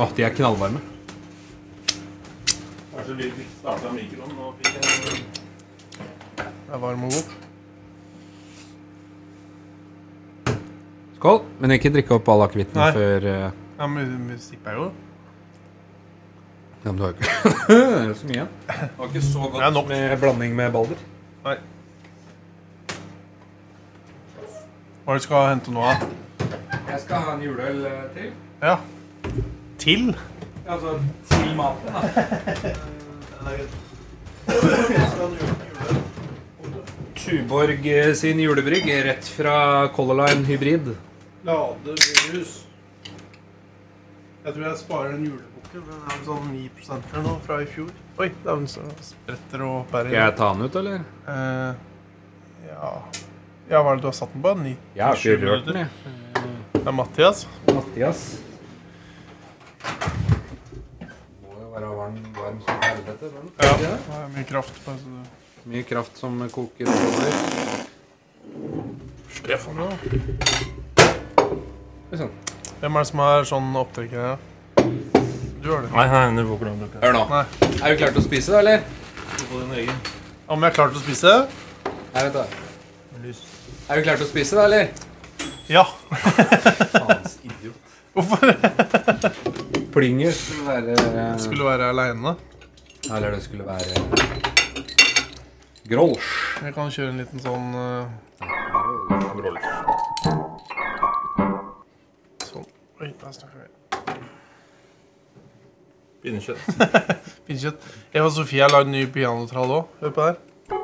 B: Å, de er knallvarme.
D: da. Kanskje vi fikk startet mikroen og fikk en
A: Det er varm og god.
B: Skål. Men ikke drikke opp all akevitten
A: Nei.
B: før eh,
A: Ja, men vi- vi sipper jo.
B: Ja, men du har jo ikke [laughs] Det er så mye igjen. Det var ikke så
A: Det er nok.
B: med blanding med Balder.
A: Hva er det du skal hente nå, da?
B: Jeg skal ha en juleøl eh, til.
A: Ja. Til?
B: Altså til maten, da. Tuborg eh, sin julebrygg rett fra Color Line Hybrid.
A: Lade virus. Jeg tror jeg sparer den julebukken. Den er vel sånn 9 eller noe fra i fjor. Oi, dæven, så spretter og bærer.
B: Skal jeg ta den ut, eller?
A: Eh, ja Ja, hva er det du har satt den på? Ni?
B: Jeg har ikke rørt den, jeg.
A: Det er Mathias.
B: Mathias. Må jo være varm, varm som helvete. men-
A: Ja. Det er mye kraft på så du-
B: Mye kraft som koker over.
A: Stefan, ja.
B: Sånn.
A: Hvem er det som har sånn opptrekk her? Du har det.
D: Nei, nei, du får ikke lov til å bruke
B: Hør nå.
A: Nei.
B: Er du klar til å spise, da, eller?
D: den. Få din egen
A: Om jeg har klart å spise?
B: Nei, vent da.
D: lys.
B: Er du klar til å spise, da, eller?
A: Ja.
B: Faens idiot.
A: Hvorfor?
B: Plinger skulle være eh,
A: Skulle være aleine.
B: Eller det skulle være Grolsch.
A: Jeg kan kjøre en liten sånn eh, Sånn. Oi, der snakker vi.
D: Pinnekjøtt.
A: Pinnekjøtt. Jeg og Sofie har lagd ny pianotrall òg. Hør på det her.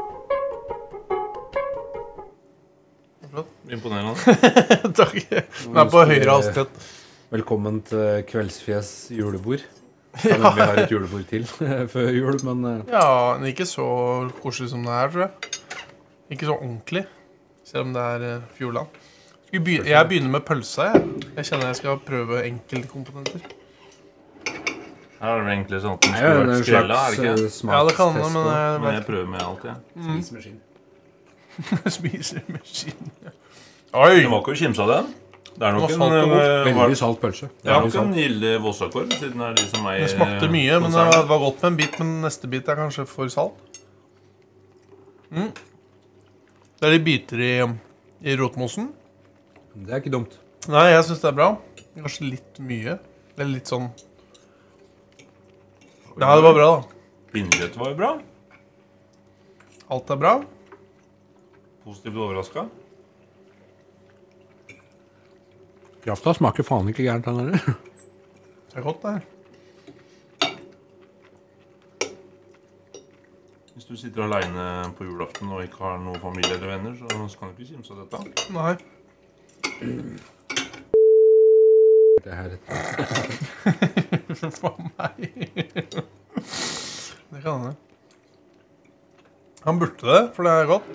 A: Det er flott.
D: Imponerende.
A: [laughs] Takk. Den er på høyere hastighet.
B: Velkommen til Kveldsfjes
A: [laughs]
B: julebord. Ja. Vi har et julebord til [laughs] før jul, men eh,
A: Ja, men ikke så koselig som det er, tror jeg. Ikke så ordentlig, selv om det er eh, Fjordland. Skal vi begyn- jeg begynner med pølsa. Jeg. jeg kjenner jeg skal prøve enkeltkomponenter.
D: Her er det vel egentlig sånn at den
B: det
D: skulle
B: er jo
D: vært
B: en
D: skrella, er
B: slags
D: det ikke?
B: eh, mm.
A: Ja, det kan hende,
B: smakstest.
A: men eh, jeg
D: Men jeg
A: vet Mm,
D: prøver med alt, jeg.
B: Spismaskin.
A: [laughs] ikke. Spisemaskin. Oi!
D: Det var ikke å kimse av den. Det er nok
A: Det
D: en,
A: var salt og godt.
D: eh, var-
B: Veldig salt pølse.
D: det er
B: Veldig
D: nok en
B: salt.
D: gilde Vossakorv, siden det er de som eier
A: Det smakte mye, men det var- det var godt med en bit. Men neste bit er kanskje for salt. Mm. Det er litt biter i, i rotmosen.
B: Det er ikke dumt.
A: Nei, jeg syns det er bra. Kanskje litt mye. Eller litt sånn Ja, det var bra, da.
D: Pinnekjøttet var jo bra.
A: Alt er bra.
D: Positivt overraska.
B: Krafta smaker faen ikke gærent, den heller.
A: Det er godt, det her.
D: Hvis du sitter aleine på julaften og ikke har noen familie eller venner, så, så kan du ikke kimse av dette.
A: Nei.
B: [laughs] Det her
A: [laughs] For meg. Det kan hende. Han burde det, for det er godt.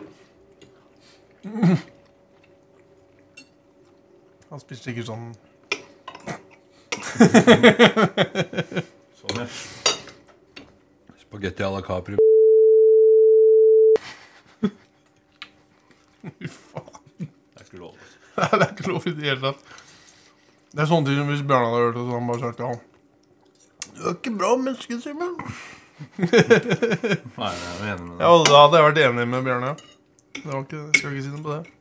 A: Han spiser sikkert sånn
D: Sånn, ja.
B: Spagetti à la Capri.
D: Det er ikke lov. altså.
A: [laughs] Nei, det er ikke lov i det hele tatt. Det er sånne ting som hvis Bjørn hadde hørt det, så hadde han bare sagt ja. Du er ikke bra menneske, Simen.
D: Nei, jeg er enig med deg.
A: Ja, og da hadde jeg vært enig med Bjørn, ja. Det var ikke, jeg skal ikke si noe på det.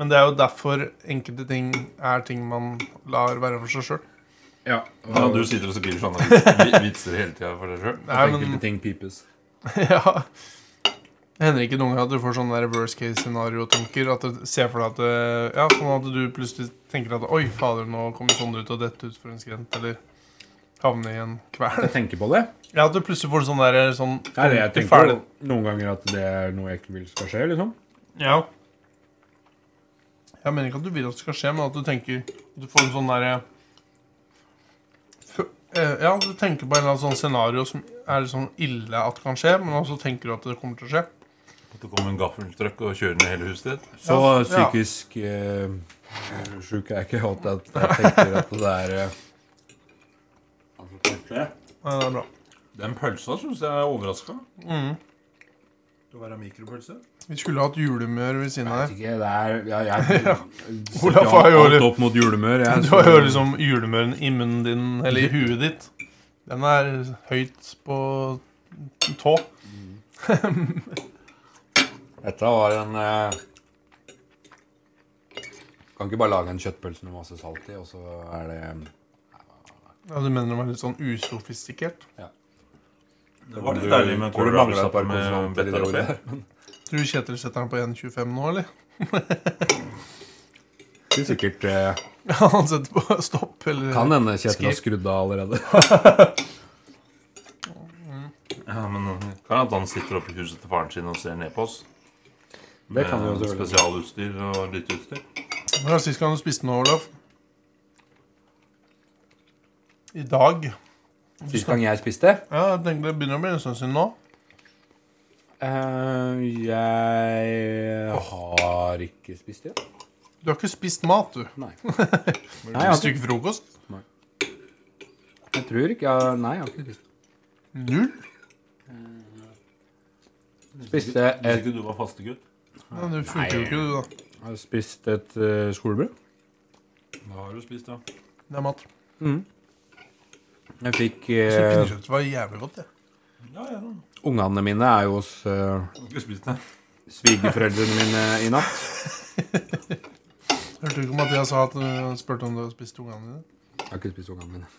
A: Men det er jo derfor enkelte ting er ting man lar være for seg sjøl.
B: Ja.
D: Ja, du sitter og skriver sånne vits- vitser hele tida for deg sjøl.
A: Nei, men-
B: Enkelte ting pipes.
A: [laughs] Ja. Det hender ikke noen gang at du får sånne der worst case scenario-tanker. At du ser for deg at eh, Ja, sånn at du plutselig tenker at Oi, fader, nå kommer sånn ut og dette ut for en skrent. Eller havne i en kvern. [laughs]
B: Jeg tenker på det.
A: Ja, at du plutselig får sånn der sånn
B: Det er det jeg
A: til
B: tenker
A: ferdig-
B: på noen ganger at det er noe jeg ikke vil skal skje, liksom.
A: Ja. Jeg mener ikke at du vil at det skal skje, men at du tenker at Du får en sånn derre eh, Ja, du tenker på en eller annen sånn scenario som er litt sånn ille at kan skje, men også tenker du at det kommer til å skje.
D: At det kommer en gaffeltruck og kjører ned hele huset ditt.
B: Så
A: Ja, ja.
B: psykisk eh, sjuk er jeg ikke holdt at jeg tenker at det er eh, Altså,
A: Nei, det er bra.
D: Den pølsa syns jeg er overraska.
A: Mm.
D: Til å være mikropølse.
A: Vi skulle hatt julemør ved siden av her.
B: Jeg vet ikke, det er ja,
A: [laughs]
B: jeg,
A: Olaf har jo-
B: alt opp mot julemør. Jeg,
A: [laughs] Du har jo liksom julemøren i munnen din, eller i huet ditt. Den er høyt på tå.
B: Dette var en eh, Kan ikke bare lage en kjøttpølse med masse salt i, og så er det
A: Ja, Du mener den var litt sånn usofistikert?
D: Det var
B: Tror
D: litt
B: du-
D: deilig med
B: tror du mangler et par
D: kålrabistappe med
B: konsonanter i det
D: betarafe.
B: ordet?
A: Tror du Kjetil setter den på 1,25 nå, eller? [laughs]
B: Det er sikkert eh,
A: Ja, han setter på stopp, eller
B: Kan hende Kjetil
A: Skri-
B: har skrudd av allerede.
D: Ja, [laughs] men uh, kan at han sitter oppe i huset til faren sin og ser ned på oss.
B: Det kan jo
D: Med
B: selvfølgelig.
D: Spesialutstyr og lytteutstyr.
A: Når var sist gang du spiste noe, Olaf? I dag?
B: Sist gang jeg spiste
A: Ja, jeg tenkte det begynner å bli en stund siden nå.
B: eh, Jeg har ikke spist det.
A: Du har ikke spist mat, du. [laughs]
B: Nei.
A: Nei,
B: jeg har
A: et stykke frokost?
B: Jeg tror ikke jeg Nei, jeg har ikke spist.
A: Null?
B: Spiste
D: Hvis
B: et,
D: ikke du var fastegutt.
A: Ja, du funker jo ikke, du, da.
B: jeg spiste et eh, skolebrød.
D: Da har du spist, ja.
A: Det er mat. Mm.
B: Jeg fikk
A: Så
B: eh,
A: pinnekjøttet var jævlig godt, det.
D: Ja, ja. Du
B: Ungene mine er jo hos eh,
D: har ikke spist [laughs] det.
B: svigerforeldrene mine i natt.
A: Hørte du ikke Mathias sa at du spurte om du hadde spist ungene dine?
B: Jeg har ikke spist ungene mine.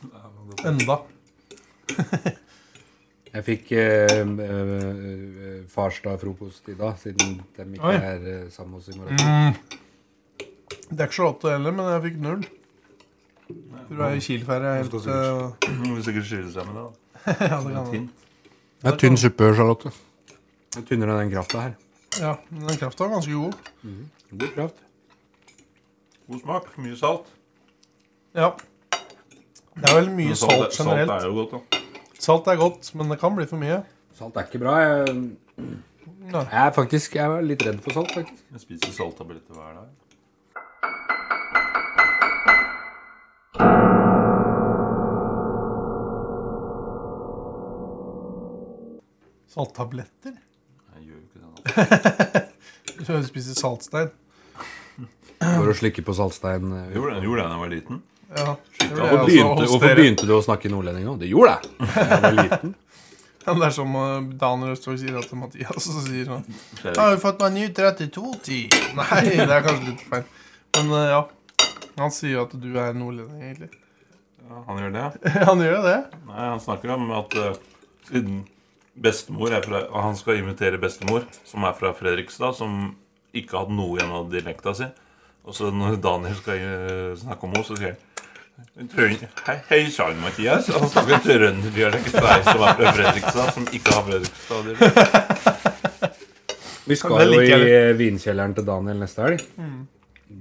A: Enda.
B: Jeg fikk eh, eh, farsdag-frokost i dag, siden de ikke
A: Oi.
B: er eh, sammen hos oss i morgen.
A: Mm. Det er ikke så åtte heller, men jeg fikk null. Tror jeg Kiel-ferie er helt
D: Det
A: eh,
D: Hun vil sikkert skille seg med det. da.
A: [laughs] Ja, det
D: Det er
A: kan
D: et
A: hende.
D: hint.
B: Det er tynn suppe, Charlotte. Det er tynnere enn den krafta her.
A: Ja, men den krafta var ganske god. Mm.
B: God kraft.
D: God smak. Mye salt.
A: Ja. Det er vel mye
D: Men
A: salt
D: Salt
A: generelt.
D: er jo godt, da.
A: Salt er godt, men det kan bli for mye.
B: Salt er ikke bra. Jeg,
A: Nei.
B: jeg er faktisk jeg er litt redd for salt, faktisk.
D: Jeg spiser salttabletter hver dag.
A: Salttabletter?
D: Jeg gjør jo ikke det. da.
A: Du spiser saltstein.
B: For å slikke på saltstein. eh,
D: Jeg gjorde det jeg gjorde det da jeg var liten.
A: Ja. det vil jeg
B: Hvorfor
A: også
B: begynte,
A: hos
B: hvorfor
A: dere.
B: begynte du å snakke nordlending nå? Det gjorde jeg! [laughs] Jeg var liten.
A: Ja, det er som eh, Dan Røstvåg sier at til Mathias, og så sier han
D: Det
A: Jeg har
D: er-
A: jo fått meg ny 3210. Nei, det er kanskje litt feil. Men eh, ja. Han sier jo at du er nordlending, egentlig. [laughs]
D: Ja, han gjør det.
A: Han gjør jo det.
D: Nei, han snakker om at eh, siden bestemor er fra og Han skal invitere bestemor, som er fra Fredrikstad, som ikke har hatt noe igjen av dialekta si. Og så når Daniel skal eh, snakke om henne, så sier han Trøn- Hei, hei sann, Mathias. Han snakker trønderdialekt til deg som er fra Fredrikstad, som ikke har Fredrikstad.
B: Vi
A: Det
B: skal jo
A: liker
B: i
A: jeg Mm.
B: eh, vinkjelleren til Daniel neste helg.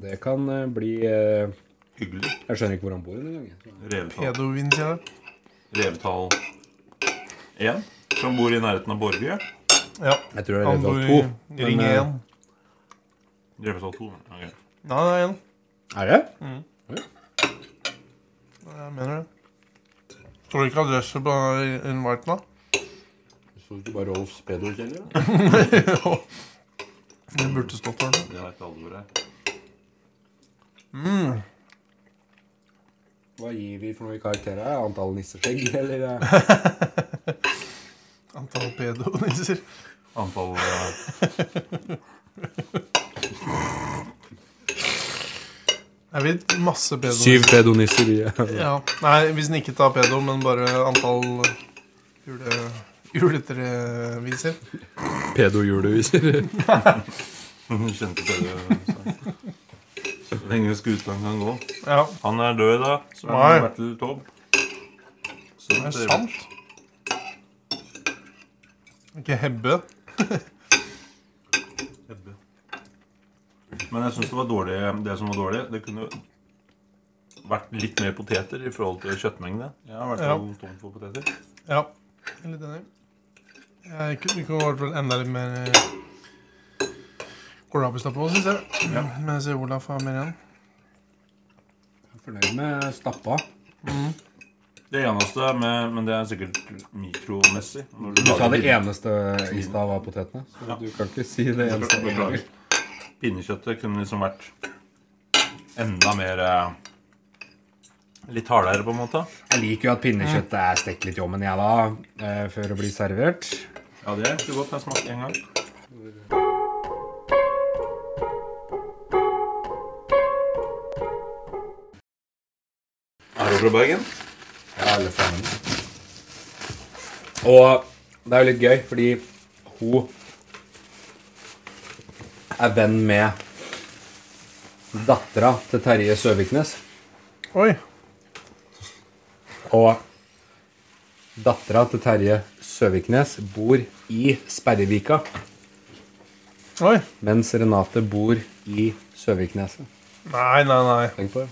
B: Det kan eh, bli eh,
D: Hyggelig.
B: Jeg skjønner ikke hvor han bor engang. jeg.
D: Revetall.
A: Pedovin, sier jeg.
D: Revetall 1, som bor i nærheten av Borge.
A: Ja.
B: Jeg tror det er
A: Han bor
B: Revetall
A: i
B: 2.
A: ring
B: men,
A: 1.
B: eh,
D: Revetall 2. ok.
A: Nei, det er 1.
B: Er det?
A: Jeg mener det. Tror du ikke adresse på inviten, da?
B: Så ikke bare Rolf Spedorkjeller?
A: Jo. Det burde stått der.
D: Det vet alle hvor det er.
B: Hva gir vi for noe i karakterer? Er det Antall nisseskjegg, eller? eh?
A: Antall pedonisser.
D: Antall eh,
A: Jeg vet masse pedonisser.
B: Syv pedonisser i [laughs] ja.
A: Ja. Nei, hvis den ikke tar pedo, men bare antall jule, juletreviser.
B: pedojuleviser. [laughs]
D: kjente TV-sang. Så lenge skuta kan gå.
A: Ja,
D: Han er død, da. Som
A: Nei.
D: er Bertil Taube. Så
A: det er sant. Ikke Hebbe.
D: Men jeg syns det var dårlig Det som var dårlig, det kunne vært litt mer poteter i forhold til kjøttmengde. Jeg har vært
A: Ja.
D: jo tom for poteter.
A: Ja. Jeg er litt enig. Jeg Eh, kunne, det kunne vært vel enda litt mer kålrabistappe på, syns jeg.
D: Ja.
A: Men jeg ser Olaf har mer igjen.
B: Fornøyd med stappa.
D: Det eneste, med, men det er sikkert mikromessig. når
B: Du sa
D: lager
B: det
D: pinne-
B: eneste i stad var potetene. Så
D: Ja.
B: du kan ikke si det eneste. en gang.
D: Beklager. Pinnekjøttet kunne liksom vært enda mer eh, Litt hardere, på en måte.
B: Jeg liker jo at pinnekjøttet er stekt litt i ovnen, jeg, da. eh, Før det blir servert.
D: Ja, det er ikke godt. Jeg smakte én gang. Er du fra Bergen?
B: Ja, eller faen. Og det er jo litt gøy, fordi hun er venn med dattera til Terje Søviknes.
A: Oi.
B: Og dattera til Terje Søviknes bor i Sperrevika,
A: Oi.
B: mens Renate bor i Søvikneset.
A: Nei, nei, nei.
B: Tenk på det.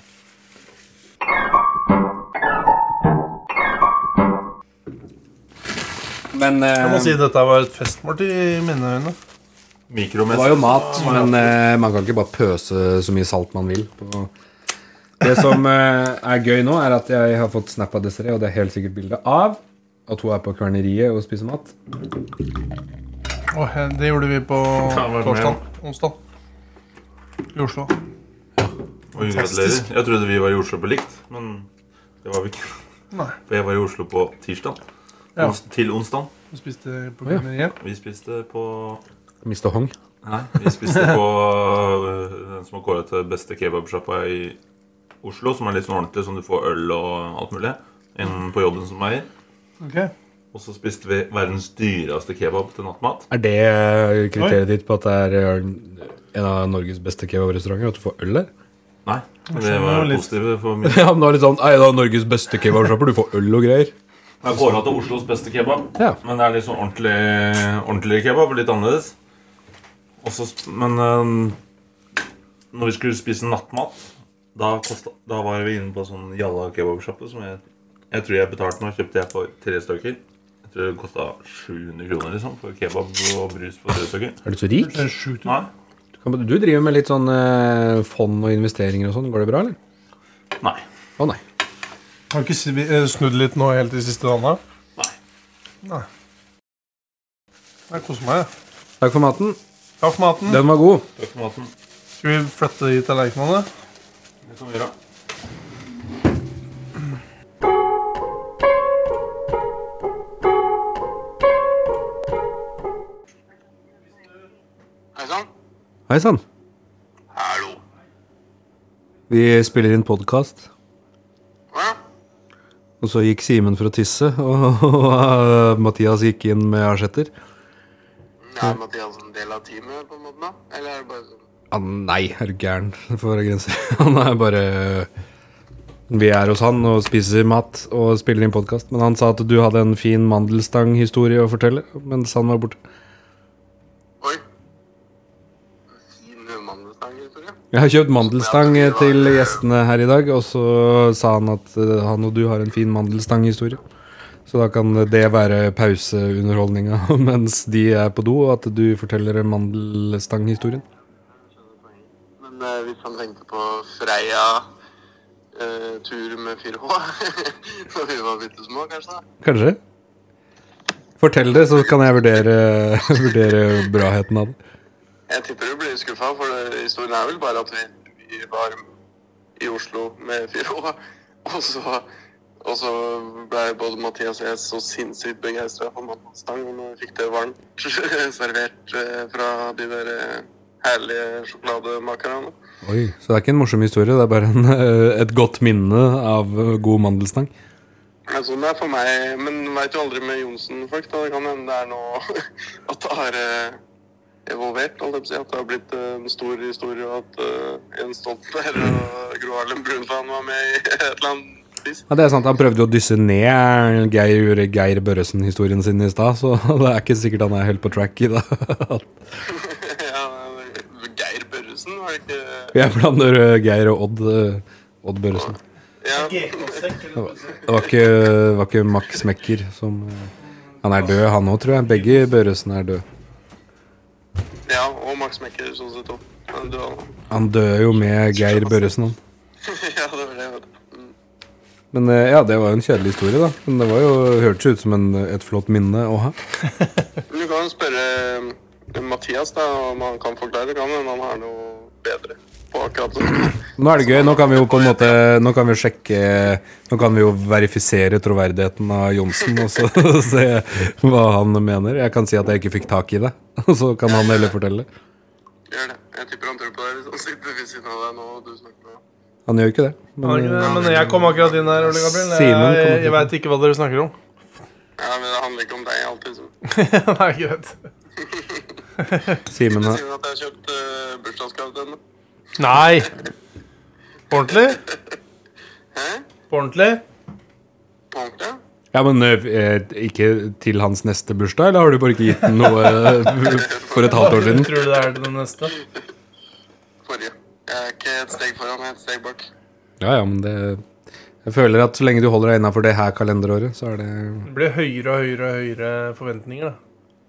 B: Men
A: Jeg
B: eh,
A: må si dette var et festmåltid i mine øyne.
B: det var jo
D: Mikromessig.
B: mat, men eh, man kan ikke bare pøse så mye salt man vil. På. Det som eh, er gøy nå, er at jeg har fått snap av Desiree, og det er helt sikkert bilde av at hun er på kverneriet og spiser mat.
A: Åh, det gjorde vi [laughs] på
D: Ja, var det
A: torsdag. Onsdag. I Oslo.
D: Og hun gratulerer.
A: Fantastisk.
D: Jeg trodde vi var i Oslo på likt, men det var vi ikke. [laughs]
A: Nei.
D: For jeg var i Oslo på tirsdag.
A: Ja.
D: Ons- Til onsdag.
A: Vi spiste på
B: ja.
A: Gunneriet.
D: Vi spiste på
B: Mista hong.
D: Nei, vi spiste på øh, den som har kåret til beste kebabsjappa i Oslo, som er litt sånn ordentlig, som du får øl og alt mulig. En på jobben som eier.
A: Ok.
D: Og så spiste vi verdens dyreste kebab til nattmat.
B: Er det eh, kriteriet ditt på at det er eh, en av Norges beste kebabrestauranter? At du får øl der? [laughs]
D: Nei, det
A: skjønner jo
D: var
A: litt.
D: positive for min
B: Ja, men da er det litt sånn «Ei, da, Norges beste kebabsjapper. Du får øl og greier.
D: Jeg har kåret til Oslos beste kebab.
B: Ja.
D: Men det er litt sånn ordentlig, ordentlig kebab, litt annerledes. Og så sp- men eh, når vi skulle spise nattmat, da, kosta, da var vi inne på sånn jalla kebabsjappe som jeg, jeg tror jeg betalte nå. Kjøpte jeg for tre stykker. Jeg tror det kosta 700 kroner liksom, for kebab og brus på tre stykker.
B: Er du så rik?
A: Det er sjukt.
D: Nei,
B: Du, kan, du driver med litt sånn eh, fond og investeringer og sånn. Går det bra, eller?
D: nei.
B: Å nei.
A: Har du ikke svi- eh, snudd litt nå helt de siste dagene?
D: Nei.
A: Nei. Jeg koser meg. jeg.
B: Takk for maten.
A: Takk for maten.
B: Den var god.
D: Takk for maten.
A: Skal vi flytte de tallerkenene?
D: Det kan vi gjøre.
E: Hei sann.
B: Hei sann.
E: Hallo.
B: Vi spiller inn podkast.
E: Hva?
B: Og så gikk Simen for å tisse, [laughs] og, eh, Mathias gikk inn med asjetter.
E: Er Mathias en del av teamet, på en måte? da? Eller er det bare sånn
B: [laughs] Ah, nei, er du gæren? For å grense. Han er bare Vi er hos han og spiser mat og spiller inn podkast. Men han sa at du hadde en fin mandelstanghistorie å fortelle mens han var borte.
E: Oi. Fin mandelstanghistorie.
B: Jeg har kjøpt mandelstang eh, til gjestene her i dag, og så sa han at eh, han og du har en fin mandelstanghistorie. Så da kan det være pauseunderholdninga [laughs] mens de er på do, og at du forteller mandelstanghistorien.
E: Men eh, hvis han tenkte på Freia eh, tur med [laughs] 4H da vi var bitte små, kanskje? da?
B: Kanskje? Fortell det, så kan jeg vurdere, [laughs] vurdere braheten av det.
E: Jeg tipper du blir skuffa, for det, historien er vel bare at vi, vi var i Oslo med 4H, og så og så ble både Mathias og jeg så sinnssykt begeistra for mandelstang når vi fikk det varmt [laughs] servert eh, fra de der eh, herlige sjokolademakerne.
B: Oi, Så det er ikke en morsom historie, det er bare en, eh, et godt minne av eh, god mandelstang.
E: Nei, sånn det er for meg, men veit jo aldri med Johnsen-folk. da. Det kan hende det er nå [laughs] at det har eh, evolvert. holdt jeg på å si, At det har blitt eh, en stor historie, og at eh, Jens Stoltenberg og Gro Harlem Brundtland var med i [laughs] et eller annet vis.
B: Ja, det er sant, Han prøvde jo å dysse ned Geir, Geir Børresen-historien sin i stad, så [laughs] det er ikke sikkert han er helt på track i det.
E: [laughs]
B: [laughs]
E: ja, Geir Børresen, var det ikke
B: Jeg blander eh, Geir og Odd, eh, Odd Børresen.
E: Ja,
B: Det var ikke, var ikke Max Mekker som eh, Han er død, han òg, tror jeg. Begge Børresen er død.
E: ja og Max Mekker, sånn sett òg. Men du har-
B: Han døde jo med Geir Børresen, han.
E: [laughs] Ja, det var det. vet du. Mm.
B: Men eh, ja, det var jo en kjedelig historie, da. Men det var jo, hørtes jo ut som en, et flott minne å ha.
E: Men Du kan jo spørre eh, Mathias da, om han kan forklare. Kan hende han har noe bedre på akkurat sånn.
B: Nå er det gøy. Nå kan vi jo på en måte Nå kan vi jo sjekke Nå kan vi jo verifisere troverdigheten av Johnsen og så [laughs] se hva han mener. Jeg kan si at jeg ikke fikk tak i det, [laughs] og så kan han heller fortelle.
E: Gjør det. Jeg tipper han tror på deg hvis han [laughs] sitter ved siden av deg nå og du snakker med ham.
B: Han gjør jo ikke det.
A: Har
B: Men
A: ikke det, Men jeg kom akkurat inn her, Ole Gabriel. Jeg,
B: Simen kom
A: jeg, jeg,
B: akkurat inn.
A: veit ikke hva dere [laughs] snakker om.
E: Ja, men det handler ikke om deg alltid. Liksom.
A: Nei, greit.
B: Simen
E: Du
B: har
E: sier at jeg har kjøpt uh, bursdagsgave til henne.
A: Nei. På ordentlig? På ordentlig?
E: På ordentlig?
B: Ja, men eh, ikke til hans neste bursdag, eller har du bare ikke gitt den noe eh, for et halvt år siden?
A: Tror du det er til den neste?
E: Forrige. Jeg er ikke et steg foran, jeg er et steg bak.
B: Ja, ja, men det Jeg føler at så lenge du holder deg innafor det her kalenderåret, så er det
A: Det blir høyere og høyere og høyere forventninger, da.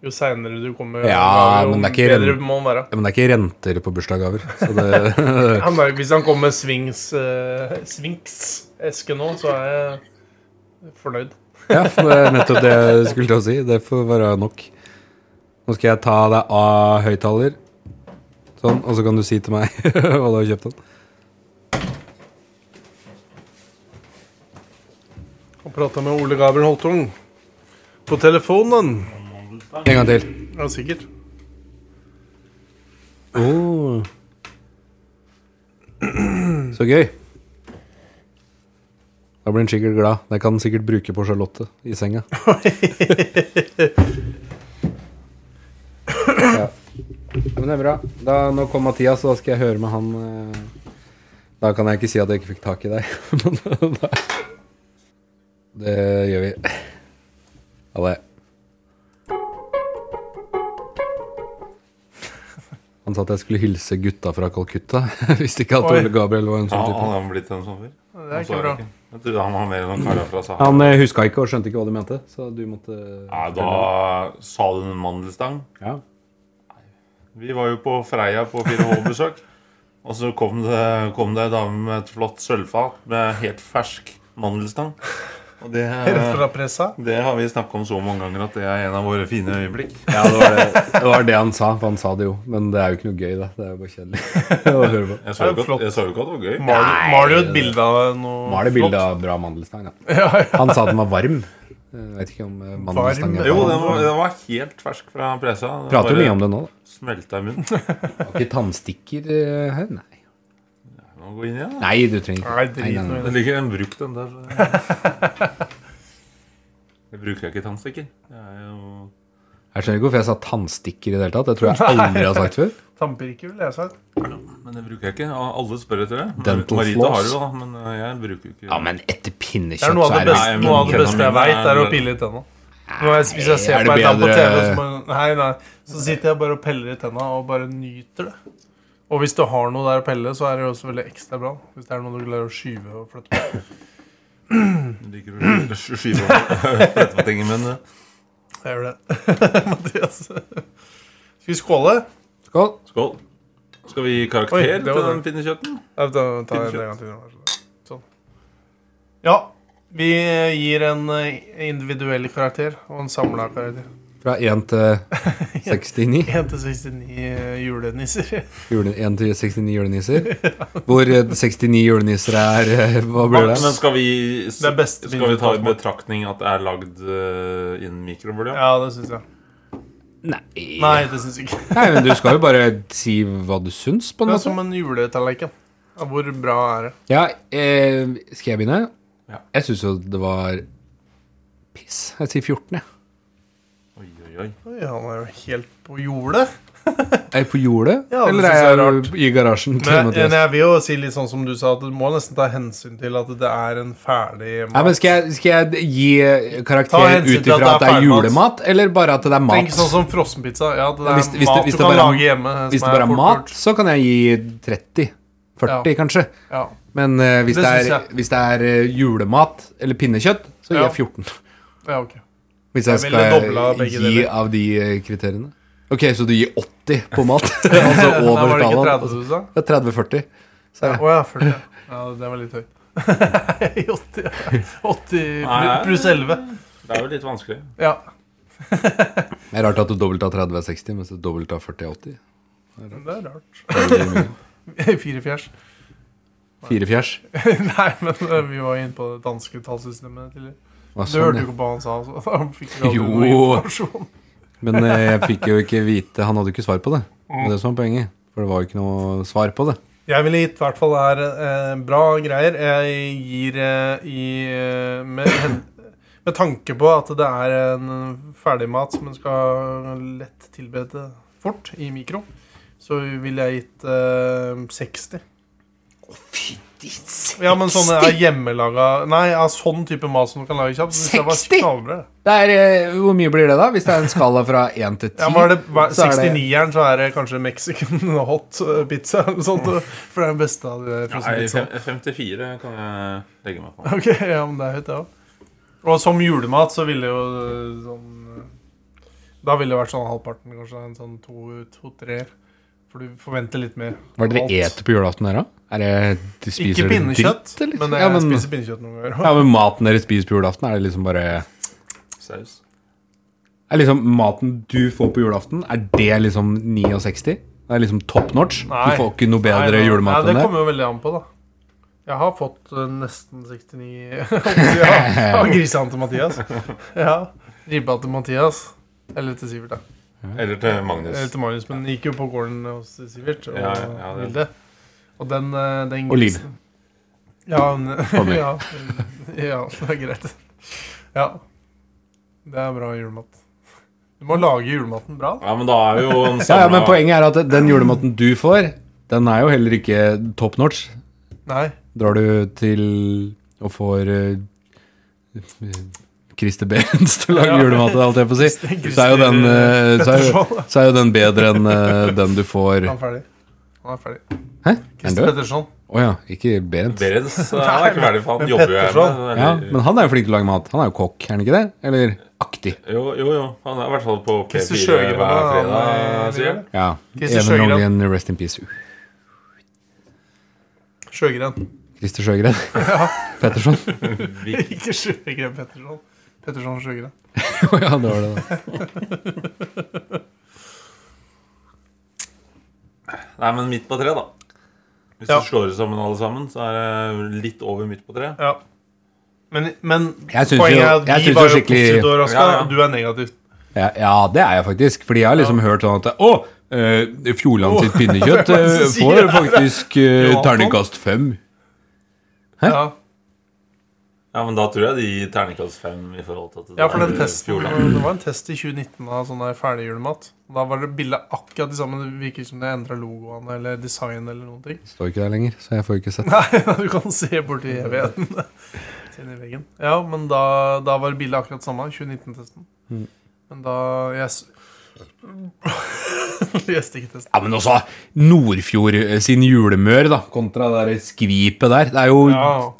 A: Jo seinere du kommer,
B: Ja,
A: jo
B: men det er ikke
A: bedre
B: ren-
A: må han være.
B: Ja, Men det er ikke renter på bursdagsgaver, så det [laughs]
A: Han er, hvis han kommer med Swings eh, Swings-eske nå, så er jeg fornøyd.
B: Ja, det er nettopp det jeg skulle til å si. Det får være nok. Nå skal jeg ta deg av høyttaler. Sånn, og så kan du si til meg [laughs] hva du har kjøpt den.
A: Og prata med Ole Gabriel Holtung på telefonen.
B: En gang til.
A: Ja, sikkert.
B: Oh. Så gøy. Da blir han sikkert glad. Det kan han sikkert bruke på Charlotte i senga. ja. Men det er bra. Da, nå kom Mathias, og da skal jeg høre med han eh. Da kan jeg ikke si at jeg ikke fikk tak i deg. [laughs] Men da- det gjør vi. Ha det. Han sa at jeg skulle hilse gutta fra Calcutta. [laughs] Jeg visste ikke at
A: Oi.
B: Ole Gabriel var en
D: Ja,
B: sånn type.
D: han har blitt en sånn fyr.
A: Det
D: Han
A: er ikke
D: svarer
A: bra.
D: ikke. Jeg trodde han var mer enn han kalla fra Sahara.
B: Han huska ikke og skjønte ikke hva du mente, så du måtte
D: Nei, da sa du en mandelstang.
B: Ja.
D: Vi var jo på Freia på 4H-besøk. Og så kom det, kom det ei dame med et flott sølvfat med helt fersk mandelstang. Og det,
A: Rett fra pressa.
D: det har vi snakka om så mange ganger at det er en av våre fine øyeblikk.
B: Ja, det var det, det var det han sa, for han sa det jo. Men det er jo ikke noe gøy, da. Det er jo bare kjedelig [laughs] å høre på.
D: Jeg sa
A: Det
D: jo
A: er
D: ikke
A: flott.
D: at- jeg sa jo ikke at det var gøy.
A: Mal mal jo et bilde av noe
B: Nå er det bilde av bra mandelstang, da. Han sa den var varm. Jeg vet ikke om eh, mandelstang er
D: Jo,
B: varm.
D: den var, den var helt fersk fra pressa. Den
B: Prater jo
D: bare
B: mye om det nå, da.
D: Smelta i munnen.
B: Har ikke tannstikker eh, her? Nei.
D: Nå går vi inn igjen, da.
B: Nei, du trenger ikke
A: Nei, drit
B: Nei, nei,
A: nå i
B: nei.
D: Det
A: det.
D: ligger en brukt en
A: [laughs]
D: der. Så. Jeg bruker ikke tannstikker. Jeg er jo
B: Jeg skjønner ikke hvorfor jeg sa tannstikker i det hele tatt. Det tror jeg aldri jeg har sagt før.
A: Tannpirker vil jeg si.
D: Men det bruker jeg ikke. og Alle spør etter det.
B: Dental
D: Marita
B: floss.
D: har det, da, men eh, jeg bruker ikke
B: Ja, men etter
A: Det er
B: pinnekjøtt
A: noe av
B: så
A: det
B: er det
A: beste,
D: Nei, men
A: noe av det
D: kødda
A: beste
D: mine
A: jeg veit, er å
D: er-
A: pille i tenna. Når jeg, hvis jeg
B: er
A: ser
B: det
A: på et eller annet på TV,
B: bedre-
A: så, bare- nei, nei, så sitter jeg bare og peller i tenna og bare nyter det. Og hvis du har noe der å pelle, så er det jo også veldig ekstra bra. Hvis det er noe du klarer å skyve og flytte på.
D: Liker du [laughs] skiva på ting, men eh,
A: Jeg gjør det. [laughs] Mathias. Skal vi skåle?
B: Skål.
D: skål. Skal vi gi karakter
A: Oi, det
D: til
A: var
D: den pinnekjøtten?
A: Ja, Da tar jeg det en gang til. vær så god. Sånn. Ja. Vi gir en eh, individuell karakter og en samla karakter.
B: Fra 1
A: [laughs]
B: til 69.
A: 1 til 69 julenisser. [laughs]
B: Jule, 1 til 69 juleniser. Hvor eh, 69 juleniser er eh, Hva blir det?
D: Men skal vi,
A: Det er beste
D: skal vi ta i
A: pinnekjøttsmak.
D: betraktning at det er lagd eh, innen mikrobølge?
A: Ja, det syns jeg.
B: Nei.
A: Nei, det syns jeg ikke.
B: Nei, men du skal jo bare si hva du syns, på en
A: Det er
B: måte.
A: som en juletallerken. Ja, hvor bra er det?
B: Ja, eh, skal jeg begynne?
D: Ja.
B: Jeg syns jo det var piss. Jeg sier 14, jeg.
D: Oi, oi, oi.
A: Oi, han er jo helt på jordet.
B: Er jeg på jordet,
A: Ja, det
B: eller
A: synes
B: er
A: jeg er
B: jeg i garasjen til
A: Men,
B: Mathias?
A: men jeg vil jo si litt sånn som du sa, at du må nesten ta hensyn til at det er en ferdig
B: Nei,
A: mat.
B: men skal jeg, skal jeg gi
A: Ta
B: karakter
A: hensyn
B: ut
A: til
B: ifra at det er julemat, eller bare at det er mat?
A: Tenk sånn som frossenpizza. Ja, det er
B: Hvis- hvis det-
A: mat
B: hvis
A: du
B: det
A: kan
B: bare er-
A: lage hjemme. eh,
B: Hvis
A: som
B: det bare er
A: fort
B: mat,
A: gjort.
B: så kan jeg gi 30. 40,
A: Ja.
B: kanskje.
A: Ja.
B: Men eh, hvis,
A: Det
B: det
A: synes
B: er, hvis det er eh, julemat eller pinnekjøtt, så gir
A: Ja.
B: jeg 14.
A: ja, ok.
B: Hvis
A: Jeg
B: jeg
A: ville dobla
B: skal
A: begge
B: gi
A: deler.
B: av de eh, kriteriene. Ok, så du gir 80 på
A: [laughs]
B: mat? [laughs] altså
A: Nei,
B: over altså.
A: var det ikke
B: tallet?
A: 30 du sa?
B: Det er 30-40.
A: Å
B: Så jeg-
A: ja, 40.
B: [laughs]
A: Ja, det var litt høyt. 80, 80
D: Nei.
A: pluss 11.
D: Det er jo litt vanskelig.
A: Ja.
B: Det er rart at du dobbelt av 30 er 60, mens du dobbelt av 40 er 80.
A: Det er rart.
B: Det blir mye.
A: [laughs] Fire fjers.
B: Fire fjers.
A: [laughs] Nei, men eh, vi var inne på det danske tallsystemet tidligere.
B: Hva
A: Du hørte jo
B: sånn, ja.
A: ikke på hva han sa. Så han fikk aldri
B: Jo.
A: noe informasjon.
B: Men eh, jeg fikk jo ikke vite Han hadde jo ikke svar på det. Det
A: Mm.
B: er det som var poenget. For det var jo ikke noe svar på det.
A: Jeg ville gitt i hvert fall det her eh, bra greier. Jeg gir eh, i eh, med, hen- med tanke på at det er en ferdigmat som en skal lett tilberede fort i mikro, så ville jeg gitt eh, 60. Ja, men sånne er hjemmelaga Nei, ja, sånn type mat som du kan lage kjapt. så synes jeg var
B: 60?
A: knallbra.
B: Det er, eh, hvor mye blir det, da? Hvis det er en skala fra 1 til 10?
A: Ja, var det, var,
B: så er det-
A: 69-eren så er det kanskje Mexican [laughs] hot eh, pizza eller noe sånt. For det er sånn. den beste av de
D: Nei,
A: frossenpizzaene.
D: fem- 54 kan jeg legge meg på.
A: [laughs] Ok, ja, men det er høyt, det òg. Og som julemat så ville jo eh, sånn eh, Da ville det vært sånn halvparten, kanskje. En sånn to-treer. for du forventer litt mer.
B: Hva er det
A: Alt.
B: dere eter på julaften her, da? Er det, de
A: Ikke
B: spiser
A: pinnekjøtt,
B: dritt, eller?
A: men jeg
B: ja, men,
A: spiser pinnekjøtt noen ganger.
B: ja, men maten dere spiser på julaften, er det liksom bare
D: Saus.
B: Er liksom maten du får på julaften, er det liksom 69? Det er liksom top notch?
A: Nei.
B: Du får ikke noe
A: Nei,
B: bedre
A: nei,
B: julemat
A: nei,
B: enn
A: Det
B: det?
A: kommer jo veldig an på, da. Jeg har fått eh, nesten 69 [laughs] Ja, av grisene til Mathias. Ja, Ribba til Mathias. Eller til Sivert, da.
D: Eller til
A: Eller
D: Magnus.
A: til Marius, men den gikk jo på gården hos Sivert og
D: Ja, ja, det-
A: Vilde. Og den, eh, den
B: Og Liv.
A: grisen- Ja, men-
B: med.
A: ja, ja, det er greit. Ja. Det er bra julemat. Du må lage julematen bra. da.
D: Ja, men da er jo en
B: Ja, ja, men
D: samla
B: poenget er at den julematen du får, den er jo heller ikke top notch.
A: Nei.
B: Drar du til og får eh, Christer Berens til å lage
A: Ja.
B: julemat, holdt jeg på å si, så er jo den, eh, så er, jo- så er jo den bedre enn eh, den du får
A: Han er ferdig. Han er ferdig.
B: Hæ? Er han
A: Christer
B: død?
A: Petterson.
B: Å ja, ikke Berent.
D: Berens eh, er ikke ferdig, for
A: Men
D: han jobber jo her.
A: Petterson?
D: med-
B: Ja,
D: eller-
B: men han er jo flink til å lage mat. Han er jo kokk, er han ikke det? Eller aktig.
D: Jo, jo, jo. Han er i hvert fall på
A: Christer
D: P4
A: Sjøgren.
D: hver
A: han eh,
D: fredag.
A: er-
D: sier jeg.
B: Ja.
A: Christer Sjøgren.
B: Even Longen, rest in peace.
A: Sjøgren.
B: Christer Sjøgren. Petterson.
A: [laughs] Ikke Sjøgren Petterson. Petterson Sjøgren.
B: Å ja, det var det, da.
D: Nei, men midt på tre, da. Hvis
A: Ja.
D: du slår det sammen alle sammen, så er det litt over midt på tre.
A: Ja. Men, men
B: Jeg syns
A: poenget
B: jo-
A: er at
B: jeg
A: vi
B: syns jo
A: var jo
B: skikkelig-
A: positivt overraska,
D: Ja, ja.
A: og du er negativ.
B: Ja, ja, det er jeg faktisk. Fordi jeg har liksom hørt sånn at Å! eh, Fjordland sitt pinnekjøtt
A: Hvem er det
B: eh,
A: som sier
B: får
A: det?
B: faktisk eh,
A: Johan?
B: terningkast fem. Hæ?
A: Ja.
D: Ja, men da tror jeg de gir terningkast fem i forhold til at det
A: Ja, for
D: er
A: den testen,
D: Fjordland.
A: det var en test i 2019 av sånn der ferdigjulemat. Da var det bildet akkurat de samme. Det virker som de endra logoene eller design eller noen ting.
B: Står ikke der lenger, så jeg får ikke sett.
A: [laughs] Nei, du kan se borti [laughs] evigheten. Inn i veggen. Ja, men da, da var bildet akkurat samme. 2019-testen.
B: Mm.
A: Men da Jeg s- [laughs] leste ikke testen.
B: Ja, men også Nordfjord eh, sin julemør, da, kontra det der skvipet der. Det er jo
A: Ja.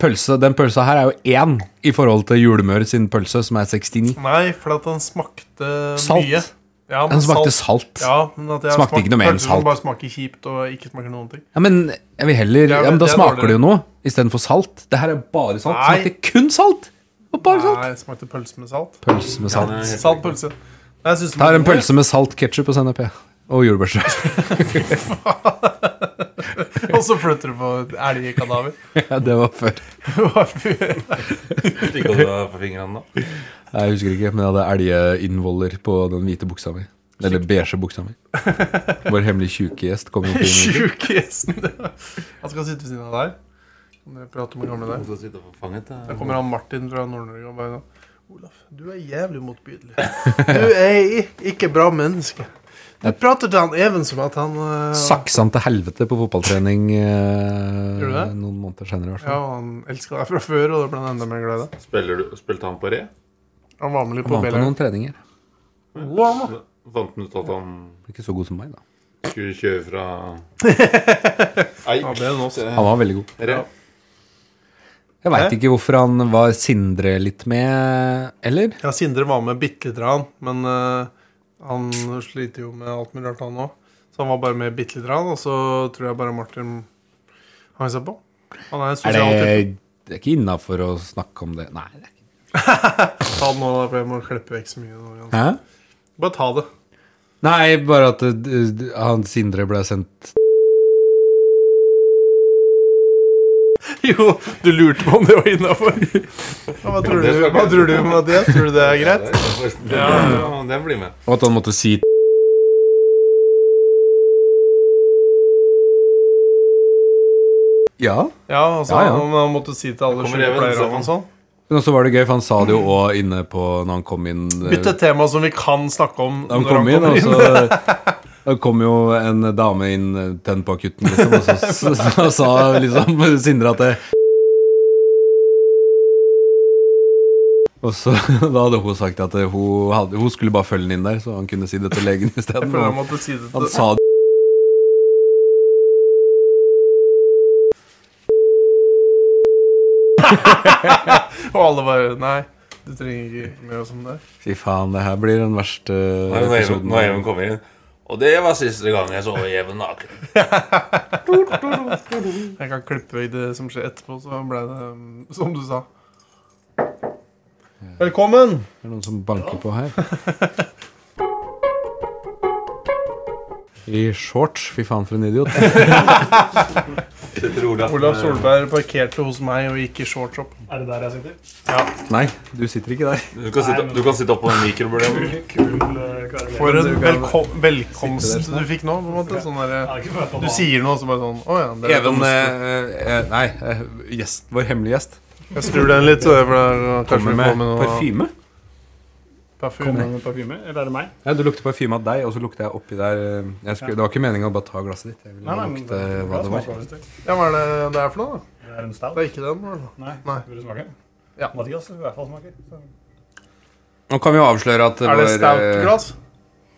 B: pølse, Den pølsa her er jo én i forhold til julemør sin pølse, som er 69.
A: Nei, for at den smakte
B: Salt.
A: mye. Ja, men
B: Den smakte salt. Ja.
A: Ja, men at jeg
B: Smakte ikke noe mer enn
A: pølser som
B: salt.
A: Bare smaker kjipt og ikke smaker noen ting.
B: Men jeg vil heller
A: Ja,
B: ja,
A: men
B: men Da
A: det er
B: smaker
A: dårligere.
B: det jo noe istedenfor salt. Det her er bare salt.
A: Nei.
B: Smakte kun salt! Og bare salt.
A: Nei, det smakte pølse med salt.
B: Pølse med salt.
D: Nei, helt
A: Salt pølse. Nei, jeg synes den
B: Tar
A: var
B: en
A: god, jeg.
B: pølse med salt, ketsjup og sennep, ja. Og jordbærsaus.
A: [laughs] Og så flytter du på et elgkadaver.
B: [laughs]
A: [laughs]
B: Ja, det var før.
D: riktig. Ikke at det er på fingrene da.
B: Nei, Jeg husker ikke, men jeg hadde elginnvoller på den hvite buksa mi. Eller beige buksa mi. Vår hemmelige tjuke gjest kom
A: [laughs]
B: jo til
A: Sjukesen. [laughs] Han skal sitte ved siden av deg. Kan dere prate med gamle der?
D: Så sitter jeg fanget, da.
A: Da kommer han Martin fra Nord-Norge og bare sånn Olaf, du er jævlig
B: [laughs]
A: motbydelig. Du er i- ikke bra menneske. Du prater til han Even som at han eh,
B: Saksa han til helvete på fotballtrening
A: Gjorde
B: eh,
A: du det?
B: noen måneder senere. i hvert
A: Ja,
B: fall.
A: og han elsker deg fra før, og det ble han enda mer glad i deg.
D: Spiller du, spilte han på re?
A: Han var med litt
B: Han
A: på
B: vant på
A: Beller'n.
B: noen treninger.
D: Fant han ut at han
B: Ble Ikke så god som meg, da.
D: skulle kjøre fra
A: [laughs]
D: Eik
B: Han var veldig god.
D: til re?
B: Jeg veit ikke hvorfor han var Sindre litt med, eller?
A: Ja, Sindre var med bitte lite grann, men eh, han sliter jo med alt mulig rart, han òg. Så han var bare med bitte lite grann, og så tror jeg bare Martin hang seg på. Han er en
B: Er
A: sosial
B: det,
A: type.
B: det er ikke innafor å snakke om det Nei. det er ikke
A: Ta det nå, da, for jeg må klippe vekk så mye. Nå, Jan.
B: Hæ?
A: Bare ta det. [laughs]
B: Nei, bare at eh, d- han Sindre ble sendt
A: Jo, du lurte på om det var innafor. Hva tror du, hva tror du Mathias? Tror du det er greit?
D: Ja, ja, det blir med.
B: Og at han måtte si Ja.
A: Ja, altså,
B: Ja, ja.
A: Han, han måtte si til alle
D: Kommer Even,
A: sykepleiere og
D: Stefan.
A: sånn.
B: Men også var det gøy, for han sa det jo òg inne på når han kom inn. eh,
A: Bytte tema som vi kan snakke om.
B: Da han
A: når
B: kom inn, altså.
A: kommer
B: og så da kom jo en dame inn eh, til henne på akutten, liksom, og så, så, så sa liksom Sindre at det Og så [laughs] da hadde hun sagt at eh, hun, hadde, hun skulle bare følge den inn der, så han kunne si det til legen
A: Jeg
B: isteden.
A: føler han
B: og
A: måtte si det
B: Han
A: til
B: sa det
A: [laughs] Og alle bare Nei, du trenger ikke mer om det.
B: Fy faen, det her blir den verste
D: Når Even-
B: episoden.
D: når Even kommer inn Og det var siste gang jeg så Even naken.
A: Jeg kan klippe vekk det som skjer etterpå, så ble det um, som du sa. Velkommen!
B: Det er noen som banker på her. I shorts. Fy faen, for en idiot.
D: Sitter Olav
A: Olav Solberg parkerte hos meg og gikk i shorts opp.
F: Er det der jeg sitter?
B: Nei, du sitter ikke der.
D: eh, Du kan sitte, du kan sitte oppå den mikrobølgen.
F: Kul eh, kar.
A: For en velko velkomst du fikk nå. på en måte sånn
F: Jeg
A: der,
F: har ikke følt
A: Du
F: at han-
A: sier noe, så bare sånn Å ja. det er
B: Even
A: velkomst».
B: eh, eh, Nei, eh, gjest, vår hemmelige gjest.
A: Jeg skrur den litt, så jeg får, kanskje vi får
B: Kommer med
A: med noe
B: parfyme.
F: Kommer
A: parfyme.
F: han med parfyme, eller er det meg?
B: Ja, du lukter parfyme av deg, og så lukter jeg oppi der eh, jeg skulle,
F: Ja.
B: Det var ikke meningen å bare ta glasset ditt. Jeg ville
F: Nei, nei,
B: bare
F: men
B: lukte hva det var.
F: Det
A: Ja, hva er det det er for noe? da?
F: er en stout.
A: Det er ikke den? i hvert fall.
F: Nei.
A: Nei.
F: Vil du smake?
A: Ja.
F: Mathias vil i hvert fall smake. Så.
B: Nå kan vi jo avsløre at
A: Er det
B: vår, eh,
A: stout-glass?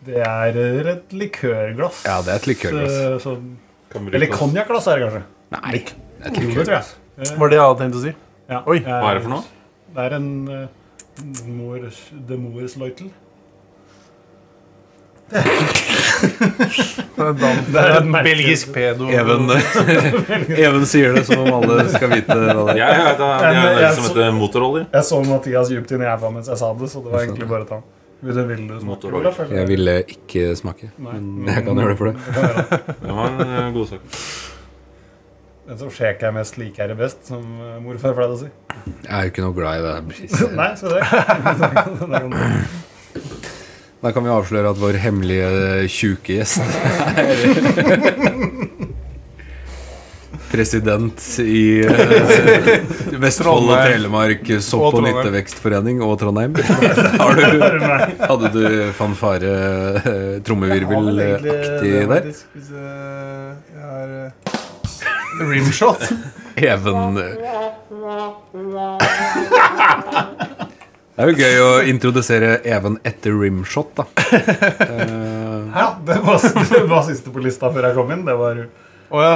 F: Det er eh, et likørglass.
B: Ja, det er et likørglass.
F: Så, så, eller konjakkglass er det kanskje.
B: Nei, det er et
F: Jo, det
B: likørglass.
F: tror jeg. Eh,
A: Var det jeg hadde tenkt å si?
F: Ja.
A: Oi.
F: Eh,
D: Hva er det for noe?
F: Det er en eh, Moers, The Moers Leutel.
A: Det er, dan-
F: Det er et merke.
A: belgisk pedo.
B: Even, eh, [laughs] Even sier det som om alle skal vite hva det er.
D: Jeg vet det. Det er noe som heter motorolje.
F: Jeg så Mathias djupt inn i æva mens jeg sa det, så det var egentlig bare å ta den. Vil du, vil du smake,
D: Motorola.
F: Olaf? eller?
B: Jeg ville ikke smake,
F: Nei.
B: men jeg kan gjøre det for det.
F: kan gjøre det.
D: Det var en eh, god sak.
F: Den som sjek er mest, lik er det best, som eh, morfar pleide å si.
B: Jeg er jo ikke noe glad i
A: [laughs]
B: det. her.
F: [laughs] Nei, skal du det?
B: Da kan vi avsløre at vår
A: [laughs]
B: hemmelige eh, tjuke gjest er president i eh, Vestfold og
A: Trondheim.
B: Telemark
A: Og
B: Sopp- og
A: Trondheim.
B: nyttevekstforening og
A: [laughs]
B: Trondheim. Har du, hadde du fanfare, eh, trommevirvelaktig der?
A: Hvis eh, jeg har eh, rimshot.
B: Even Det er jo gøy å introdusere Even etter rimshot, da.
F: Ja, det var, [laughs] det var siste på lista før jeg kom inn. Det var
A: Å ja.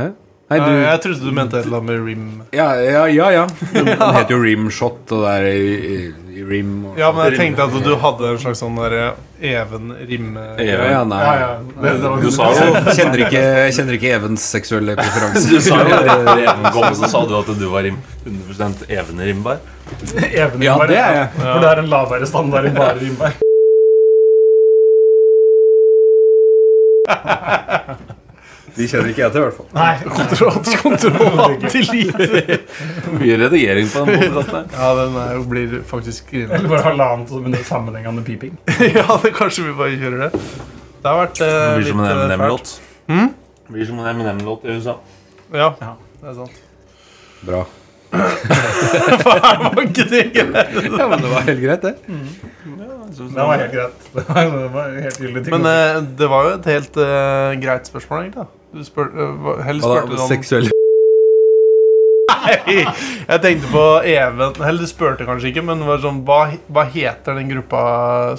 B: Hæ? Nei,
A: Eh,
B: du
A: Jeg trodde du mente et eller annet med rim.
B: Ja, ja, ja. ja. Den heter jo rimshot, og det er i, i, i rim og
A: Ja, men jeg tenkte at du hadde en slags sånn derre even eh, rimme...
B: ja, ja, nei.
F: Ja, ja. Det, det var
D: Du
F: [laughs]
D: sa [laughs] jo
B: Jeg kjenner ikke, jeg kjenner ikke Evens seksuelle
D: [laughs]
B: preferanse.
D: Du sa jo rett i Even kom, så sa du at du var rim, 100 even rimbar.
F: Even
B: Ja,
F: Rimberg,
B: det er jeg.
F: For det er en lavere standard enn bare Rimberg.
B: De kjenner ikke jeg til, i hvert fall.
F: Nei. [laughs]
B: Mye redigering på den podkasten.
A: [laughs] Ja, den er jo, blir faktisk
F: [laughs]
A: grinete.
F: Eller bare halvannet som en sammenhengende piping.
A: ja, det, kanskje vi bare kjører det. Det har vært eh,
D: Det blir
A: litt
D: som
A: eh,
D: en
A: fælt.
D: Eminem-låt. Det Blir som en Eminem-låt i USA.
A: Ja, [laughs]
F: Ja.
A: det er sant.
B: Bra.
A: Det var ikke det.
B: Ja, men det var helt greit, det.
F: Det var helt greit. [laughs] Det var, det var helt gyldig ting.
A: Men eh, det var jo et helt eh, greit spørsmål, egentlig. da. Du spør, eh, hva- heller spurte du om
B: Seksuell
A: Nei, [laughs] jeg tenkte på Even Eller du spurte kanskje ikke, men det var sånn, hva, hva heter den gruppa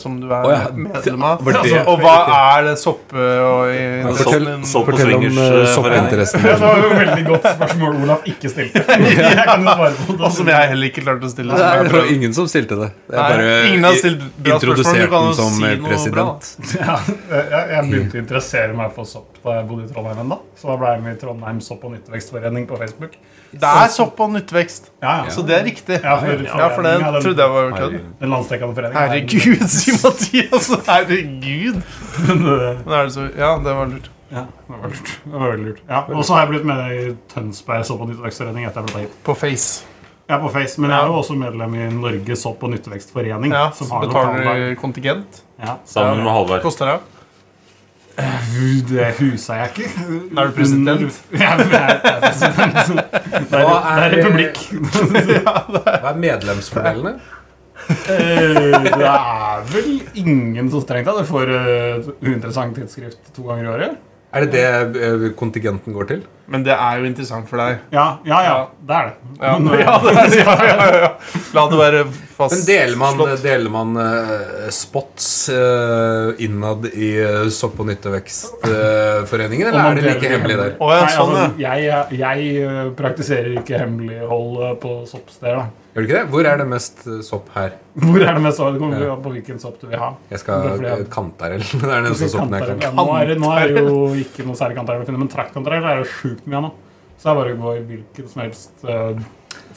A: som du er
B: Å ja,
A: medlem av? Altså,
B: var det-
A: og hva er det soppe og i,
B: Fortell,
A: din-
D: sopp-
B: fortell om eh, soppinteressen.
F: det var jo et veldig godt spørsmål Olaf ikke stilte. Jeg kan jo svare på
A: Og
F: det.
A: som jeg heller ikke klarte å stille.
B: Det
A: som
B: er
A: jeg
B: jo
A: prøvde.
B: ingen som stilte det. Jeg
A: Nei,
B: bare
A: ingen har stilt bra spørsmål. Du
B: introduserte
A: kan jo
B: den som eh,
A: si noe bra,
B: president.
F: Ja, jeg, jeg begynte å interessere meg for sopp da jeg bodde i Trondheim ennå. Så da ble jeg med i Trondheim sopp- og nyttevekstforening på Facebook.
A: Det er sopp og nyttvekst,
F: Ja, ja.
A: så det er riktig.
F: Ja, for-
A: for det trodde jeg var kødd.
F: Den landsdekkende foreningen.
A: Herregud, [laughs] sier Mathias. Herregud.
F: Herregud.
A: Men er det så Ja, det var lurt.
F: Ja, det var lurt. Det var veldig lurt. Ja, og så har jeg blitt med i Tønsberg sopp- og nyttevekstforening etter jeg ble hit.
A: På Face.
F: Jeg er på Face, men jeg er jo også medlem i Norges sopp- og nyttevekstforening.
A: Ja,
F: som
A: så
F: har
A: betaler
F: lokallag.
A: du kontingent.
F: Ja.
D: Sammen med Halvard.
A: Koster det?
F: Gud, Det husa jeg ikke.
A: Er du president?
F: [laughs] Ja, jeg er president. Det er, det er republikk.
B: Hva er medlemsfordelene?
F: Eh, Det er vel ingen som strengt tatt får eh, uinteressant tidsskrift to ganger i året.
B: Er det det eh, kontingenten går til?
A: Men det er jo interessant for deg.
F: Ja, ja, ja. Det er det.
A: [laughs] Ja,
F: Men, eh,
A: ja, det er, ja, ja, ja. La det være fast
B: Men deler man,
A: slått.
B: deler man eh, spots eh, innad i eh, sopp- og nyttevekstforeningen,
F: Og
B: eller
F: man
B: er det like
F: deler det
B: hemmelig der?
A: Å ja,
F: Nei,
A: sånn, ja.
F: altså, jeg, jeg eh, praktiserer ikke hemmelighold eh, på soppsteder. da.
B: Gjør det ikke det? Hvor er det mest eh, sopp her?
F: Hvor er det mest Det kommer jo an på hvilken sopp du vil ha.
B: Jeg
F: Det er
B: skal
F: fordi jeg-
B: Kantarell. [laughs] Det er den eneste soppen jeg
F: Kantarell,
B: kan.
F: ja. Nå er det nå er
B: [laughs]
F: det jo ikke noe særlig kantarell å finne, men traktkantarell er jo sjukt mye av nå. Så det er bare å gå i hvilken som helst eh,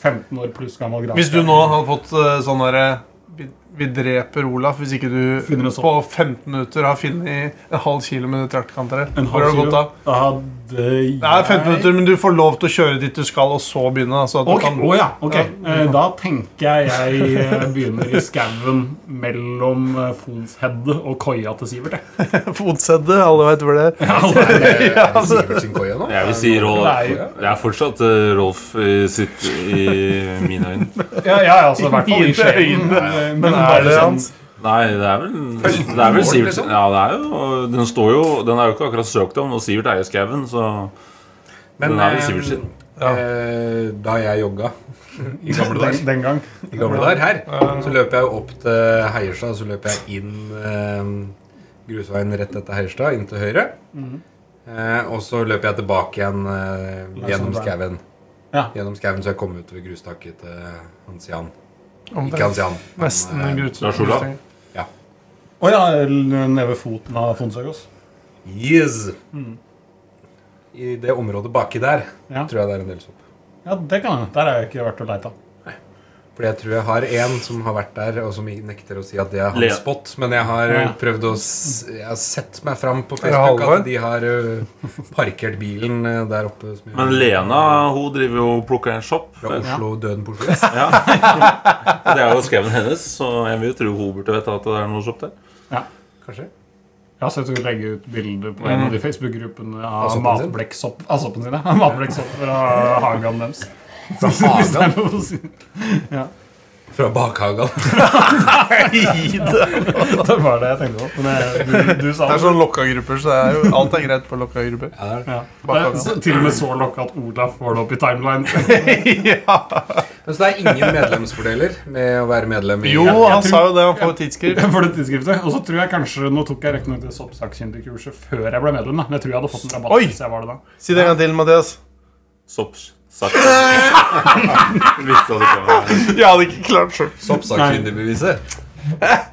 F: 15 år pluss gammel granskare.
A: Hvis du nå hadde fått eh, sånn derre vi, vi dreper Olaf hvis ikke
F: Finner
A: du
F: en sopp.
A: på 15 minutter har funnet en halv kilo med traktkantarell.
F: En halv
A: Hvor har du
F: kilo.
A: gått av?
F: Da hadde jeg
A: Det er 15 minutter, men du får lov til å kjøre dit du skal, og så begynne. da, Så at du
F: Ok,
A: kan
F: å ja, ok. Eh, Da tenker jeg jeg eh, begynner i skauen mellom eh, Fonshedde og koia til Sivert. jeg.
A: [laughs] fotsette. Alle veit hvor det er.
B: Er det,
F: [laughs]
B: er det
F: altså.
B: Sivert sin koie nå?
D: Jeg vil si
F: Nei.
D: Rolf Det er fortsatt eh, Rolf i sitt i mine øyne.
F: Ja, ja, altså, i
A: [laughs]
F: hvert fall i
A: Ikke
F: sjelen.
A: øynene,
F: eh,
A: Men
F: bare
A: er det
F: sånn-
A: hans?
D: Nei, det er vel Det er vel Sivert
B: liksom?
D: Ja, det er jo Den står jo Den er jo ikke akkurat søkt om, og Sivert eier skauen, så
B: Men
D: Den er vel
B: eh,
D: Sivert sin.
B: eh, da jeg jogga i gamle
F: Den,
B: dager,
F: den gang.
B: i gamle dager her, så løp jeg jo opp til Heierstad, så løp jeg inn eh, grusveien rett etter Heierstad, inn til høyre. Eh, og så løp jeg tilbake igjen eh, gjennom
F: sånn,
B: skauen.
F: Ja.
B: Gjennom skauen, så jeg kom ut ved grustaket til Hans Jan.
A: Omtrent.
B: Ikke Hans Jan. men,
A: Nesten
B: eh,
A: en grute.
D: Lars Olav?
F: Å ja, nede ved foten av Fonsøgås.
B: Yes! I det området baki der
F: Mhm. Ja.
B: tror jeg det er en del sopp.
F: Ja, det kan hende. Der har jeg ikke vært og leita.
B: Fordi jeg tror jeg har en som har vært der, og som nekter å si at det er
D: Lea.
B: hans spot. Men jeg har
F: Ja.
B: prøvd å s Jeg har sett meg fram
A: det
B: på Facebook
A: Halvor?
B: at de har ø, parkert bilen ø, der oppe. Som jeg-
D: Men Lena, hun driver jo og plukker en shop.
B: fra Oslo, døden på Oslo S.
D: Ja. Det er jo skauen hennes, så jeg vil jo tro hun burde vite at det er noe shop der.
F: Ja.
B: Kanskje?
F: Jeg har sett henne legge ut bilder på en av de Facebook-gruppene av
B: soppen sin?
F: matblekksopp Av soppen sin, ja. [laughs] Matblekksopp fra hagen deres. Hvis [laughs] det
B: Hagen
F: er lov å si. Ja.
B: fra bakhagen.
D: [laughs]
F: Det var det jeg tenkte på. Men jeg, du, du sa
A: Det er sånn lokka grupper, så det er jo, alt er greit på lokka grupper.
B: Ja, det er det.
F: Ja. Det er så- til og med så lokka at Olaf får det opp i timeline. [laughs]
A: [laughs]
B: Men så det er ingen medlemsfordeler med å være medlem i
A: Jo, han sa jo det, han får tidsskrift.
F: For det tidsskriftet. Og så tror jeg kanskje Nå tok jeg riktignok det soppsakkyndigkurset før jeg ble medlem, da. Men jeg tror jeg hadde fått en rabatt
A: Oi!
F: hvis jeg var det da.
A: Si det en gang til, Mathias.
D: Sopps. Sagt. Visste at det ikke var
A: [laughs] Jeg hadde ikke klart sjøl.
B: soppsakkyndigbeviset.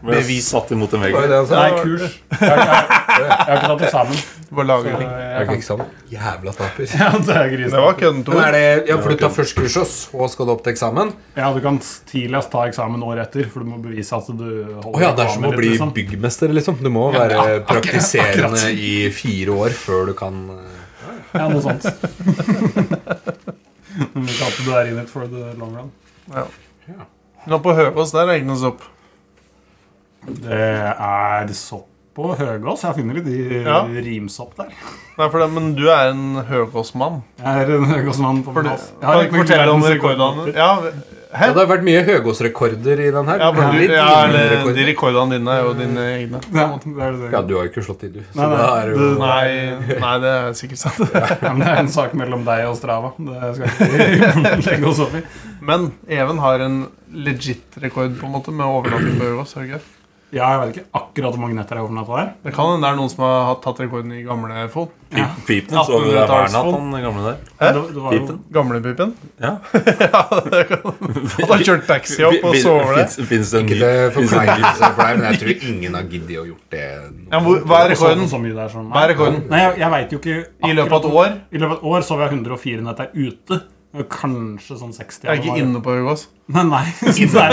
D: Men jeg
A: Bevis.
D: satt imot en vegg.
B: Var det det han sa?
F: Nei, kurs. [laughs] Jeg, jeg, jeg, har ikke tatt eksamen.
A: Bare lager
F: så
A: ting.
B: Er
F: Jeg
B: det
F: kan,
B: ikke sant? Jævla taper.
F: ja, det er grisen.
A: Det var kødden,
B: Men
A: Tor.
B: er det, ja, for du tar først kurs, og så skal du opp til eksamen?
F: Ja, du kan tidligst ta eksamen året etter, for du må bevise at du holder
B: Å ja, det er som å
F: eksamen
B: bli
F: litt, liksom.
B: byggmester, liksom. Du må være praktiserende i fire år før du kan eh,
F: Ja, noe sånt. [laughs] Men ikke alltid du er in it for the long run.
A: Nå på Høgås der er ikke noe sopp.
F: Det er sopp på Høgås. Jeg finner litt i
A: Ja.
F: rimsopp der.
A: Nei, for det, men du er en Høgås-mann.
F: Jeg er en Høgås-mann på
A: For det-
F: plass. Jeg
A: Kan
F: har
A: du
F: ikke
A: ikke fortelle om rekordene?
F: verdensrekordene.
A: Ja,
B: Ja, det har vært mye Høgås-rekorder i den her.
A: ja, for
B: men
A: du,
B: litt
A: ja
B: mindre
A: eller,
B: rekorder.
A: de rekordene dine er jo dine egne.
F: Ja, det er det.
B: ja, du har jo ikke slått i, du. Så
F: Nei, nei,
B: da er det jo
F: du-
A: Nei, nei, det er sikkert sant.
F: Ja, men det er en sak mellom deg og Strava. Det skal jeg ikke [laughs] legge oss opp i.
A: Men Even har en legit rekord på en måte med overnatting på Høgås. er det ikke det?
F: Ja, jeg vet ikke akkurat hvor mange netter jeg har overnatta der.
A: Det kan hende det er noen som har hatt- tatt rekorden i gamle Fold.
D: Pip- Pipen så jo der hver natt, han gamle der.
F: Men Det, det var jo,
D: Pipen.
A: Gamlepipen? [laughs]
D: Ja.
A: ja, det kan Han har kjørt taxi opp og sover der.
D: Fins det en
B: Ikke
D: ny?
B: til forkleinelse for deg, men jeg tror ingen har giddet å gjort det.
A: Ja, hvor, hva er sånn- rekorden?
F: Så, så mye der, sånn.
A: Hva er rekorden?
F: Nei, jeg, jeg vet jo ikke
A: I løpet av et år?
F: I løpet av et år så var jeg 104 netter ute. Kanskje sånn 60.
A: Jeg er ikke
F: januar.
A: inne på Høgås.
F: Nei,
A: [laughs]
F: nei. Så det er-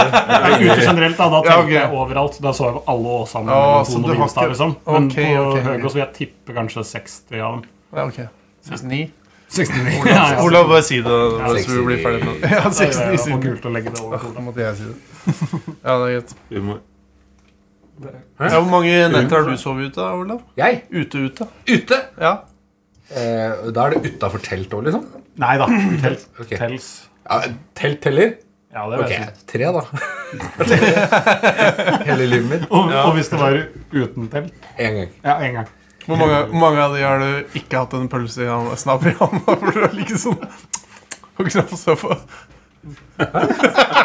F: jeg er ute generelt, da. Da
A: Ja,
F: tenkte
A: ok.
F: jeg overalt. Da så jeg på alle åsene.
A: Ja,
F: med
A: så
F: Tone
A: du har
F: Wilstad,
A: ikke-
F: liksom. Men
A: Ok,
F: på
A: ok, ok.
F: Høgås vil jeg tippe kanskje 60 av dem.
A: Ja, ok. 69.
F: 69. [laughs] Ja, ja.
A: Olav, bare si det mens vi
B: 69.
A: blir ferdig med det. Ja,
F: Ja, ja, ja,
A: 69
F: det var
A: siden.
F: kult å legge det over.
A: Da måtte jeg si [laughs] det. Ja, det er greit.
D: Vi må-
A: Ja, hvor mange netter har du sovet ute, Olav?
B: Jeg?
A: Ute, ute.
B: Ute?
A: Ja.
B: Eh, da er det utafor telt òg, liksom?
F: Nei da. Tels.
B: Ok.
F: Tels.
B: Ja, telt teller?
F: Ja, det vet
B: Ok,
F: jeg.
B: tre, da. [laughs] Hele livet mitt.
F: Og, og hvis det var uten telt?
B: Én gang.
F: Ja, én gang.
A: Hvor mange, hvor mange av de har du ikke hatt en pølse i handa, snapp i handa [laughs] for å ligge sånn og knappe seg på?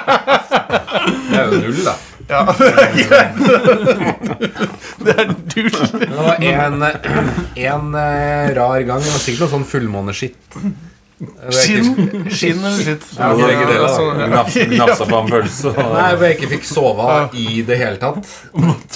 B: Det er jo null, da.
A: Ja, [laughs] det er greit. Det er dusj.
B: Men det var en, en eh, rar gang. Det var sikkert noe sånn fullmåneskitt.
A: Skinn Skinn eller skitt?
B: Ja, det er ikke det, da.
A: Sånn, [laughs] ja.
D: Nafsa nafsa på en pølse. og-
B: Nei, hvor jeg ikke fikk sove av i det hele tatt.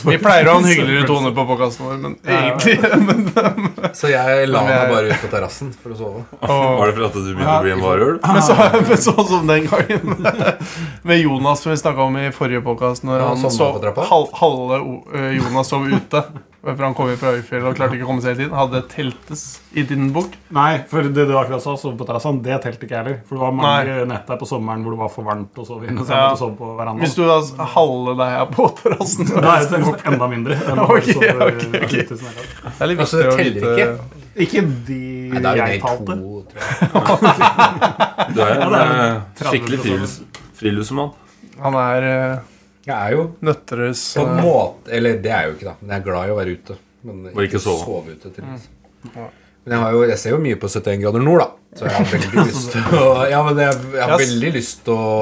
A: Vi pleier å ha en hyggeligere tone på podkasten vår, men egentlig [laughs]
B: Så jeg la meg bare ut på terrassen for å [laughs] sove.
A: Åh.
D: [laughs] Var det for at du begynte å bli
A: [laughs]
D: en varulv?
A: Men så, men sånn som den gangen [laughs] med Jonas som vi snakka om i forrige podkast, når
B: Ja,
A: han
B: sovna
A: sov
B: på trappa.
A: hal, halve o- ø, Jonas sov ute. [laughs] For han kom jo fra Øyfjellet og klarte ikke å komme seg hele tiden. Hadde teltes i din bok.
F: Nei, for det du akkurat sa, sove på terrassen, det telte ikke jeg heller. For det var mange netter på sommeren hvor det var for varmt å sove inne. Så jeg
A: Ja.
F: måtte sove på verandaen.
A: Hvis du da s- halve deg er på terrassen
F: [laughs] Da er det nesten enda mindre. enn å bare
A: Ok,
F: sove
A: ok, ok.
F: ute i snøkast.
A: Det er litt
B: Altså,
A: viktig å
B: det teller
A: vite.
F: Ikke de
B: Nei, da er jo
F: jeg
B: det
F: talte.
B: to, tre.
D: Du er en eh,
F: er
D: skikkelig
F: 30%.
D: frilufts, friluftsmann.
A: Han er eh, ø,
B: Jeg er jo
A: Nøtterøys
B: på en
A: ø,
B: måte Eller det er jeg jo ikke, da. Men jeg er glad i å være ute. Men
D: Og ikke sove.
B: ute til liksom.
F: Mm.
B: Men jeg, har jo, jeg ser jo mye på 71 grader nord, da. Så jeg har
F: [laughs]
B: veldig lyst til å Ja, men jeg, jeg har
A: Yes.
B: veldig lyst til å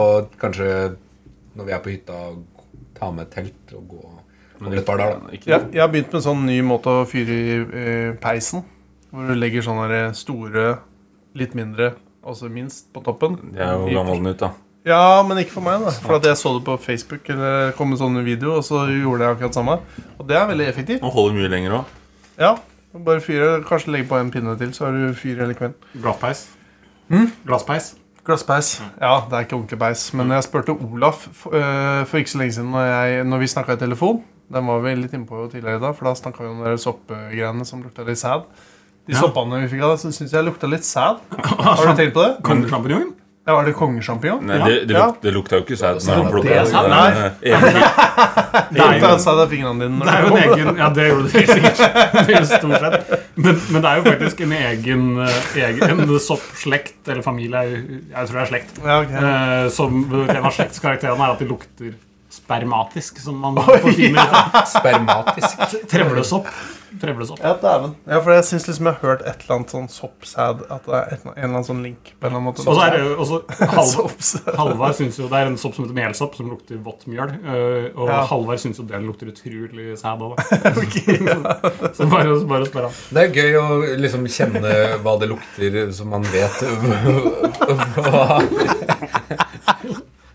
B: kanskje, når vi er på hytta, ta med et telt og gå over et par dager, da.
D: Ikke
A: jeg, jeg har begynt med en sånn ny måte å fyre i eh, peisen. Hvor du legger sånne der store, litt mindre, altså minst, på toppen.
D: Jeg er jo gammel nytt, da.
A: Ja, men ikke for meg, da. For at jeg så det på Facebook, eller det kom en sånn video, og så gjorde jeg akkurat samme. Og det er veldig effektivt.
D: Han holder mye lenger òg.
A: Ja, Bare fyre, kanskje legge på en pinne til, så har du fyr hele kvelden.
F: Glasspeis.
A: Hm?
F: Glasspeis.
A: Glasspeis. Ja, det er ikke ordentlig peis. Men jeg spurte Olaf for, øh, for ikke så lenge siden når, jeg, når vi snakka i telefon. Den var vi litt innpå jo tidligere i dag, for da snakka vi om de soppgreiene som lukta litt sæd. De
F: Ja.
A: soppene vi fikk av deg, så syns jeg lukta litt sæd. [laughs] Har du tenkt på det?
F: Kongesjampinjong?
G: Ja, Var det kongesjampinjong?
D: Nei, det, det,
A: Ja.
D: luk, det lukta jo ikke
B: Altså,
D: sæd når
G: Så
D: han
G: det
D: plukka
G: er
F: sant,
B: [laughs]
A: Det er jo av fingrene dine. når
F: Det er
A: du
F: jo en
A: kom.
F: egen Ja, det gjorde du [laughs] helt sikkert. Det gjorde du stort sett. Men, men det er jo faktisk en egen, eh, egen soppslekt, eller familie er jo- Jeg tror det er slekt.
A: Ja, ok.
F: eh, Som En av slektskarakterene er at de lukter spermatisk, som man får fine
B: Spermatisk.
F: [laughs] Trevlesopp. Trevlesopp.
G: Ja, dæven.
A: ja, for jeg syns liksom jeg har hørt et eller annet sånn soppsæd. At det er et, en eller annen sånn link på en eller annen måte.
F: Og så er det
A: [laughs]
F: jo også
B: [laughs]
F: Halv-
A: Soppsæd.
F: Halvard syns jo det er en sopp som heter melsopp, som lukter vått mjøl. eh, Og
A: Ja.
F: Halvard syns jo den lukter utrolig sæd
B: [laughs]
F: òg, da. [laughs] Så bare, så bare spør han.
B: Det er gøy å liksom kjenne hva det lukter, så man vet hva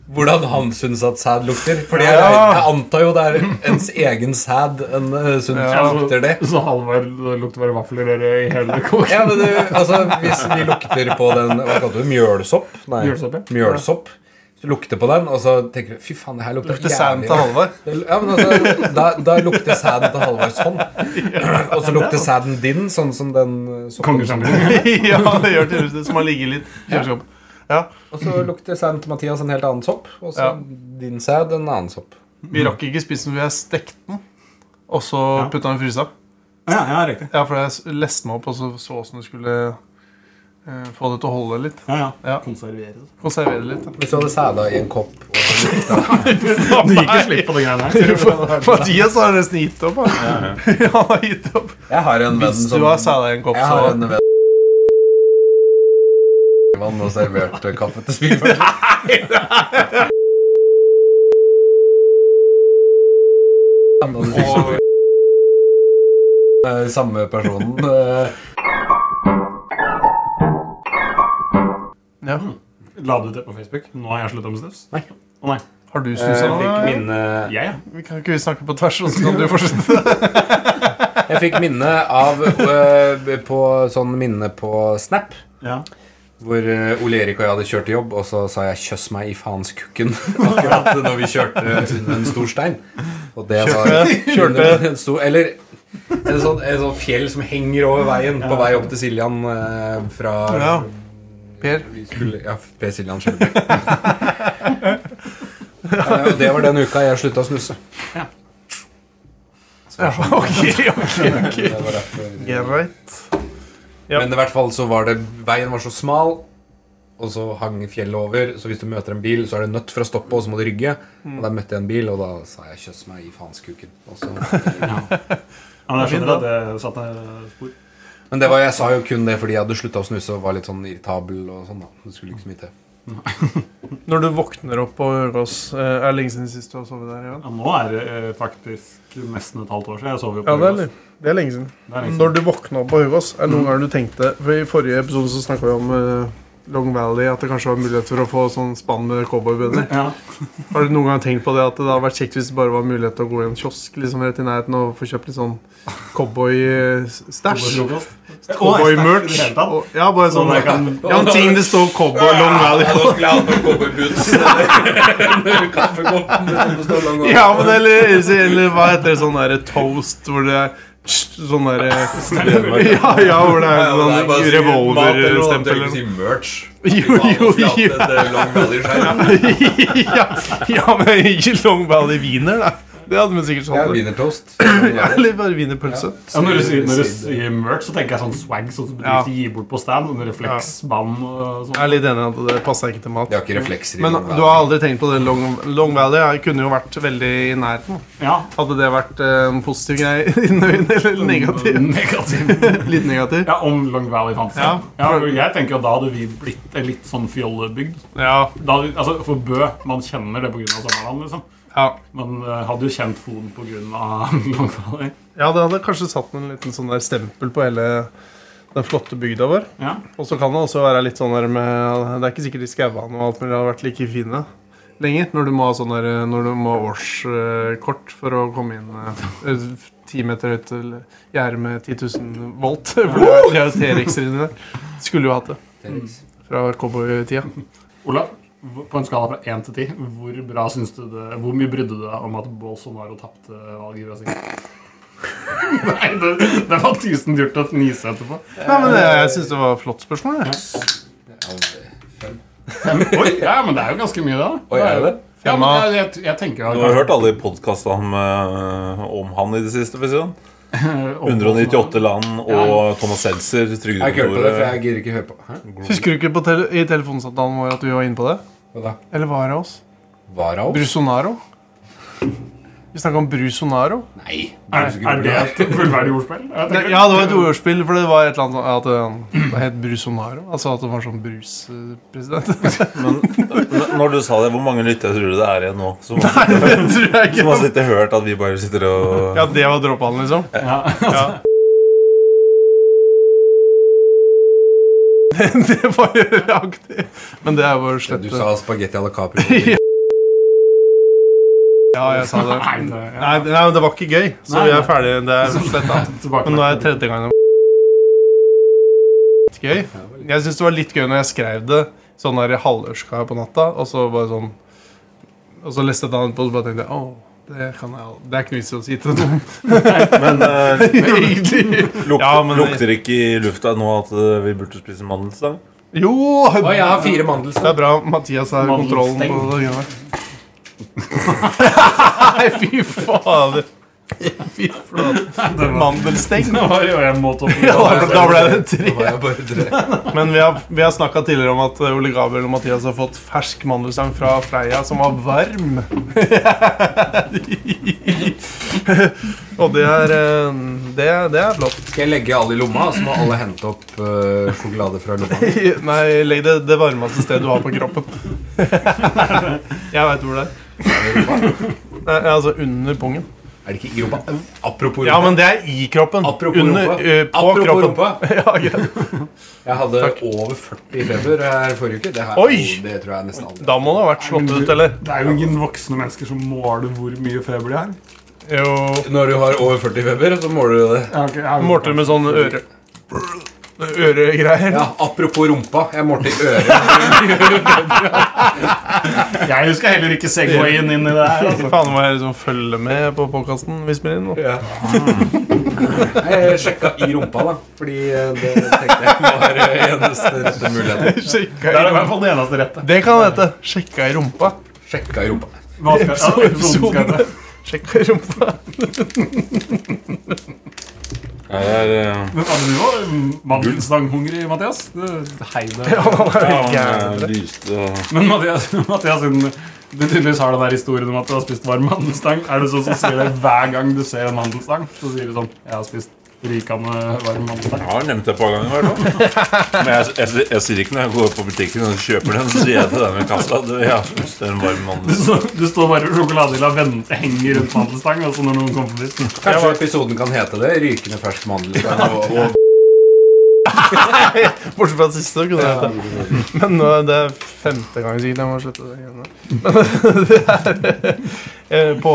B: Hvordan han syns at sæd lukter. Fordi jeg, jeg antar jo det er ens egen sæd en eh, syns lukter det.
F: Så Halvard lukter bare vaffelrøre i hele kåken.
B: Ja, men det, altså, Hvis vi lukter på den Hva kalte du det? Mjølsopp? Nei,
F: Mjølsopp, ja.
B: mjølsopp. Så lukter på den, og så tenker du Fy faen, det her lukter,
A: Lukter sæden til
B: [laughs]
A: Halvard.
B: Det- Ja, men altså, da, da lukter sæden til Halvard
A: [laughs]
B: sånn. Og så lukter sæden din sånn som den soppen. [laughs]
F: Kongesjampinjong.
A: ja, det gjør til huset som har ligget litt i kjøleskapet.
B: Og så lukter sæden til Mathias en helt annen sopp, og så
A: Ja.
B: din sæd en annen sopp.
A: Vi rakk ikke spise den, for jeg stekte den. Og så
F: Ja.
A: putta den i frysa.
F: Ja, ja, riktig.
A: Ja, for jeg s- leste meg opp og så så åssen du skulle eh, få det til å holde litt.
F: Ja, ja.
A: Ja.
F: Konservere det.
A: Konservere det
B: [laughs]
A: litt.
B: Hvis du hadde sæda i en kopp og så lukta
F: Du gikk jo slipp på de greiene
B: [laughs]
F: her.
A: [laughs] Mathias har nesten gitt opp. Han, [laughs] han har gitt opp.
B: Jeg har en venn
A: Hvis du
B: som
A: har sæda i en kopp,
B: sånn- Jeg har
A: så
B: en venn Vann og serverte kaffe
A: [laughs]
B: til Svivert. Og Eh, samme personen. eh,
A: ja.
F: La du det på Facebook? Nå har jeg slutta med snus. Nei. Å nei.
A: Har du snusa nå?
B: Eh, fikk
A: eller?
B: minne,
F: Jeg, ja.
A: Vi kan ikke vi snakke på tvers, og så kan du
B: [laughs]
A: fortsette?
B: jeg fikk minne av eh, på, Sånn minne på Snap.
F: ja.
B: Hvor eh, Ole Erik og jeg hadde kjørt til jobb, og så sa jeg 'kjøss meg i faens kukken' [laughs] akkurat når vi kjørte under en stor stein. Og det var under en stor Eller en sånn, en sånn fjell som henger over veien på vei opp til Siljan eh, fra
A: Ja. Per.
B: Vi skulle, ja, Per Siljan Skjelbæk. [laughs] Eh, og det var den uka jeg slutta å snuse.
A: Ja, [laughs] ok, ok, [laughs] ok.
B: Det var derfor.
A: Greit. Ja.
B: Men i hvert fall så var det Veien var så smal Og så hang fjellet over Så hvis du møter en bil så er det nødt for å stoppe Og så må du rygge Og da møtte jeg en bil og da sa jeg kjøss meg i faenskuken Og så- [laughs]
F: Ja, men
A: Fint,
F: jeg skjønner at det satte spor.
B: Men det var, jeg sa jo kun det fordi jeg hadde sluttet å snuse Og var litt sånn irritabel og sånn da Det skulle ikke så mye til
A: Når du våkner opp og hører oss eh, Er det lenge siden sist du har sovet der igjen?
F: Ja, nå er det eh, faktisk nesten et halvt år siden. Jeg sov jo på
A: Ja, det er,
F: Røros.
A: litt- det er lenge siden.
F: Det er lenge
A: Når
F: siden.
A: du våkna opp på Høgås, er det noen ganger du tenkte For I forrige episode så snakka vi om eh, Long Valley, at det kanskje var mulighet for å få sånn spann med
F: [laughs]
A: cowboybønner.
F: Ja.
A: Har du noen gang tenkt på det at det hadde vært kjekt hvis det bare var mulighet til å gå i en kiosk liksom rett i nærheten og få kjøpt litt sånn cowboy-stæsj?
F: Cowboyfrokost.
A: Cowboy-merch?
F: Å, jeg snakker i det hele tatt.
A: og- Ja, bare
F: Så
A: sånn
F: jeg kan
A: Ja, en ting det står cowboy Long Valley på. Ja, men eller, eller hva heter det sånn derre toast hvor det er Sånn derre Ja, ja, hvor det er sånn revolverstempel eller noe. Jo, jo, jo. ja, [laughs] ja, men ikke Long Valley wiener, da. Det hadde vi sikkert [laughs]
B: Jeg er
A: sånn.
B: [clears throat] wienertoast
A: Eller bare wienerpølse.
F: Ja, når du sier, når du sier merch, så tenker jeg sånn swag sånn som
A: Ja.
F: bedrifter gir bort på stand. Sånn refleksband og
A: Jeg er
F: sånn.
A: litt enig i at det passa ikke til mat.
B: De har ikke reflekser i
A: Men
B: noen
A: du har aldri tenkt på det Long, Long Valley? Jeg kunne jo vært veldig i nærheten.
F: Ja.
A: Hadde det vært eh, en positiv greie [laughs] i øynene, eller negativ?
F: Negativ.
A: Litt negativ?
F: Ja, om Long Valley fantes.
A: Ja.
F: Ja. for jeg tenker jo da hadde vi blitt en litt sånn fjollebygd.
A: Ja.
F: Da, hadde vi- altså, for Bø, man kjenner det pga. sommerland, liksom.
A: ja.
F: Man eh, hadde jo kjent Fon pga. [laughs] Long Valley.
A: Ja, det hadde kanskje satt en liten sånn der stempel på hele den flotte bygda vår.
F: Ja.
A: Og så kan det også være litt sånn der med Det er ikke sikkert de skauene og alt mulig hadde vært like fine lenger. Når du må ha sånn der Når du må ha årskort for å komme inn eh, eh, ti meter høyt til gjerde med 10 000 volt. [laughs] For det er- det er jo T-rexer inni der. Skulle jo hatt det fra cowboytida.
F: Olav, hv- på en skala fra 1 til 10, hvor bra synes du det Hvor mye brydde du deg om at Bolsonaro tapte valget i Brasil? [laughs] Nei, det, det var tusen dyrt å fnise etterpå.
A: Nei, men det, jeg syns det var et flott spørsmål. Jeg.
F: Fem, oi, ja, men det er jo ganske mye, da.
D: Oi, er det?
F: Ja, men jeg, jeg, jeg tenker jo
D: [laughs] Du har hørt alle podkastene om, eh, om han i det siste? for å si det sånn. 198 land og Thomas Seltzer,
B: Jeg ikke hørt på det, for
D: Trygdekontoret
B: jeg gidder ikke høre på. Hæ?
A: Husker du ikke på tele i telefonsamtalen vår at vi var inne på det?
B: Hva da?
A: Eller var det oss?
B: Vara opp?
A: Brusonaro? Vi snakka om Brusonaro.
B: Nei.
F: Er, er det et fullverdig ordspill? Jeg
A: Nei,
F: tenker-
A: Ja, det var et ordspill, for det var et eller annet sånn- at eh, det het Brusonaro. Altså at det var sånn bruspresident. [laughs]
D: N- Når du sa det, hvor mange lyttere tror du det er igjen nå?
A: [laughs]
D: Som,
A: det tror jeg
D: [laughs] som altså har
A: ikke.
D: sittet og hørt at vi bare sitter og
A: Ja, det var dråpehandel, liksom?
F: Ja.
A: Ja. Det, det var jo aktig. Men det er jo bare å
B: Du
A: slette.
B: sa spagetti à la Capri.
A: [laughs] Ja, jeg sa det.
F: [laughs] Nei, det, ja.
A: Nei, det- nei, det var ikke gøy, så
F: Nei,
A: vi er
F: nei.
A: ferdig. Det er sletta.
F: Tilbake
A: Men nå er det tredje gangen. Litt Gøy. Jeg syns det var litt gøy når jeg skrev det sånn der i halvørska på natta, og så bare sånn Og så leste jeg det annet på, og så bare tenkte jeg åh, det kan jeg al- Det er ikke noe vits i å si til noen. [laughs]
D: Men [laughs] eh,
A: Egentlig.
D: lukter,
A: Ja, men-
D: lukter ikke i lufta nå at eh, vi burde spise mandelstang?
A: Jo!
B: Å, jeg
A: Det
B: har fire mandelstang.
A: er bra Mathias har kontrollen på det. greiene der. [laughs] Nei, fy fader. [laughs] Fy flate. Mandelsteng.
F: Det var jo en måte å
A: Ja, da ble- da ble det tre.
B: Da var jeg bare tre.
A: Men vi har, vi har snakka tidligere om at eh, Ole Gabriel og Mathias har fått fersk mandelstang fra Freia som var varm. [laughs] og det er eh, Det, det er flott.
B: Skal jeg legge alle i lomma, så må alle hente opp eh, sjokolade fra lomma?
A: Nei, legg det det varmeste stedet du har på kroppen. [laughs] Jeg veit hvor det er. Nei, altså under pungen.
B: Er det ikke i rumpa? Apropos rumpa.
A: Ja, men det er i kroppen.
B: Apropos
A: under,
B: rumpa.
A: eh, på
B: Apropos
A: kroppen.
B: rumpa.
A: [laughs] Ja, greit.
B: Jeg hadde
A: Takk.
B: over 40 i feber her forrige uke. Det, her,
A: Oi!
B: det tror jeg nesten aldri.
A: Da må det ha vært slått ut, eller?
F: Det er jo ingen voksne mennesker som måler hvor mye feber de har.
A: Jo.
B: Når du har over 40 i feber, så måler du det.
F: Ja, ok, jeg-
A: Målte med sånn øre... Øregreier.
B: Ja, Apropos rumpa. Jeg målte i øret.
F: Jeg skal heller ikke segwayen inn i det her. Altså.
A: Faen, må jeg liksom følge med på podkasten vi spiller inn nå?
B: Jeg sjekka i rumpa, da. Fordi eh, det tenkte jeg var eh, eneste rette muligheten.
A: Sjekka i
F: Det er i hvert
A: rumpa.
F: fall det eneste rette.
A: Det kan det hete. Sjekka i rumpa.
B: Sjekka i rumpa.
F: Hva skal, [laughs] ja, episoden skal
A: Episode.
F: hete.
A: Sjekka i rumpa.
D: Ja, det er, eh,
A: [laughs]
F: Men hadde du òg mandelstanghungrig, Mathias? Det heiv deg.
A: Ja, han er jo
D: ja,
A: gæren.
D: han eh, lyste og
F: Men Mathias, [laughs] Mathias siden du tydeligvis har den der historien om at du har spist varm mandelstang, er det sånn som sier det hver gang du ser en mandelstang? Så sier du sånn Jeg har spist rikende varm mandelstang.
D: Jeg har nevnt det et par ganger. i hvert fall.
A: [laughs]
D: Men jeg, jeg, jeg, sier ikke når jeg går på butikken og kjøper den, så sier jeg til den ved kassa du, jeg har lyst til en varm mandelstang.
F: Så du står bare ved sjokoladehylla og venter, henger rundt mandelstang, og så når noen kommer forbi
B: Kanskje episoden kan hete det? Rykende fersk mandelstang og, og
A: [laughs] Bortsett fra siste, kunne det hete. Men nå er det femte gang sikkert jeg må slutte det greiene der. [laughs] Men det er eh, På,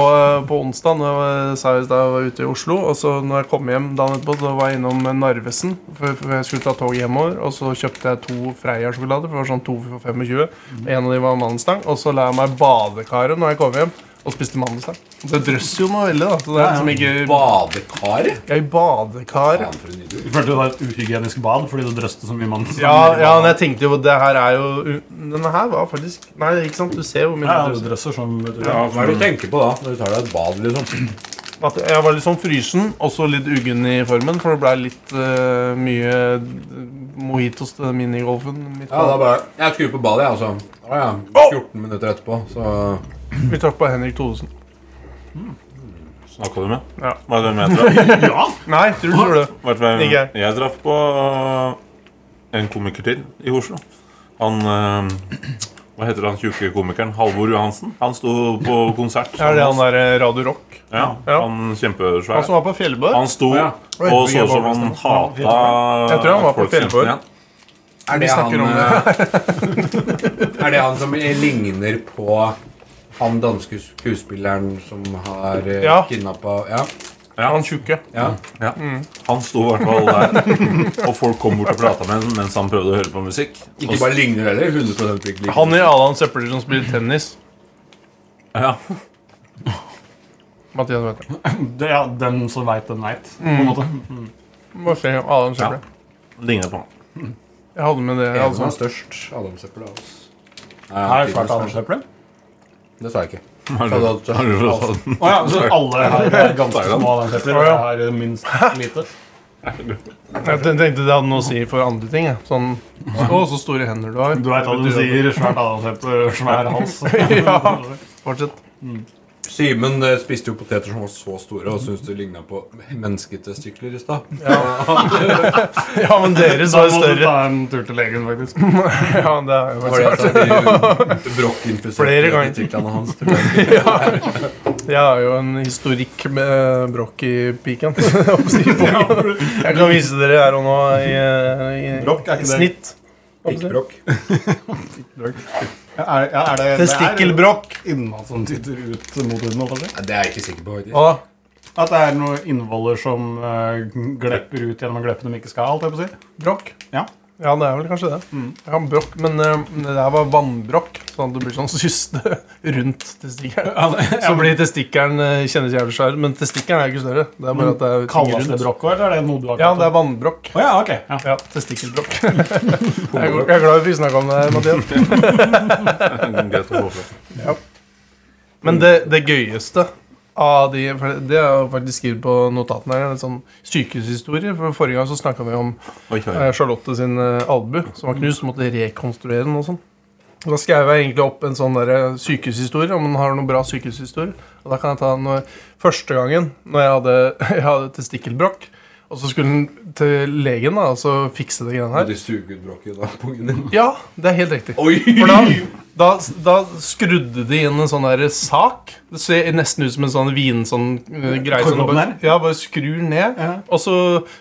A: på onsdag når jeg sa jeg i stad jeg var ute i Oslo, og så når jeg kom hjem dagen etterpå, så var jeg innom Narvesen. For, for jeg skulle ta toget hjemover, og så kjøpte jeg to Freia-sjokolader. For det var sånn to for 25. En av de var mandelstang. Og så la jeg meg i badekaret når jeg kom hjem, og spiste mandelstang. Det drøsser jo noe veldig, da. Så det er liksom ikke
B: badekar.
A: Jeg er i badekar.
B: Faen, for en idiot.
F: Du følte det var et uhygienisk bad fordi du drøste så mye mandelstang?
A: Ja, ja, men jeg tenkte jo det her er jo Denne her var faktisk Nei, ikke sant? Du ser hvor mye
F: Ja,
A: ja,
F: altså. du drøsser som
B: Ja, Hva er det du tenker på da når du tar deg et bad? liksom?
A: At jeg var litt sånn frysen, også litt uggen i formen, for det ble litt eh, mye mojitos til minigolfen. Vi
B: Ja, da
A: traff
B: bare, Jeg skrur på badet, jeg, altså. Å ja. 14 minutter etterpå, så
A: vi traff på Henrik Thodesen.
D: Snakka du med?
A: Ja.
D: Hva er det med jeg traff?
F: Ja!
A: Nei, tror du tror det?
D: Vet du hvem
A: [laughs] Ikke.
D: Jeg traff på øh, en komiker til i Oslo. Han øh, Hva heter han tjukke komikeren? Halvor Johansen? Han sto på konsert.
A: Ja, det er han der eh, Radio Rock.
D: Ja,
A: Ja.
D: han
A: Han
D: kjempesvær.
A: som var på Fjellborg.
D: Han sto
F: Ja.
D: og så ut som han hata
A: Jeg tror han var på
D: folk kjente
A: Fjellborg.
D: igjen.
B: Er det,
A: Vi
B: han,
A: snakker om
B: eh, [laughs] er det han som ligner på han danske skuespilleren som har eh,
A: Ja.
B: kidnappa ja,
A: Han Mm. tjukke.
B: ja.
D: Ja. Han sto i hvert fall der, [laughs] og folk kom bort og prata med ham mens han prøvde å høre på musikk.
B: Ikke bare ligner heller. 100 ikke ligner.
A: Han i alle hans søppeldyr som spiller tennis.
D: Ja.
A: Mathias vet det.
F: Det, ja den som veit, den veit. På en måte.
A: Må se om alle hans
D: Ja.
A: søppeldyr.
D: Ligner på han.
A: Jeg hadde med det. altså. Jeg
B: En
A: hadde
B: som er
A: med.
B: størst adamsøppel av oss.
F: Har klart alle slipper det?
B: Det sa jeg ikke. Altså,
D: Har du, har du
B: sånn.
D: forstått den?
F: Å ja, så alle her er ganske
D: Thailand.
F: små landslepper? Og jeg har minst lite?
A: Jeg tenkte det hadde noe å si for andre ting. jeg. Sånn Å, så store hender du har.
F: Du veit hva du sier. Svært adamsepte, svær [laughs] hals.
A: [laughs] Ja. Fortsett.
B: Simen eh, spiste jo poteter som var så store, og syntes det ligna på mennesketestikler i stad.
A: Ja, men deres
F: Så
A: var jo
F: må du
A: større.
F: ta en tur til legen, faktisk. [laughs]
A: Ja, det er jo
B: Var det altså
A: [laughs]
B: de
A: Flere
B: brokkinfiserte
A: ganger.
B: testiklene hans? Tror jeg.
A: Jeg har jo en historikk med brokk i piken. [laughs] Jeg kan vise dere her og nå i, eh, i,
F: Brokk er ikke
A: i
F: det.
A: snitt.
B: Pikkbrokk.
F: Ja, er, ja, er det,
A: Testikkelbrokk.
F: det er innhold som tyter ut mot huden? holdt jeg på å si.
B: Nei, Det er jeg ikke sikker på. faktisk.
A: Å,
F: At det er noen innvoller som eh, glepper ut gjennom gleppene de ikke skal? holdt jeg på å si.
A: brokk.
F: Ja.
A: Ja, det er vel kanskje det.
F: Mm.
A: Ja, brokk, Men eh, det der var vannbrokk, sånn at det blir sånn syste [laughs] rundt testikkelen. Så blir testikkelen eh, kjennes jævlig svær ut, men testikkelen er jo ikke større. Det er bare at det er ting
F: Kalles det
A: rundt.
F: brokk også, eller er det noe du har
A: Ja,
F: kalt
A: det er vannbrokk.
F: Å ja, ok. Ja.
A: Ja, testikkelbrokk. jeg, er jeg er glad vi fikk snakka om det, her, Mathias.
D: [laughs] Greit å få fra.
A: Men det, det gøyeste av de for Det har jeg faktisk skrevet på notatene her. En sånn sykehushistorie. For Forrige gang så snakka vi om
D: Oi, [laughs] oi.
A: eh, Charlotte sin eh, albu som var knust. Måtte rekonstruere den og sånn. Da skrev jeg egentlig opp en sånn der sykehushistorie. Om hun har noen bra sykehushistorie. Og da kan jeg ta når, første gangen når jeg hadde, [laughs] jeg hadde testikkelbrokk. Og så skulle hun til legen da, og så fikse det greiene
B: Og
A: her.
B: de suger ut brokket da, pungen din.
A: [laughs] Ja, det er helt riktig.
B: Oi!
A: For da, da, da skrudde de inn en sånn der sak. Det ser nesten ut som en sånn vin sånn, eh, greie. Som du
F: Korkåpen
A: bare,
F: her?
A: ja, bare skrur ned,
F: Ja.
A: og, så,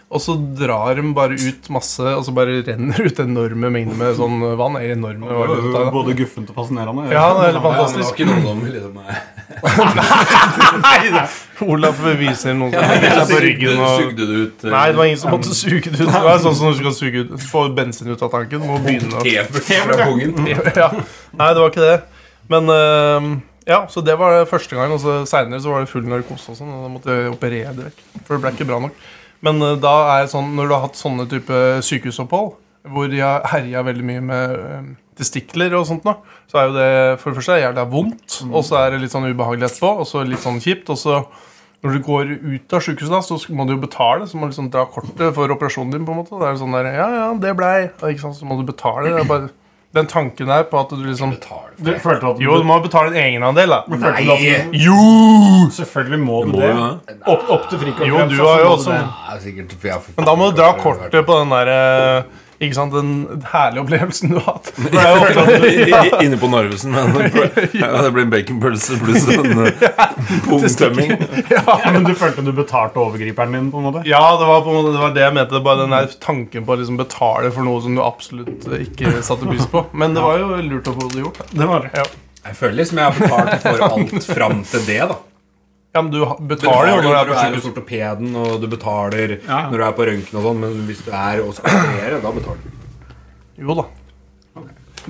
A: og så drar de bare ut masse, og så bare renner ut enorme mengder med sånn vann. Eller enorme
F: Det
A: hva
F: var
A: er det,
F: jo
A: da?
F: Både guffent og fascinerende.
A: Ja, det er helt
B: Ja, men det var
A: fantastisk.
B: ikke noen som liksom eh,
A: Olaf beviser noen som legger seg på
B: sugde,
A: ryggen og
B: sugde det ut. eh,
A: Nei, det var ingen som måtte suge det ut. Det var sånn som du skal suge ut Få bensin ut av tanken. Må begynne å
B: Tever fra pungen.
A: [laughs] ja. Nei, det var ikke det. Men eh, ja, så det var det første gang. Og så seinere så var det full narkose og sånn. Og da måtte jeg operere det vekk. For det ble ikke bra nok. Men eh, da er det sånn, når du har hatt sånne type sykehusopphold, hvor de har herja veldig mye med eh, testikler og sånt nå, så er jo det for det første jævla vondt, og så er det litt sånn ubehagelig etterpå, og så litt sånn kjipt, og så når du går ut av sykehuset, da, så sk- må du jo betale. Så må du liksom dra kortet for operasjonen din. på en måte. Det er jo sånn der, ja, ja, det blei. og Ikke sant? Så må du betale. Det er bare den tanken der på at du liksom
F: Du følte at
A: Jo, du må betale en egenandel, da.
F: du følte at du,
A: Jo!
F: Selvfølgelig må du
D: Må
F: det.
D: jo det.
F: Opp, opp til frikort.
A: Jo, du har jo også
B: Nei, sikkert, for jeg har-
A: Men da må du dra kortet på den derre Ikke sant, den herlige opplevelsen du har [laughs] hatt. For det er jo ofte at du-
D: I- i- Inne på Narvesen. Men [laughs] ja, det blir en baconpølse pluss
A: [laughs]
D: en eh, pungtømming.
F: Ja, men du følte du betalte overgriperen din, på en måte?
A: Ja, det var på en måte det, var det jeg mente. Bare den der tanken på å liksom betale for noe som du absolutt ikke satte pris på. Men det var jo lurt å få det gjort. da.
F: Det var det.
A: Ja.
B: Jeg føler liksom jeg har betalt for alt fram til det, da.
A: Ja, men du ha- betaler jo når du er på
B: er hos
A: sykehus.
B: ortopeden, og du betaler
F: Ja.
B: når du er på røntgen og sånn, men hvis du er og skal operere, da betaler du.
A: Jo da.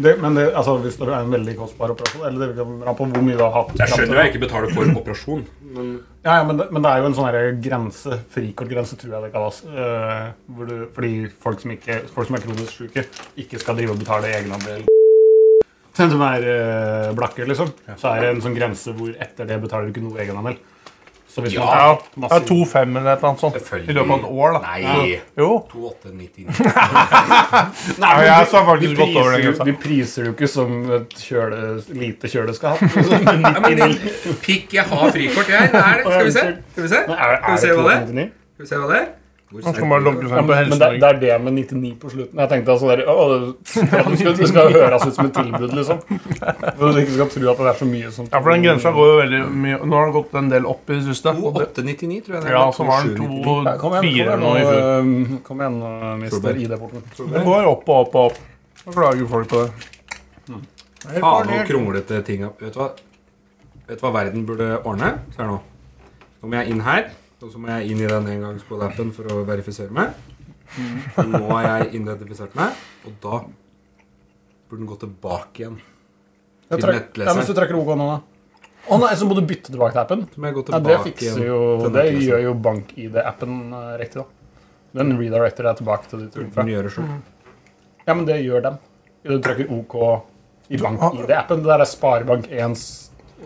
F: det men det, altså, hvis det er en veldig kostbar operasjon Eller det vil ikke ramme på hvor mye du har hatt.
B: Jeg skjønner jo jeg ikke betaler for operasjon.
F: Ja, ja, men, det, men det er jo en sånn her grense, frikortgrense, tror jeg det kalles. eh, hvor du, fordi folk som, ikke, folk som er kronisk syke, ikke skal drive og betale egenandel. Den som er eh, blakke, liksom. Så er det en sånn grense hvor etter det betaler du ikke noe egenandel. Så hvis man
A: Ja,
F: tar
A: det er 2-5 eller et eller annet sånt i
B: Selvfølgelig.
A: løpet av et år. da
B: Nei.
A: Jo.
B: 2899.
F: Nei,
A: Ja, jeg sa faktisk
F: de
A: godt over den
F: priser jo-
A: grensa.
F: De priser jo ikke som et kjøle, lite kjøleskap.
B: [laughs]
F: Sånn
B: Ja, men det- Pikk, jeg har frikort, jeg. Det er det. Skal vi se? Skal vi se,
F: Men er,
B: Skal vi
F: er
B: se
F: det
B: hva det er?
F: 299?
B: Skal vi se hva det er? Hvor
A: Man skal bare logge seg inn på
F: Ja, men men det,
A: Helsenorge.
F: det er det med 99 på slutten. Jeg tenkte altså, der, å, det, skal, det skal høres ut som et tilbud, liksom. For du ikke skal tro at det er så mye som
A: Ja, for den grensa går jo veldig mye Nå har den gått en del opp i det siste. og det-
B: 2899, tror jeg det er.
A: Ja, så var den
F: Ja, kom igjen,
A: 2-4
F: kom
A: eller
F: igjen,
A: noe i fjor.
F: og, øh, kom igjen og mister ID-porten.
A: Det går opp og opp og opp. Da klager folk på det.
B: Faen og kronglete ting opp. Vet du hva, Vet du hva verden burde ordne? Se her nå. Nå må jeg inn her, og så må jeg inn i den engangskode-appen for å verifisere meg.
F: Mm.
B: Og Nå har jeg identifisert meg, og da burde den gå tilbake igjen.
F: Ja,
B: Til
F: trakk- ja, men Hvis du
B: nettleseren.
F: trykker OK nå, da. Å nei, så må du bytte tilbake til appen.
B: Så må jeg gå
F: Ja, det
B: tilbake
F: fikser
B: igjen
F: jo
B: til
F: Det
B: nettleseren.
F: gjør jo bank-ID-appen eh, riktig, da. Den
A: Mm.
F: redirecter deg tilbake til ditt
B: Burde den gjøre selv.
F: Ja, men det gjør den. Du trykker OK i BankID-appen. Det der er Sparebank1s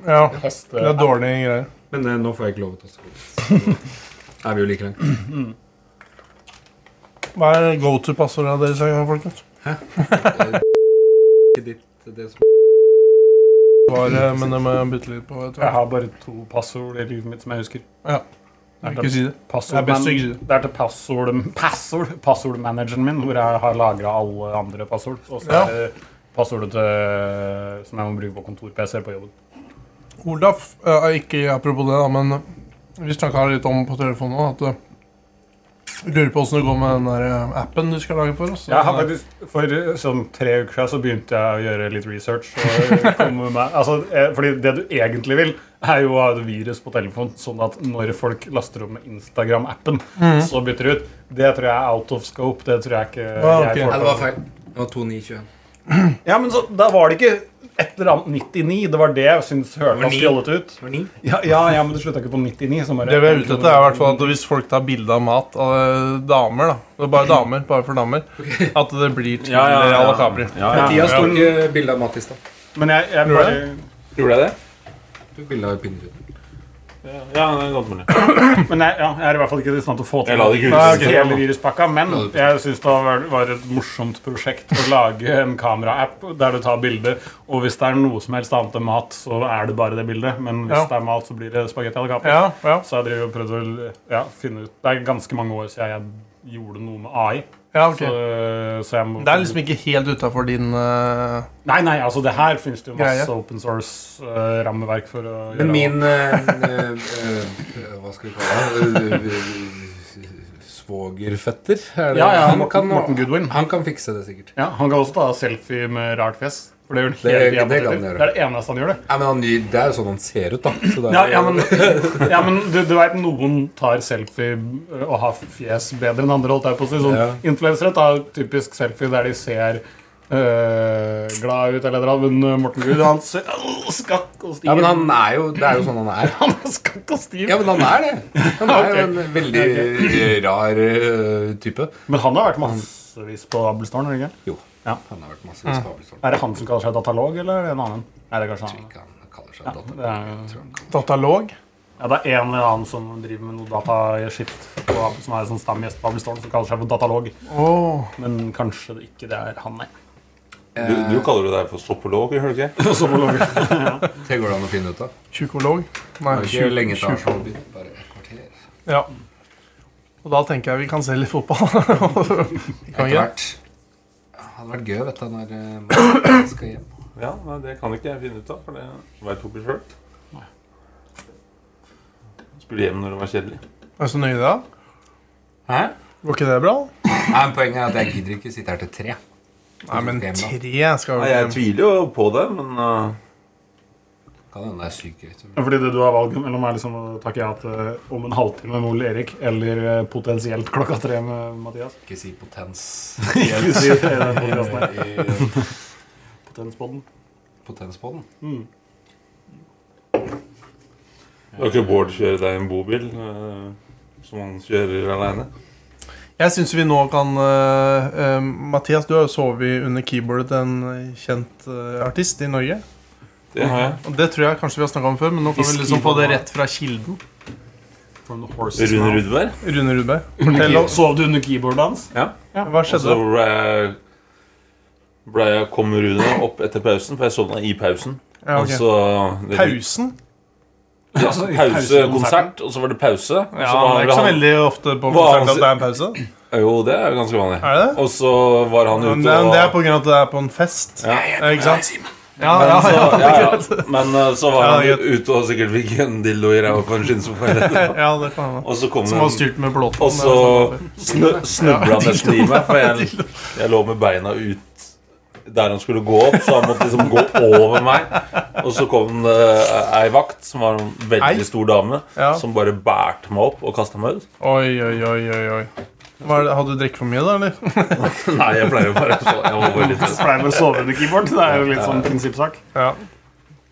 A: Ja,
F: heste...
A: det er dårlige greier.
C: Men eh, nå får jeg ikke lov til å ta skole.
F: [laughs]
C: Da er vi jo like langt.
A: Hva er go to-passordet deres, folkens?
C: Ikke ditt, det som
A: Var, eh, men det må jeg bytte litt på. Vet du.
F: Jeg har bare to passord i livet mitt som jeg husker.
A: Jeg vil ikke si det. Det
F: Passord,
A: er best å
F: men-
A: ikke si det.
F: det er til passord, passord, passordmanageren min, hvor jeg har lagra alle andre passord. Og så
A: Ja.
F: er det passordet til, som jeg må bruke på kontor-PC på jobben.
A: Olaf, eh, ikke apropos det, da, men eh, vi snakka litt om på telefonen òg, at eh, vi lurer på åssen det går med den der eh, appen du skal lage for oss.
F: Jeg har faktisk, For eh, sånn tre uker siden så begynte jeg å gjøre litt research. [laughs] Og komme med, altså, eh, fordi det du egentlig vil, er jo å ha et virus på telefonen, sånn at når folk laster opp med Instagram-appen, så bytter det ut. Det tror jeg er out of scope. Det tror jeg ikke
A: Ah, ok.
F: jeg
A: Nei,
C: det
F: får til.
C: var feil. Det var 2921.
F: Ja, men så, Da var det ikke et eller annet 99. Det var det jeg syntes
C: var
F: hørtes
C: ni.
F: fjollete ut.
C: Det var 9.
F: Ja, ja, ja, men det slutta ikke på 99. Så bare,
A: Det vi er ute etter, er i hvert fall at hvis folk tar bilde av mat av eh, damer, da Det er bare damer, bare for damer, at det blir til
D: Ja, ja, ja.
A: Real Capri.
D: Ja, ja.
C: Mathias tok ikke eh, bilde av Mattis, da.
F: Men jeg, jeg
A: Gjorde
F: bare
C: Gjorde jeg det? Du bilde av pinnekjøttet.
D: ja, ja det er godt mulig.
F: Men jeg, ja, jeg er i hvert fall ikke i stand til å få til
D: Jeg la det ikke ut.
F: Nei, ok,
D: Nei,
F: hele viruspakka, men jeg syns det var- var et morsomt prosjekt å lage en kameraapp der du tar bilder, og hvis det er noe som helst annet enn mat, så er det bare det bildet. Men hvis
A: Ja.
F: det er mat, så blir det spagetti eller capri.
A: Ja, ja.
F: Så jeg driver og prøvde å ja, finne ut Det er ganske mange år siden jeg gjorde noe med AI.
A: ja ok.
F: Så, så jeg må
A: Det er liksom ikke helt utafor din eh,
F: Nei, nei, altså det her finnes det jo masse
A: Greie.
F: open source-rammeverk for å
C: Men
F: gjøre.
C: min eh, eh, eh, Hva skal vi kalle det? Eh, Svogerfetter? Er det?
F: Ja, ja,
C: han
F: Morten-
C: kan,
F: Morten Goodwin.
C: Han kan fikse det, sikkert.
F: Ja, Han kan også ta selfie med rart fjes. For det gjør han
C: Det-
F: hele
C: det
F: tiden på
C: kan han
F: Twitter.
C: gjøre.
F: Det er det eneste han gjør, det.
C: Nei, men han, Det er jo sånn han ser ut, da. Så det er,
F: Ja, ja, men, [laughs] ja, men du, du veit noen tar selfie ø, og har fjes bedre enn andre. holdt jeg på å si. Sånn,
C: Ja.
F: Influensere tar typisk selfie der de ser ø, glad ut, eller noe, men ø, Morten Gud han ser Å, skakk og stiv.
C: Ja, men han er jo, Det er jo sånn han er.
F: Han er skakk og stiv.
C: Ja, men han er det. Han er [laughs] jo
F: Ok.
C: en veldig eh, rar eh, type.
F: Men han har vært massevis på Abelstårn? har han ikke?
C: Jo.
F: Ja.
C: Han har vært masse skabelstårn.
F: Er det han som kaller seg datalog, eller er det en annen? Nei, det er kanskje han.
C: Ikke han kaller seg data.
F: Det er, jo-
C: Tror han kaller-
A: datalog.
F: Ja, det er en eller annen som driver med noe dataskitt, og som er en sånn stamgjest på Abelstårn, som kaller seg for datalog.
A: Åh.
F: Men kanskje det ikke det er han, nei.
D: Du, du kaller det deg for soppolog, gjør du ikke?
F: Sommolog.
C: Det går det an å finne ut av.
A: Psykolog. Nei,
C: Det er
A: tju-
C: ikke lenge til han
A: tju-
C: får bytte, bare et kvarter.
A: Ja. Og da tenker jeg vi kan se litt fotball. [laughs] Vi
C: Etter
A: kan ikke?
C: hvert. Det hadde vært gøy, vet du, når eh, man skal hjem.
D: Ja, nei, Det kan ikke jeg finne ut av, for det veit jo ikke sjøl. Spille hjem når det var kjedelig.
A: Er du så nøye i det? da?
C: Hæ?
A: Var ikke det bra?
C: Nei, men Poenget er at jeg gidder ikke sitte her til tre.
A: Nei, men
C: Skal hjem, da.
A: tre skal
D: Nei,
A: jo
D: Jeg tviler jo på det, men eh,
C: Kan hende det er sykt greit.
F: [laughs] Fordi det du har valget mellom er liksom å takke ja til eh, om en halvtime med Ole Erik, eller eh, potensielt klokka tre med Mathias.
C: Ikke si potens.
F: [laughs]
C: eh,
F: Ikke si det i den podcasten her.
C: I
F: Potenspodden.
B: [laughs]
C: potenspodden.
D: Kan ikke Bård kjøre deg i en bobil eh, som han kjører aleine?
A: Jeg syns vi nå kan eh, eh, Mathias, du har jo sovet under keyboardet til en kjent eh, artist i Norge.
D: Det har jeg.
A: Og Det tror jeg kanskje vi har snakka om før, men nå kan vi liksom få det rett fra kilden.
F: From the horse's
D: Rune
F: mouth.
D: Rudberg.
A: Rune Rudberg.
F: Fortell om- Sov du under keyboardet hans?
D: Ja.
A: Hva
D: Og så
A: skjedde?
D: ble jeg, ble jeg kom Rune opp etter pausen, for jeg sovna i pausen.
A: Ja, ok.
D: Og så det-
A: Pausen?
D: Ja,
F: Altså, i
D: pause,
F: pausekonserten.
D: konsert, og så var det pause.
A: Ja,
D: så
A: Det
D: var
A: er ikke så
D: han,
A: veldig ofte på
D: Hva-
A: konsert at det er en pause.
D: jo, det er jo ganske vanlig.
A: Er det det?
D: Og så var han
A: Men
D: ute
A: det-
D: og
A: det er på grunn av at det er på en fest.
D: Ja.
A: Eh, Ikke sant? Ja,
D: Men,
A: ja,
D: så,
A: Ah, ja.
D: ja, ja. men eh, så var
A: Ja,
D: han
A: greit.
D: ute og sikkert fikk en dildo i ræva på en skinnsofa. eller noe.
A: [laughs] ja det kan hende.
D: Og så kom
A: Som har
D: den,
A: styrt med altså. sånn- blåten.
D: og så snu, snubla han nesten i meg,
A: [laughs]
D: for jeg, jeg lå med beina ut der han skulle gå opp, så han måtte liksom gå over meg. Og så kom det eh, ei vakt, som var en
A: Ei?
D: veldig stor dame,
A: Ja.
D: som bare bærte meg opp og kasta
A: [laughs]
D: meg ut.
A: Oi, oi, oi, oi. oi. Hva er det- Hadde du drukket for mye, da? eller?
D: Nei, jeg pleier jo bare å sove. Jeg var bare litt
F: Så [laughs] pleier jeg bare å sove under keyboard. Det er jo litt sånn prinsippsak.
A: Ja.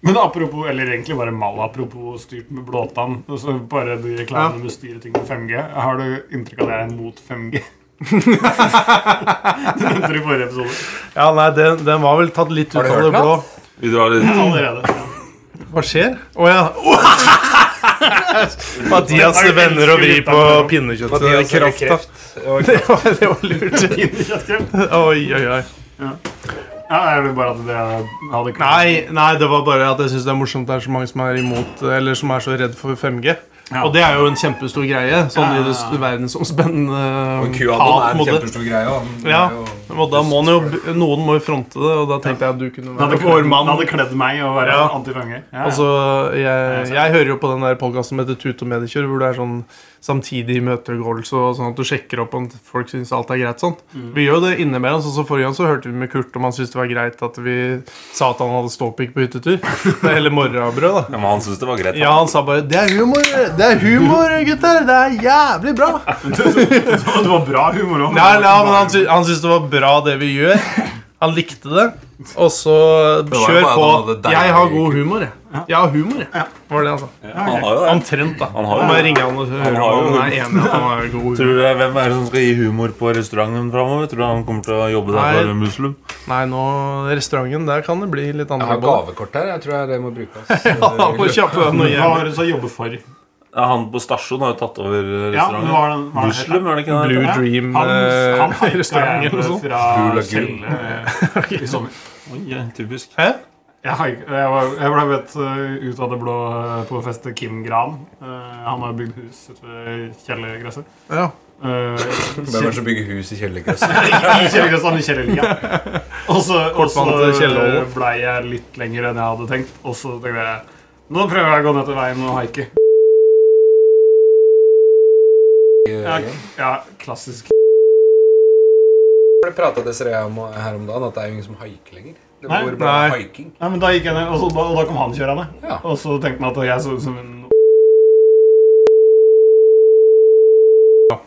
F: Men apropos, eller egentlig bare mal apropos styrt med [laughs] blåtann. og Så bare de reklamene med styre ting med 5G. Har du inntrykk av at jeg er mot 5G? Det nevnte du i forrige episode.
A: Ja, nei, den, den var vel tatt litt ut
B: Har du
A: av
B: hørt
A: det blå.
D: Vi drar litt
F: Allerede.
A: Hva skjer? Å ja. Mathias vender og vrir på pinnekjøttet.
C: Mathias
A: Altså, Det var-
C: Krafthaft.
A: [laughs] Det var, det var
F: [laughs]
A: lurt. Oi, oi, oi.
F: Ja, jeg vil bare at det hadde
A: Nei, nei, det var bare at jeg syns det er morsomt det er så mange som er imot Eller som er så redd for 5G.
F: Ja.
A: Og det er jo en kjempestor greie. Sånn i det s- verdensomspennende eh, hat mot det.
C: greie. da, men det er
A: Ja.
C: jo-
A: Og da må han jo, noen må jo fronte det, og da tenkte jeg at du kunne
F: Det hadde
A: være
F: kledd,
A: vår
F: det
A: mann.
F: hadde kledd meg å være
A: Ja.
F: antifange. Ja, ja.
A: Altså, jeg,
F: sant.
A: jeg hører jo på den der podkasten som heter Tut og Medikjør, hvor det er sånn samtidig møtegåelse og sånn at du sjekker opp om folk syns alt er greit sånn.
F: Mm.
A: Vi gjør jo det innimellom. Sånn som forrige gang så hørte vi med Kurt om han syntes det var greit at vi sa at han hadde ståpikk på hyttetur. Eller morrabrød, da.
D: Ja, men han syns det var greit.
A: Ja, han sa bare 'Det er humor, det er humor, gutter! Det er jævlig bra!'
F: det var bra humor òg.
A: Nei, nei, men han, sy han syntes det var bra, det vi gjør. Han likte det. Og så
C: var jo
A: kjør
C: bare
A: på.
C: han hadde deilig
A: Jeg har god humor, jeg. Jeg har humor, jeg. Var det han sa.
D: Han har jo det.
A: Omtrent, da.
D: Han har
A: Nå
D: jo
A: må jeg
D: det.
A: ringe han og høre
D: har
A: om
D: jo-
A: han er enig i at han har god
D: Tror
A: humor.
D: du det er- Hvem er det som skal gi humor på restauranten framover? Tror du han kommer til å jobbe der
A: Nei.
D: for en muslim?
A: Nei, nå, restauranten, der kan det bli litt
B: Jeg har
A: annerledes.
B: gavekort her. Jeg tror jeg det må brukes.
A: [laughs] Ja, må kjappe deg noe
F: Hva
A: jævlig.
F: var det du sa jobbe for?
D: Ja, han på stasjon har jo tatt over
F: Ja,
D: restauranten.
F: men hva var det, hva var det
D: Muslim, er det ikke det?
A: Blue
F: Ja,
A: Dream
F: Han, han [laughs]
A: eh,
F: hypet
A: restaurant eller noe
F: jeg
A: sånt.
F: fra
B: Gul og gul.
F: Kjelle
A: [laughs]
F: eh, i sommer.
D: Oi, ja, typisk.
A: Hæ?
F: Jeg, hypet- jeg, var, jeg ble bedt eh, ut av det blå eh, på fest til Kim Gran. Eh, han har bygd hus ute ved kjellergresset.
A: Ja.
F: Eh,
B: Hvem er det som bygger hus i
A: [laughs]
B: kjellergresset?
F: I kjellergresset han sånn i kjellerliga. Og så, og så
A: Kortbane til Kjellerholm.
F: ble jeg litt lenger enn jeg hadde tenkt. Og så tenkte jeg nå prøver jeg å gå ned til veien og haike. Ja, ja, klassisk.
B: Det prata Desiree om her om dagen, at det er jo ingen som haiker lenger. Det
F: Nei.
B: går bare
A: Nei.
B: haiking.
F: Nei, men da gikk jeg ned, og, så, da, og da kom han kjørende.
B: Ja.
F: Og så tenkte han at jeg så ut som en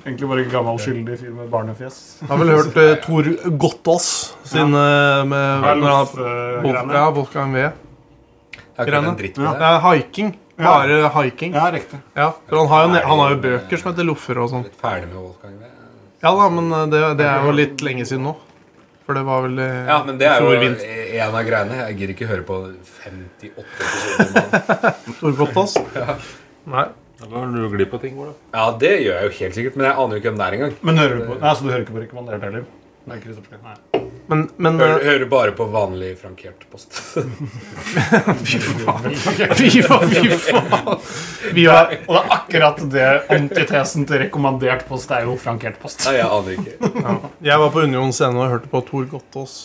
F: Egentlig bare en gammel skyldig fyr med barnefjes.
A: Jeg har vel hørt eh, Tor Gottaas sin eh, med, når han, Wolf-
F: eh, Greiene.
A: Ja, Wolfgang V.
B: Det er ikke
A: Greiene.
B: en dritt
F: Ja.
B: med
A: Det
B: det.
A: er haiking. Bare haiking.
F: Ja, riktig.
A: Ja, for han har, jo, ne- han har jo bøker som heter Loffer og sånn.
B: Litt ferdig med Wolfgang. det.
A: Ja da, men eh, det, det er jo litt lenge siden nå. For det var vel eh,
B: Ja, men det er jo
A: Stor vind.
B: en av greiene. Jeg gidder ikke høre på 58 episoder. om dagen.
A: Tor Gottaas. Nei.
D: Da går du glipp av ting, Ola.
B: [laughs] Ja, det gjør jeg jo helt sikkert, men jeg aner jo ikke hvem det er engang.
F: Men hører du på Nei, så du hører ikke på rekommandert heller? Nei, Kristoffer Schou, nei.
A: Men, men
B: Hører,
A: eh,
B: hører bare på vanlig frankert [laughs] post.
A: Fy faen, fy faen! Vi har
F: Og det er akkurat det antitesen til rekommandert post er jo frankert post.
B: Nei, jeg aner ikke.
A: Jeg var på Union scene og hørte på Tor Gottaas.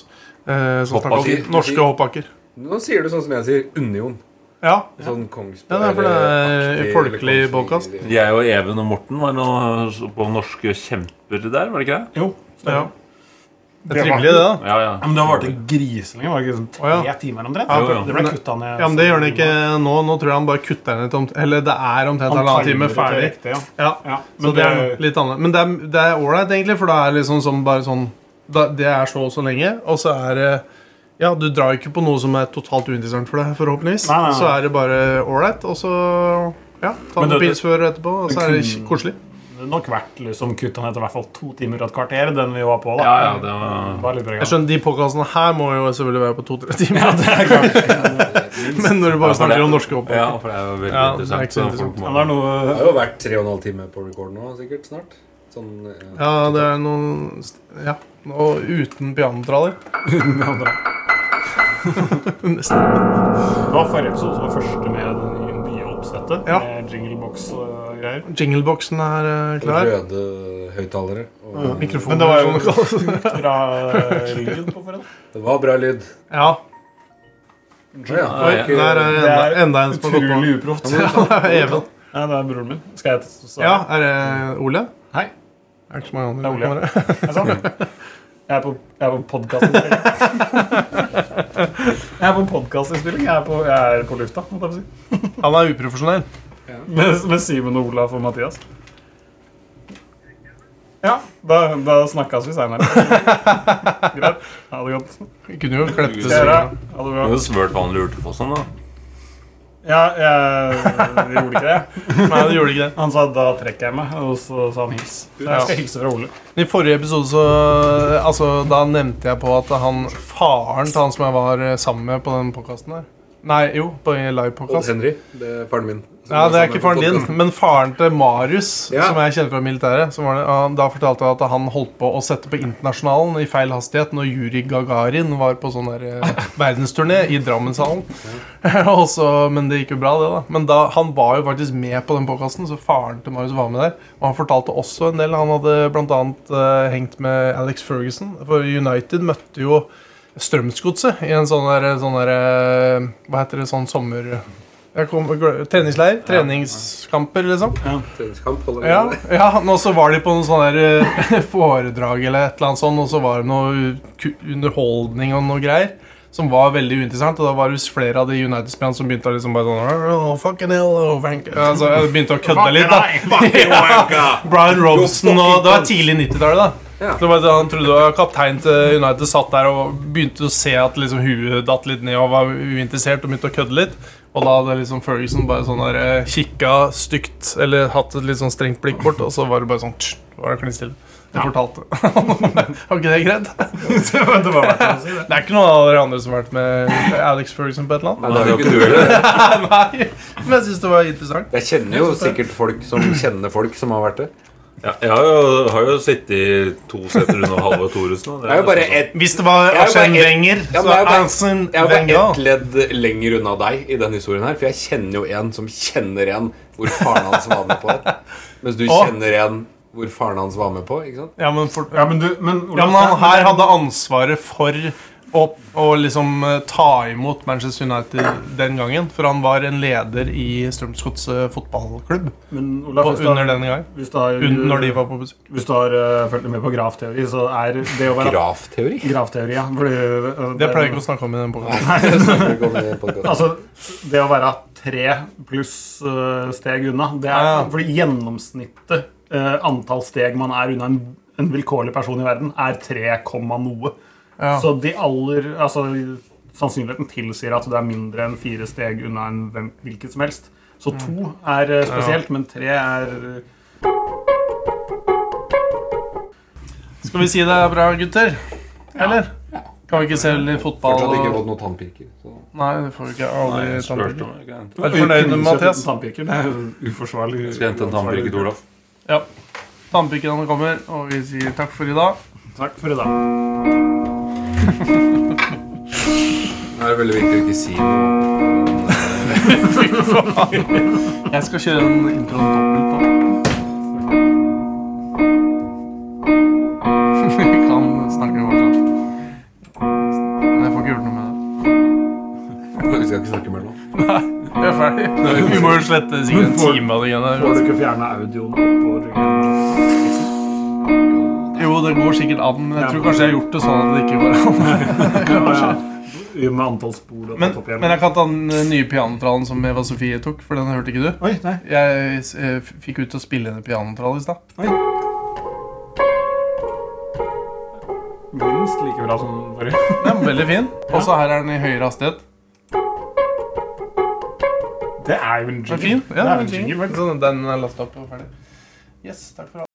A: Eh, som snakket
B: Hoppbakker.
A: om norske hoppbakker.
B: Nå sier du sånn som jeg sier. Union.
A: Ja.
B: Sånn Kongsberg.
A: Ja, det er for det er
B: eller aktig,
A: folkelig
B: eller Kongsvinger,
A: podcast.
B: eller-
D: Jeg og Even og Morten var nå på norske kjemper der, var det ikke det?
F: Jo.
A: ja. Det er
F: Det var-
A: trivelig, det, da.
D: Ja, ja.
F: Men det har vart griselenge. Var det ikke sånn
A: Å,
F: tre
A: ja.
F: timer omtrent?
A: Ja,
D: Jo, jo.
F: Det ble kutta ned.
A: Ja, men Det gjør han ikke nå. Nå tror jeg han bare kutter ned tomt. Eller det er omtrent halvannen time ferdig.
F: Ja.
A: Ja,
F: Ja,
A: så
F: men
A: det er litt annerledes. Men det er- det er ålreit, egentlig, for da er det liksom som bare sånn da, Det er så og så lenge, og så er det Ja, du drar jo ikke på noe som er totalt uinteressant for deg, forhåpentligvis.
F: Nei, nei, nei.
A: Så er det bare ålreit, og så Ja, ta
F: Men
A: noen
F: det-
A: pils før og etterpå, og så er det kj- koselig.
F: Det er nok vært liksom kutta ned til i hvert fall to timer og et kvarter, den vi var på. da.
D: Ja, ja, det var...
F: Det var litt bra,
A: Jeg skjønner, De podkastene her må jo selvfølgelig være på to-tre timer. [laughs] Men når du bare
D: Ja, for det-
A: snakker om norske hopp
D: Ja, for det er jo veldig
A: Ja, det er
D: interessant.
A: ikke så
D: så folk
F: Men det er
D: må-
B: Det
F: noe...
B: har jo vært tre og en halv time på record nå, sikkert snart. Sånn eh,
A: Ja, det er noen Ja. Og uten pianotraller. [laughs] Nesten.
F: Det var forrige episode som var første med det nye, nye oppsettet.
A: Ja.
F: Med jinglebox og greier.
A: Jingleboxen er eh, klar.
B: røde høyttalere. Og
A: Mikrofonen
F: Men det var
A: er sånn-
F: jo bra eh, lyd på forhånd.
B: det var bra lyd.
A: Ja.
B: Ja,
A: Oi, der er
D: ja.
F: Det
A: enda,
F: er
A: enda en som har gått på. [laughs]
F: Utrolig uproft.
A: Even.
F: Nei, det er broren min. Skal jeg så-
A: Ja, er det Ole?
F: Hei.
A: Er det ikke så mange
F: Det
A: andre?
F: er Ole.
A: kameraer?
F: Er det sant? Jeg er på, jeg er på podkastinnspilling. Jeg er på podkastinnspilling. Jeg, er på- jeg er på lufta, måtte jeg få si.
A: [laughs] Han er uprofesjonell.
F: Med, med Simen og Olaf og Mathias. Ja, da, da snakkes vi seinere. Greit. Ha det godt.
A: Vi kunne jo klept det
F: Dere,
A: seg.
F: ha det bra.
D: sånn, Det er jo svært vanlig urtefossen, da.
F: Ja, jeg vi gjorde ikke det.
A: Nei, det gjorde ikke det.
F: Han sa da trekker jeg meg, og så sa han hils. Så Jeg skal hilse fra Ole. [laughs]
A: I forrige episode så Altså, da nevnte jeg på at han faren til han som jeg var eh, sammen med på den podkasten der Nei, jo, på en
B: Odd
A: livepodkast.
B: Henry, det er faren min. som
A: Ja, det er
B: sammen
A: ikke
B: på
A: faren din,
B: podcasten.
A: men faren til Marius,
B: Ja.
A: som jeg kjenner fra militæret. Som var det, han, da fortalte han at han holdt på å sette på Internasjonalen i feil hastighet når Juri Gagarin var på sånn der
B: [laughs]
A: eh, verdensturné i Drammenshallen. [laughs] Og så- men det gikk jo bra, det, da. Men da, han var jo faktisk med på den podkasten, så faren til Marius var med der. Og han fortalte også en del. Han hadde bl.a. Uh, hengt med Alex Ferguson. For United møtte jo Strømsgodset i en sånn der, sånn der eh, Hva heter det, sånn sommer... Jeg kom, glø- treningsleir? Treningskamper, liksom?
B: Treningskamp, holder
A: Ja,
B: jeg med.
A: ja og så var de på noe sånn der eh, [laughs] foredrag eller et eller annet sånt, og så var det noe ku- underholdning og noe greier. Som var veldig uinteressant, og da var det flere av de United-spillerne som begynte å liksom bare sånn oh, Fucking hell, oh, wank-" altså, jeg Begynte å kødde litt, da. [laughs] Brian Robson og Det var tidlig 90-tallet, da.
B: Ja.
A: Det var da Han trodde det var kaptein til United satt der og begynte å se at liksom huet datt litt ned og var uinteressert og begynte å kødde litt. Og da hadde liksom Ferguson bare sånn der eh, kikka stygt eller hatt et litt sånn strengt blikk bort, og så var det bare sånn tsk, var det klin stille. Det fortalte. [laughs] Var ikke det greit?
F: Det var det var verdt å si det.
A: Det er ikke noen av dere andre som har vært med Alex Ferguson på et eller annet?
B: Nei, det er jo ikke du heller.
A: Nei, men jeg syns det var interessant.
B: Jeg kjenner jo sikkert folk som kjenner folk som har vært det.
D: Ja, jeg har jo, har jo sittet i to seter under Halvor Thoresen.
B: Det er jo bare ett
A: Hvis det var
B: Jeg er jo bare
A: Arsène
B: et-
A: Wenger, så
B: Ja, men jeg er
A: var
B: bare-
A: Arsène
B: Jeg er bare ett
A: Wenger
B: ledd lenger unna deg i den historien her, for jeg kjenner jo en som kjenner en hvor faren hans var med på det. Mens du
A: Å.
B: kjenner en hvor faren hans var med på, ikke sant?
A: Ja, men for,
F: Ja, men du, men
A: Ja,
F: Ole,
A: men han her hadde ansvaret for å, å liksom eh, ta imot Manchester United den gangen. For han var en leder i Strømsgods eh, fotballklubb
F: men Ola,
A: og
F: hvis du har-
A: under den gang.
F: hvis du har,
A: Un- Når de var på besøk.
F: hvis du har eh, fulgt med på grafteori, så er det å være
B: Grafteori.
F: [laughs] Grafteori, ja. Fordi, eh,
A: Det pleier jeg ikke å snakke om i den boka.
B: [laughs]
F: Altså, det å være tre pluss eh, steg unna det er,
A: Ja, ja.
F: Fordi gjennomsnittet eh, antall steg man er unna en, en vilkårlig person i verden, er 3, komma noe.
A: Ja.
F: Så de aller altså, Sannsynligheten tilsier at du er mindre enn fire steg unna en hvem, hvilket som helst. Så to er eh, spesielt, men tre er
A: Skal vi si det er bra, gutter? Eller? Kan vi ikke se litt fotball?
B: Fortsatt ikke
A: og-
B: fått noen tannpirker. Så.
A: Nei, det får vi ikke. Aldri tannpirker.
D: Skal
A: Er du fornøyd med Mathias?
F: Tannpirker, Det er jo uforsvarlig.
D: jeg hente en tannpirker til Olaf?
A: Ja. Tannpirkerne kommer, og vi sier takk for i dag.
F: Takk for i dag.
B: Nå er det veldig viktig å ikke si noe.
A: Jeg skal kjøre en intro dobbelt på. [laughs] Vi kan snakke fortsatt. Men jeg får ikke gjort noe med det.
B: Vi skal ikke snakke mer nå.
A: Vi er [laughs] ferdig. Vi må jo slette sikkert en time av det greiene
F: Får
A: der.
F: du ikke fjerne audioen oppå ryggen?
A: Jo, det går sikkert an, men jeg tror kanskje jeg har gjort det sånn at det ikke [laughs] går an.
F: Ja, ja. Med antall spor og
A: Men,
F: topp igjen.
A: men jeg kan ta den eh, nye pianotrallen som Eva Sofie tok, for den hørte ikke du.
F: Oi, nei.
A: Jeg eh, f- fikk ut til å spille en pianotrall i stad.
F: Minst like bra som forrige.
A: Den er veldig fin. Og så her er den i høyere hastighet.
F: Det er jo en
A: Den er fin.
F: det
A: Ja,
F: er
A: den er
F: en jingle,
A: fin.
F: vel?
A: Sånn, den er lastet opp og ferdig. Yes, takk for